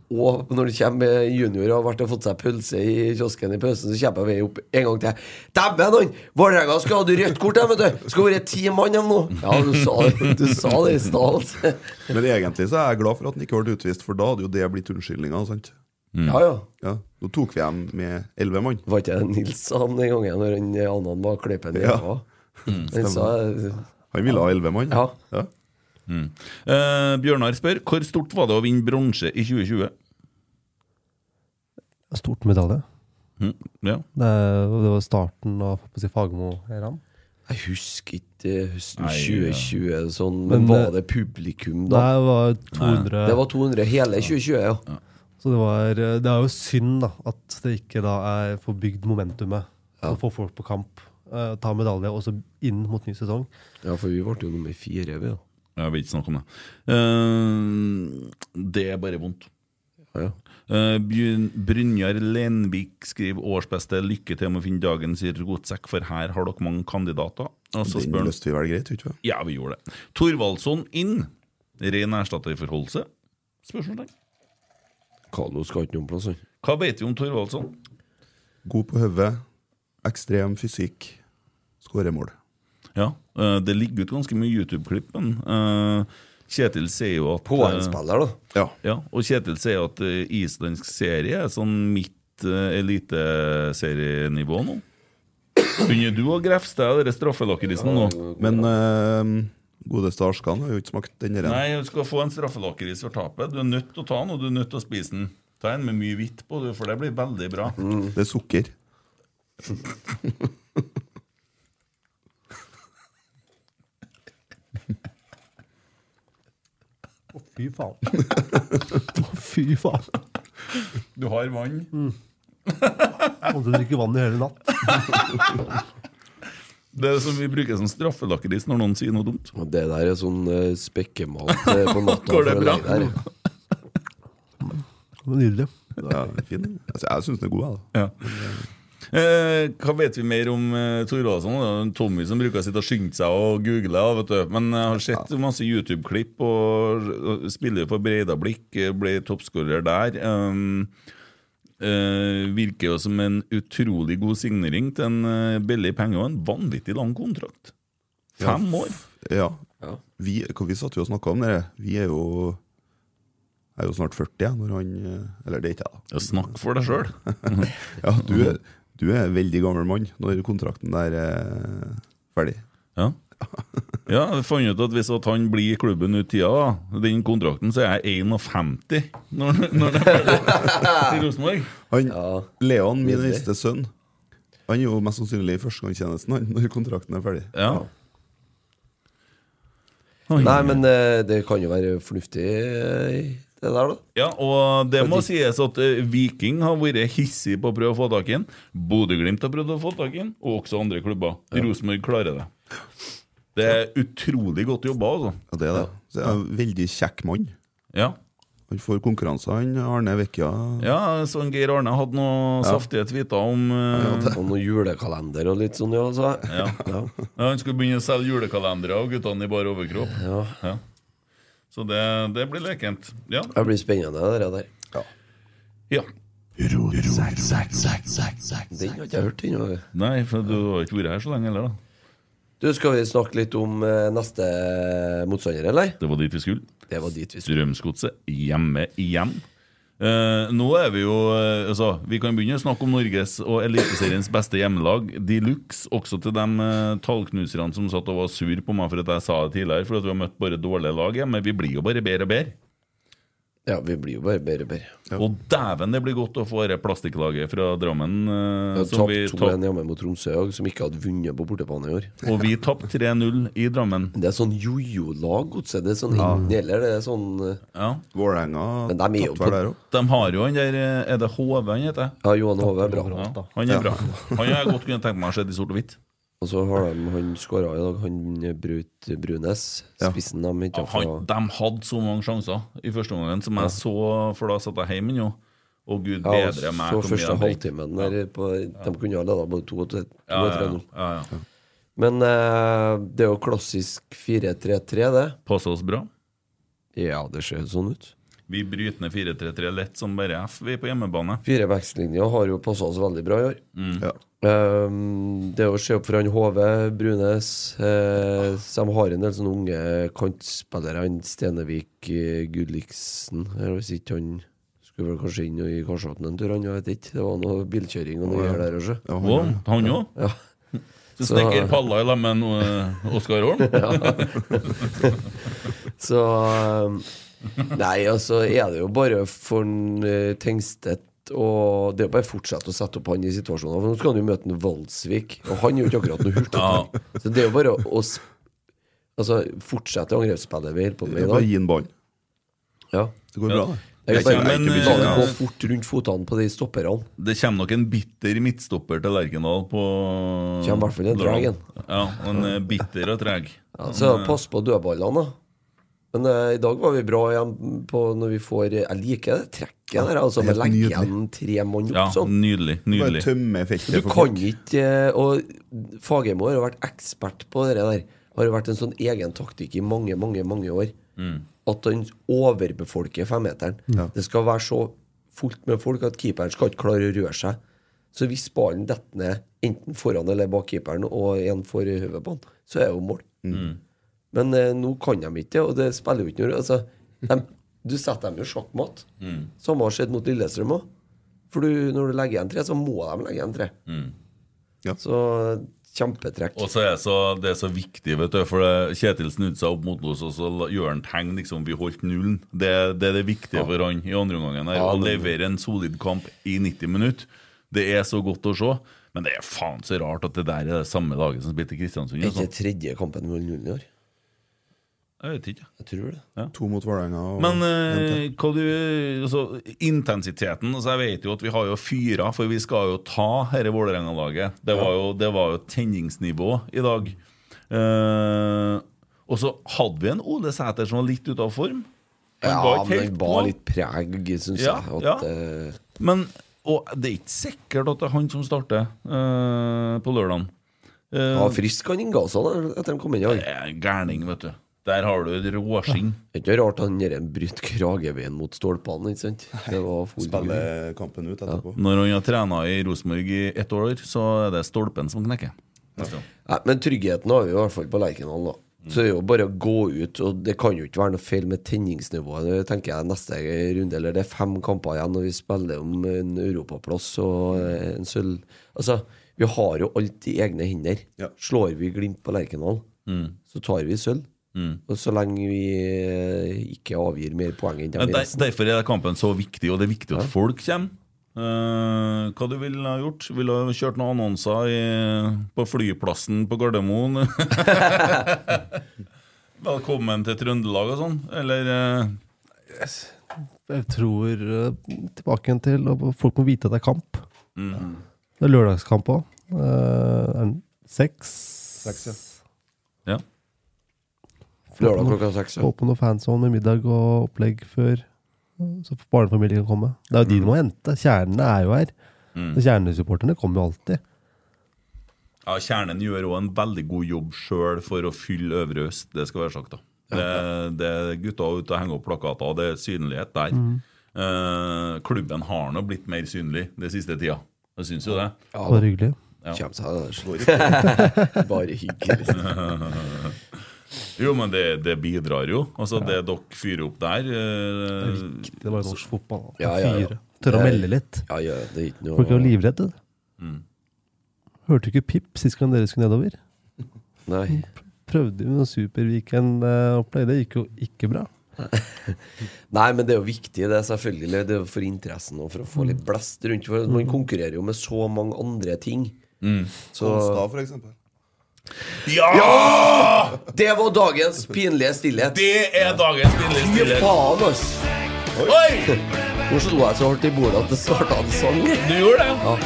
Og når det kommer eh, junior og har vært og fått seg pølse i kiosken i pausen, så kommer jeg opp en gang til. Dæven, han! Vålerenga skal ha rødt kort, de, vet du! Skal være ti mann, de nå! Ja, du sa det, du sa det i stad, altså. Men egentlig så er jeg glad for at han ikke ble utvist, for da hadde jo det blitt unnskyldninga. sant? Mm. Ja, ja. Ja, Nå tok vi dem med elleve mann. Var ikke det Nils sa om den gangen når han eh, Annan var klippen i Ja. ræva? Mm. Han sa eh, Han ville ha elleve mann. Ja. Mm. Eh, Bjørnar spør hvor stort var det å vinne bronse i 2020? Stort medalje. Mm, ja. Det, er- det var starten av på å si, Fagermo-æraen. Jeg husker ikke eh, høsten Nei, 2020, sånn, men, Men, var eh, det publikum da? Nei, det var 200. Det var 200 hele 2020, ja. Så det, var, eh, det er jo synd da, at det ikke da er får bygd momentumet. Ja. Å få folk på kamp, eh, ta medalje, og så inn mot ny sesong. Ja, for vi ble jo nummer fire, vi. Ja. Jeg vil ikke snakke om det. Eh, det er bare vondt. Ja. Eh, Bjørn- Brynjar Lenvik skriver årsbeste lykke til med å finne dagens rotsekk, for her har dere mange kandidater. Og så Den spør han- løste vi vel greit, ikke sant? Ja, vi gjorde det. Thorvaldsson inn. Ren erstatterforholdelse? Spørsmålstegn. Carlo skal ikke noen plass, han. Hva vet vi om Thorvaldsson? God på hodet, ekstrem fysikk, skårer mål. Ja, eh, det ligger ut ganske mye YouTube-klipp, men eh, Kjetil sier jo at eh, På en spiller, da. Ja. og Kjetil sier at eh, islandsk serie er sånn midt uh, eliteserienivå nå. Begynner du å grefse deg av den straffelakkerisen nå? Men eh, godeste Arskan har jo ikke smakt den der. Nei, du skal få en straffelakkeris for tapet. Du er nødt til å ta den, og du er nødt til å spise den. Ta en med mye hvitt på, du, for det blir veldig bra. Mm. Det er sukker. Å, fy faen. Å, fy faen. Mm. Du har vann. Kom til å drikke vann i hele natt. Det er som vi bruker som straffelakkeris når noen sier noe dumt. Og det der er sånn eh, spekkemat eh, på natta. Går det for å bra? legge deg. Nydelig. Ja, fin. Altså, jeg syns den er god, jeg. da. Ja. Eh, hva vet vi mer om eh, Thorvaldsson? Det er en Tommy som bruker å sitte og skynde seg og google. da, Vet du. Men jeg har sett masse YouTube-klipp, og og spiller for Breidablikk, eh, ble toppskårer der. Um, eh, virker jo som en utrolig god signering til en eh, billig penge og en vanvittig lang kontrakt. Fem Ja, år. f- Ja. Vi, hva vi satt jo og snakka om det. Vi er jo jeg er jo snart 40 jeg, når han eh, Eller det er ikke jeg, da. snakk for deg sjøl. ja, du er, du er en veldig gammel mann når kontrakten der er ferdig. Ja. Ja, jeg fant ut at hvis at han blir i klubben ut tida, da, den kontrakten, så er jeg 51 når, når det er ferdig i Rosenborg. Han, Leon, min nydelig. eldste sønn, han er jo mest sannsynlig i førstegangstjenesten han, når kontrakten er ferdig. Ja. Nei, men eh, det kan jo være fornuftig, eh, det der, da. Ja, og det må sies at eh, Viking har vært hissig på å prøve å få tak i den. Bodø-Glimt har prøvd å få tak i den, og også andre klubber. Rosenborg klarer det. Det er utrolig godt jobba, altså. Ja, det er det. Så er han en veldig kjekk mann. Ja. Han får konkurranser, han Arne Vekkja. Ja, sånn Geir Arne hadde noe Ja. saftige tweeter om eh, Og noen julekalender og litt sånn, ja. Så. Ja. Ja. Ja, han skulle begynne å selge julekalendere av guttene i bare overkropp. Ja. Så det, det blir lekent. Ja. Det blir spennende, det der. Ja. Den har ikke jeg hørt ennå. Nei, for du har ikke vært her så lenge heller, da. Du, skal vi snakke litt om eh, neste motstander, eller? Det var dit vi skulle. Det var dit vi skulle. Strømsgodset hjemme igjen. Eh, nå er vi jo eh, altså, Vi kan begynne å snakke om Norges og Eliteseriens beste hjemmelag de luxe. Også til de eh, tallknuserne som satt og var sur på meg for at jeg sa det tidligere. For at vi har møtt bare dårlige lag. Men vi blir jo bare bedre og bedre. Ja, vi blir jo bare bedre og bedre. Og dæven, det blir godt å få det plastikklaget fra Drammen. Vi eh, har som vi tapt tap- 2-1 hjemme mot Tromsø òg, som ikke hadde vunnet på bortebane i år. Og vi tapte 3-0 i Drammen. Det er sånn jojo-lag, godset. Det er sånn Ja. inn eller det er sånn eh, Ja. Vålerenga Men de er jo tapte på vel der De har jo han der eh, Er det HV han heter? Ja, Johan Hove er bra. Ja, han er bra. Han har jeg godt kunne tenke meg å se i sort og hvitt. Og så har de han skåra i dag, han Brut Brunes. Spissen de henta fra Han, de hadde så mange sjanser i første omgang som Ja. jeg så, for da satt jeg hjemme nå. Og gud Ja, og bedre meg. så hvor mye første de fikk. halvtimen der på, De kunne ha leda både 2 og 3 Ja, ja, ja, ja. Men eh, det er jo klassisk 4-3-3, det. Passer oss bra. Ja, det ser sånn ut. Vi bryter ned 4-3-3 lett som bare F, vi, på hjemmebane. Fire vekstlinjer har jo passa oss veldig bra i år. Mm. Ja. Ehm, det å se opp for han HV, Brunes eh, så De har en del sånne unge kantspillere. Han Stenevik, eh, Gudliksen eh, Hvis ikke han skulle vel kanskje inn i Karlsvatn en tur, han jeg vet ikke. Det var noe bilkjøring og noe greier der også. Ja, han, Å, han Ja. også? Ja. Så stikker palla i lag med en, eh, Oskar Holm? Ja. Så um, Nei, altså er det jo bare for en, eh, Tengstedt og det er jo bare å fortsette å sette opp han i situasjoner. For nå skal han jo møte en Valsvik, og han er jo ikke akkurat noe hurtigtog. Så det er jo bare å, å sp- altså, fortsette angrepsspillet vi holder på med i dag. Bare gi en ball. Ja. Det går bra, det. Jeg Det er bare, ikke- det er ikke mye la det å- gå fort rundt fotene på de stopperne. eh, Det kommer nok en bitter midtstopper til Lerkendal på Kommer i hvert fall en treg en. Ja, en eh, bitter og treg. Ja, så pass på dødballene, da. Men eh, i dag var vi bra igjen på når vi får Jeg liker det trekket der. Altså, Helt man legger nydelig. igjen tre mann opp Ja, sånn. nydelig. nydelig. Du kan ikke eh, Og Fagermo har jo vært ekspert på det der. Har jo vært en sånn egen taktikk i mange, mange mange år. Mm. At han overbefolker femmeteren. Det skal være så fullt med folk at keeperen skal ikke klare å røre seg. Så hvis ballen detter ned enten foran eller bak keeperen, og en får i hodet på han, så er det jo mål. Mm. Men eh, nå kan de ikke det, og det spiller jo ikke noe altså, dem- Du setter dem jo sjakkmatt. Mm. Samme har skjedd mot Lillestrøm òg. For du, når du legger igjen tre, så må de legge igjen tre. Mm. Så kjempetrekk. Og så er det så, det er så viktig, vet du. For det, Kjetil snudde seg opp mot oss, og så la- gjør han tegn liksom vi holdt nullen. Det, det er det viktige for han i andre omgangen. her, Ja, Å men- levere en solid kamp i 90 minutter. Det er så godt å se. Men det er faen så rart at det der er det samme laget som spilte i Kristiansund. Er ikke altså. tredje kampen 0-0 i år? Jeg vet ikke. Jeg tror det. To mot Vålerenga. og- Men eh, hva du, altså, intensiteten altså, Jeg vet jo at vi har jo fyra, for vi skal jo ta dette Vålerenga-laget. Det, var jo- det var jo tenningsnivå i dag. Eh, og så hadde vi en Ole Sæter som var litt ute av form. Han Ja, var ikke men helt den på. bar litt preg, syns Ja, jeg. At, ja. eh, Men og det er ikke sikkert at det er han som starter eh, på lørdagen. Eh, ja, frisk han innga seg da, etter han kom inn i dag. Gærning, vet du. Der har du et råskinn. Det er ikke rart han der bryter krageveien mot stolpene. ikke sant? Det var full- Spiller kampen ut etterpå. Når han har trena i Rosenborg i ett år, så er det stolpen som knekker. Nei, men tryggheten har vi i hvert fall på Lerkendal, da. Så det er jo bare å gå ut, og det kan jo ikke være noe feil med tenningsnivået. Det tenker jeg neste runde, eller det er fem kamper igjen, og vi spiller om en europaplass og eh, en sølv... Altså, vi har jo alt i egne hender. Slår vi Glimt på Lerkendal, Mm. så tar vi sølv. Mm. Og så lenge vi eh, ikke avgir mer poeng enn Ja, dem i der, resten. derfor er kampen så viktig, og det er viktig at folk kommer. Eh, hva du ville ha gjort? Ville ha kjørt noen annonser i, på flyplassen på Gardermoen? Velkommen til Trøndelag og sånn, eller eh, Jeg tror eh, tilbake igjen til og Folk må vite at det er kamp. Mm. Det er lørdagskamp òg. seks Seks, ja. Lørdag klokka seks, ja. Få på noe fanzone med middag og opplegg før. eh, Så barnefamilien kan komme. Det er jo de det må hente. Kjernene er jo her. Mm. Så Kjernesupporterne kommer jo alltid. Ja, Kjernen gjør òg en veldig god jobb sjøl for å fylle Øvre Øst, det skal være sagt. da. Det, det er gutta ute og henger opp plakater, og det er synlighet der. Mm. Eh, klubben har nå blitt mer synlig den siste tida. Jeg syns jo det. Ja, Bare hyggelig. Ja. Kjem seg der. Bare hyggelig. jo, men det, det bidrar jo. Altså, det dere fyrer opp der eh, Det var norsk fotball. da. Ja, ja, ja. Fyre. Tørre å Det- melde litt. Ja, ja, det er ikke noe- Folk er jo livredde. Mm. Hørte du ikke pip sist gang dere skulle nedover? Nei. Prøvde jo noe Superweekend-opplegg. eh, Det gikk jo ikke bra. Nei, men det er jo viktig, det er selvfølgelig. Det er jo for interessen og for å få litt blest rundt. For man konkurrerer jo med så mange andre ting. Mm. Kolstad, for eksempel. Ja! Det var dagens pinlige stillhet. Det er dagens pinlige Fy stillhet. faen, ass. Oi! Nå slo jeg så hardt i bordet at det starta en sang. Du gjorde det? Ja.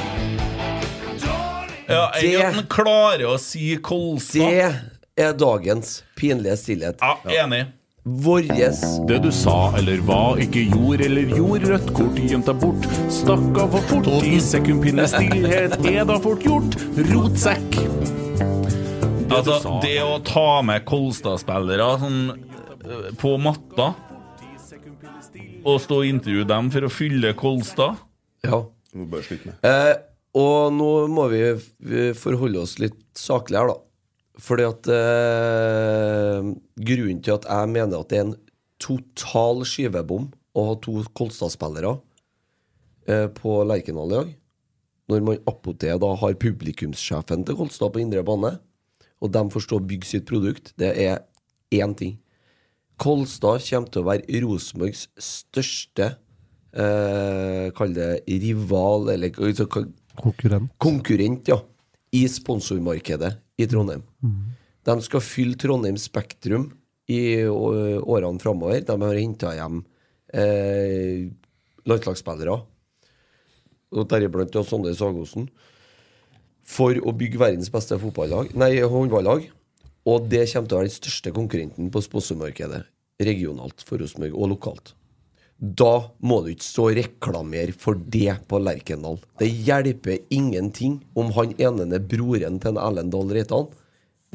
Ja, jeg at han klarer å si Kolstad. Det er dagens pinlige stillhet. Ja, enig. Vårres Det du sa eller hva, ikke gjorde eller gjorde, rødt kort gjemt deg bort. Stakk av for fort, i sekundpinne stillhet er da fort gjort. Rotsekk. Altså, det å ta med Kolstad-spillere sånn, eh, på matta og stå og intervjue dem for å fylle Kolstad Ja. Må bare slutte med. Eh, og nå må vi eh, forholde oss litt saklig her, da. Fordi at eh, Grunnen til at jeg mener at det er en total skyvebom å ha to Kolstad-spillere eh, på Lerkendal i dag, når man appåtil da har publikumssjefen til Kolstad på indre bane, og de får stå og bygge sitt produkt, det er én ting. Kolstad kommer til å være Rosenborgs største eh, Kall det rival, eller altså, hva- Konkurrent. konkurrent ja, i sponsormarkedet i Trondheim. De skal fylle Trondheim Spektrum i å- årene framover. De har henta hjem eh, landslagsspillere, og deriblant jo Sondre Sagosen, for å bygge verdens beste fotballag, nei, håndballag. Og det kommer til å være den største konkurrenten på sponsormarkedet. regionalt for Rosenborg, og lokalt. Da må du ikke stå og reklamere for det på Lerkendal. Det hjelper ingenting om han ene er broren til en Erlend Dahl Reitan.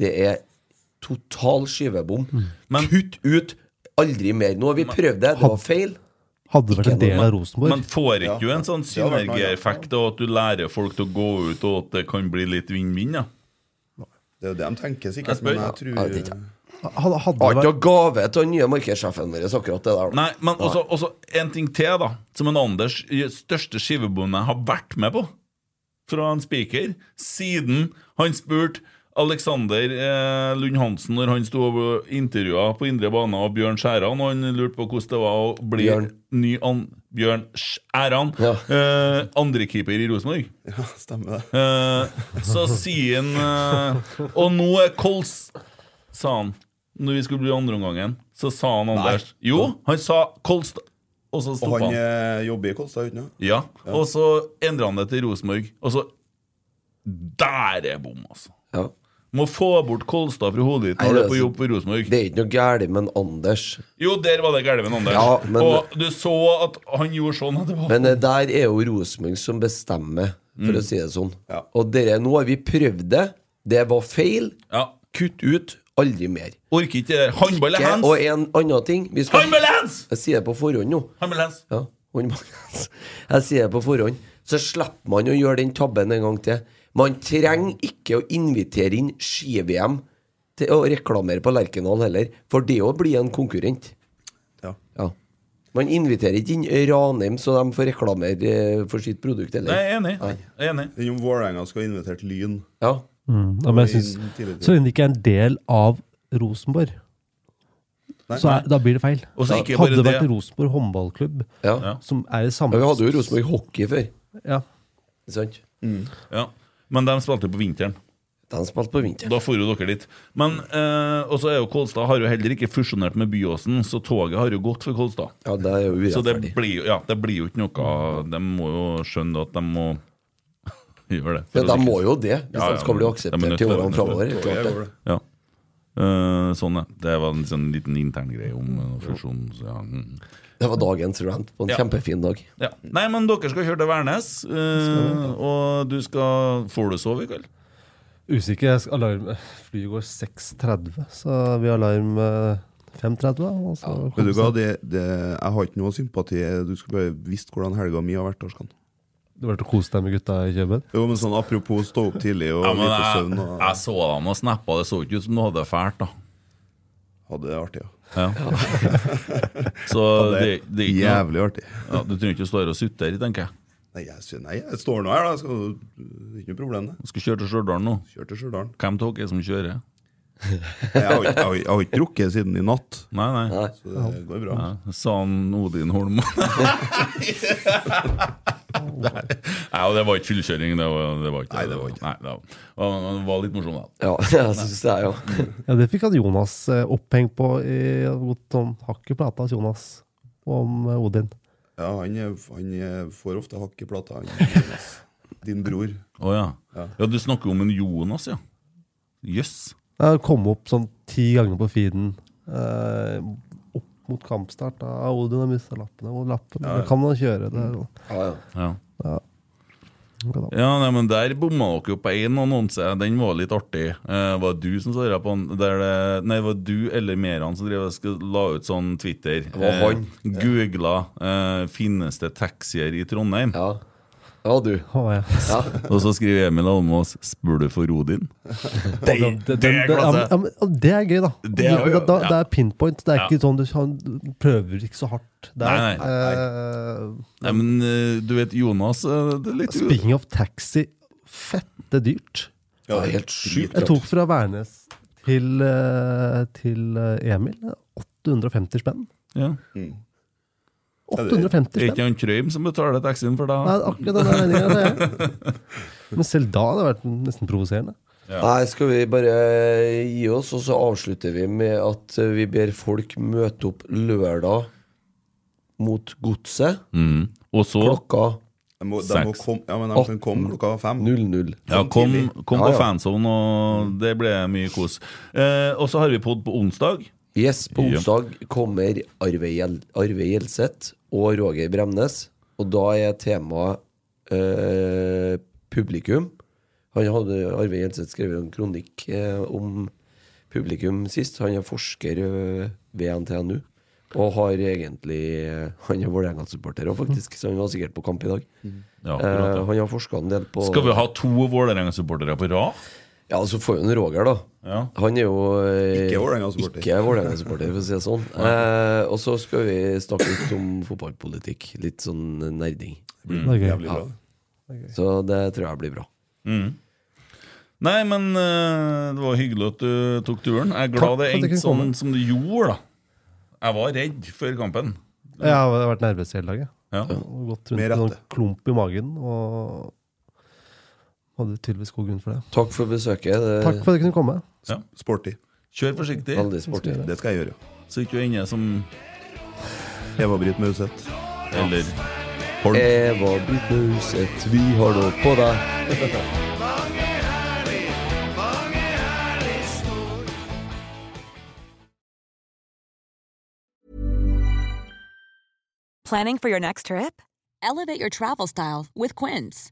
Det er total skyvebom. Mm. Kutt ut! Aldri mer. Nå har vi prøvd det. Det var feil. Hadde vært en del av Rosenborg. Men får ikke du Ja. en sånn Det hadde vært noe, ja. synergieffekt av at du lærer folk til å gå ut, og at det kan bli litt vinn-vinn? da? Det er jo det de tenker, Jeg sikkert. spør. Men jeg tror Ja, jeg vet ikke. Hadde, hadde Har ikke noe gave til den nye markedssjefen vår, akkurat det der. da. Nei, men også, også en ting til, da. Som en Anders største skivebonde har vært med på. Fra en spiker. Siden han spurte Alexander eh, Lund Hansen når han sto og intervjua på indre bane av Bjørn Skjæran, og han lurte på hvordan det var å bli Bjørn. ny an Bjørn Skjæran, eh, andrekeeper i Rosenborg. Ja, stemmer det. Eh, så sier han eh, Og nå er Kols sa han Når vi skulle bli andreomgangen, så sa han Anders Jo, han sa Kolstad Og så Og han stoppa han. eh, jobber i Kolstad, gjør han ikke? Ja. Og så endra han det til Rosenborg. Og så Der er bom, altså! Må få bort Kolstad fra hodet ditt Nei, når du det er er på så- jobb for Rosenborg. Det er ikke noe galt med en Anders. Jo, der var det galt med Anders. Ja, men- Og du så at han gjorde sånn. At det var Men det der er jo Rosenborg som bestemmer, for Mm. å si det sånn. Og dere, nå har vi prøvd det. Det var feil. Kutt ut. Aldri mer. Orker ikke det der. Håndball er Ikke- hands. Og en annen ting vi skal- Håndball er hands! Jeg sier det på forhånd nå. Håndball er hands. Ja, håndball er hands. Jeg sier det på forhånd. Så slipper man å gjøre den tabben en gang til. Man trenger ikke å invitere inn ski-VM til å reklamere på Lerkendal heller, for det å bli en konkurrent. Ja. Man inviterer ikke inn Ranheim så de får reklamere eh, for sitt produkt, eller? Nei, jeg er enig. Nei. Jeg er enig. Den om Vålerenga skal ha invitert Lyn. Ja. Mm, Ja, men jeg synes, så lenge det ikke er en del av Rosenborg, Nei. så er, da blir det feil. Og så ikke bare hadde det vært det. Rosenborg håndballklubb, Ja. som er i samme Ja, vi hadde jo Rosenborg hockey før. Ja. Ikke sant? Ja. Men de spilte jo på vinteren. De spilte på vinteren. Da for jo dere dit. Men, eh, Og så er jo Kolstad har jo heller ikke fusjonert med Byåsen, så toget har jo gått for Kolstad. Ja, det er jo Så det urettferdig. blir, jo- ja, det blir jo ikke noe De må jo skjønne at de må gjøre det. Ja, de må jo det, hvis de skal bli akseptert de er nødt til det, årene de er nødt fremover, til det. klart det. Ja. Eh, sånn, ja. Det var en sånn liten intern greie om eh, fusjon. Så, ja. mm. Det var dagens rant på en Ja. kjempefin dag. ja. Nei, men dere skal kjøre til Værnes, eh, og du skal Får du sove i kveld? Usikker. jeg skal- Alarm Flyet går 6.30, så vi har alarm eh, 5.30. da, og så Vet du hva, det, det, jeg har ikke noe sympati. Du skulle bare visst hvordan helga mi har vært. Arskan. Det var til å kose deg med gutta i Kjøben? Jo, men sånn Apropos stå opp tidlig og Ja, men lite jeg, søvn. Og, jeg så dem og snappa, det så ikke ut som du hadde det fælt, da. hadde det artig, ja. Ja. Så Ja, det, det er det er ikke noe- jævlig artig. Ja, du trenger ikke å stå her og sutte her, tenker jeg. Nei, jeg, sy- nei, jeg står nå her, da. Skal, det er ikke noe problem, det. Du skal kjøre til Stjørdal nå. Kjør til Stjørdal. Hvem av dere er det som kjører? Jeg har, ikke- jeg, har, jeg har ikke drukket siden i natt. Nei, nei. Så det går bra. Ja, sa han Odin Holm. Nei, Nei, og det var ikke fyllkjøring. Det var, det var ikke, nei, det var, nei, det var, det var litt morsom, da. Ja, jeg syns det er jo Ja, det fikk han Jonas eh, oppheng på i hadde gått sånn hakk i plata hos Jonas om eh, Odin. Ja, han, er- han er- får ofte hakk i plata. han, Jonas. Din bror. Å ja. ja. Du snakker om en Jonas, ja. Jøss. Jeg kom opp sånn ti ganger på feeden eh, opp mot kampstart. Da. Ah, Odin har mista lappene. Og lappen, Ja, ja. Kan han kjøre? Det, er sånn. Ja, Ja. Ja. Ja, nei, men Der bomma dere jo på én annonse. Den var litt artig. Eh, var det du som sa det på den? Der det, nei, var det du eller Meran som drev, og sk- la ut sånn Twitter? Det var han. Googla eh, 'Finnes det taxier i Trondheim'? Ja, ja du. Ja. Og så skriver Emil Almås 'Spør du for Odin'? Det, altså. Den- den- ja, men- ja, men- og det er gøy, da. Det er jo- da, da, ja. det er pinpoint. Det er Ja. ikke sånn du han prøver ikke så hardt. Det er, Nei, nei. eh, Nei, men eh, du vet Jonas eh, det er litt Speaking of taxi, fette dyrt. Ja, det er helt sjukt Jeg dyrt. tok fra Værnes til, eh, til eh, Emil 850 spenn. Ja. 850 Er spenn? ikke han Trøim som betaler taxien for deg? Nei, akkurat den regninga, det er Men selv da hadde det vært nesten provoserende. Nei, skal vi bare eh, gi oss, og så avslutter vi med at eh, vi ber folk møte opp lørdag mot Godset. Mm. Og så Klokka De må, de må Seks. komme, ja, men de kan komme klokka fem. 00. Ja, kom, tidlig. kom Ja, på ja. fanzone, og det ble mye kos. Eh, og så har vi pod på onsdag. Yes, på onsdag kommer Arve Gjel- Arve Gjelseth og Roger Bremnes. Og da er temaet eh, publikum. Han hadde Arve Gjelseth skrevet en kronikk eh, om publikum sist. Han er forsker eh, ved NTNU. Og har egentlig eh, Han er Vålerenga-supporter òg, faktisk, så han var sikkert på kamp i dag. Ja, Mm. akkurat, ja. Eh, han har forska en del på Skal vi ha to Vålerenga-supportere på rad? Ja, så får jo en Roger, da. Han er jo eh, Ikke Vålerenga-supporter. Ikke Vålerenga-supporter, for å si det sånn. Eh, og så skal vi snakke litt om fotballpolitikk. Litt sånn nerding. blir Mm. jævlig bra, det. Ja. Så det tror jeg blir bra. Mm. Nei, men eh, det var hyggelig at du tok turen. Jeg er Takk glad det for at jeg endte kunne komme. sånn som det gjorde, da. Jeg var redd før kampen. Jeg har vært nervøs hele dagen. Ja. Og Gått rundt Med med noen klump i magen. Og hadde tydeligvis god grunn for det. Takk for besøket. Det... Takk for at jeg kunne komme. Ja. Sporty. Kjør forsiktig. Veldig sporty. Det skal jeg gjøre. Så ikke du ender som Eva-Britt Mauseth. Eller Eh, Eva Britt Mauseth, vi har nå på deg. Planning for your next trip? Elevate your travel style with Quince.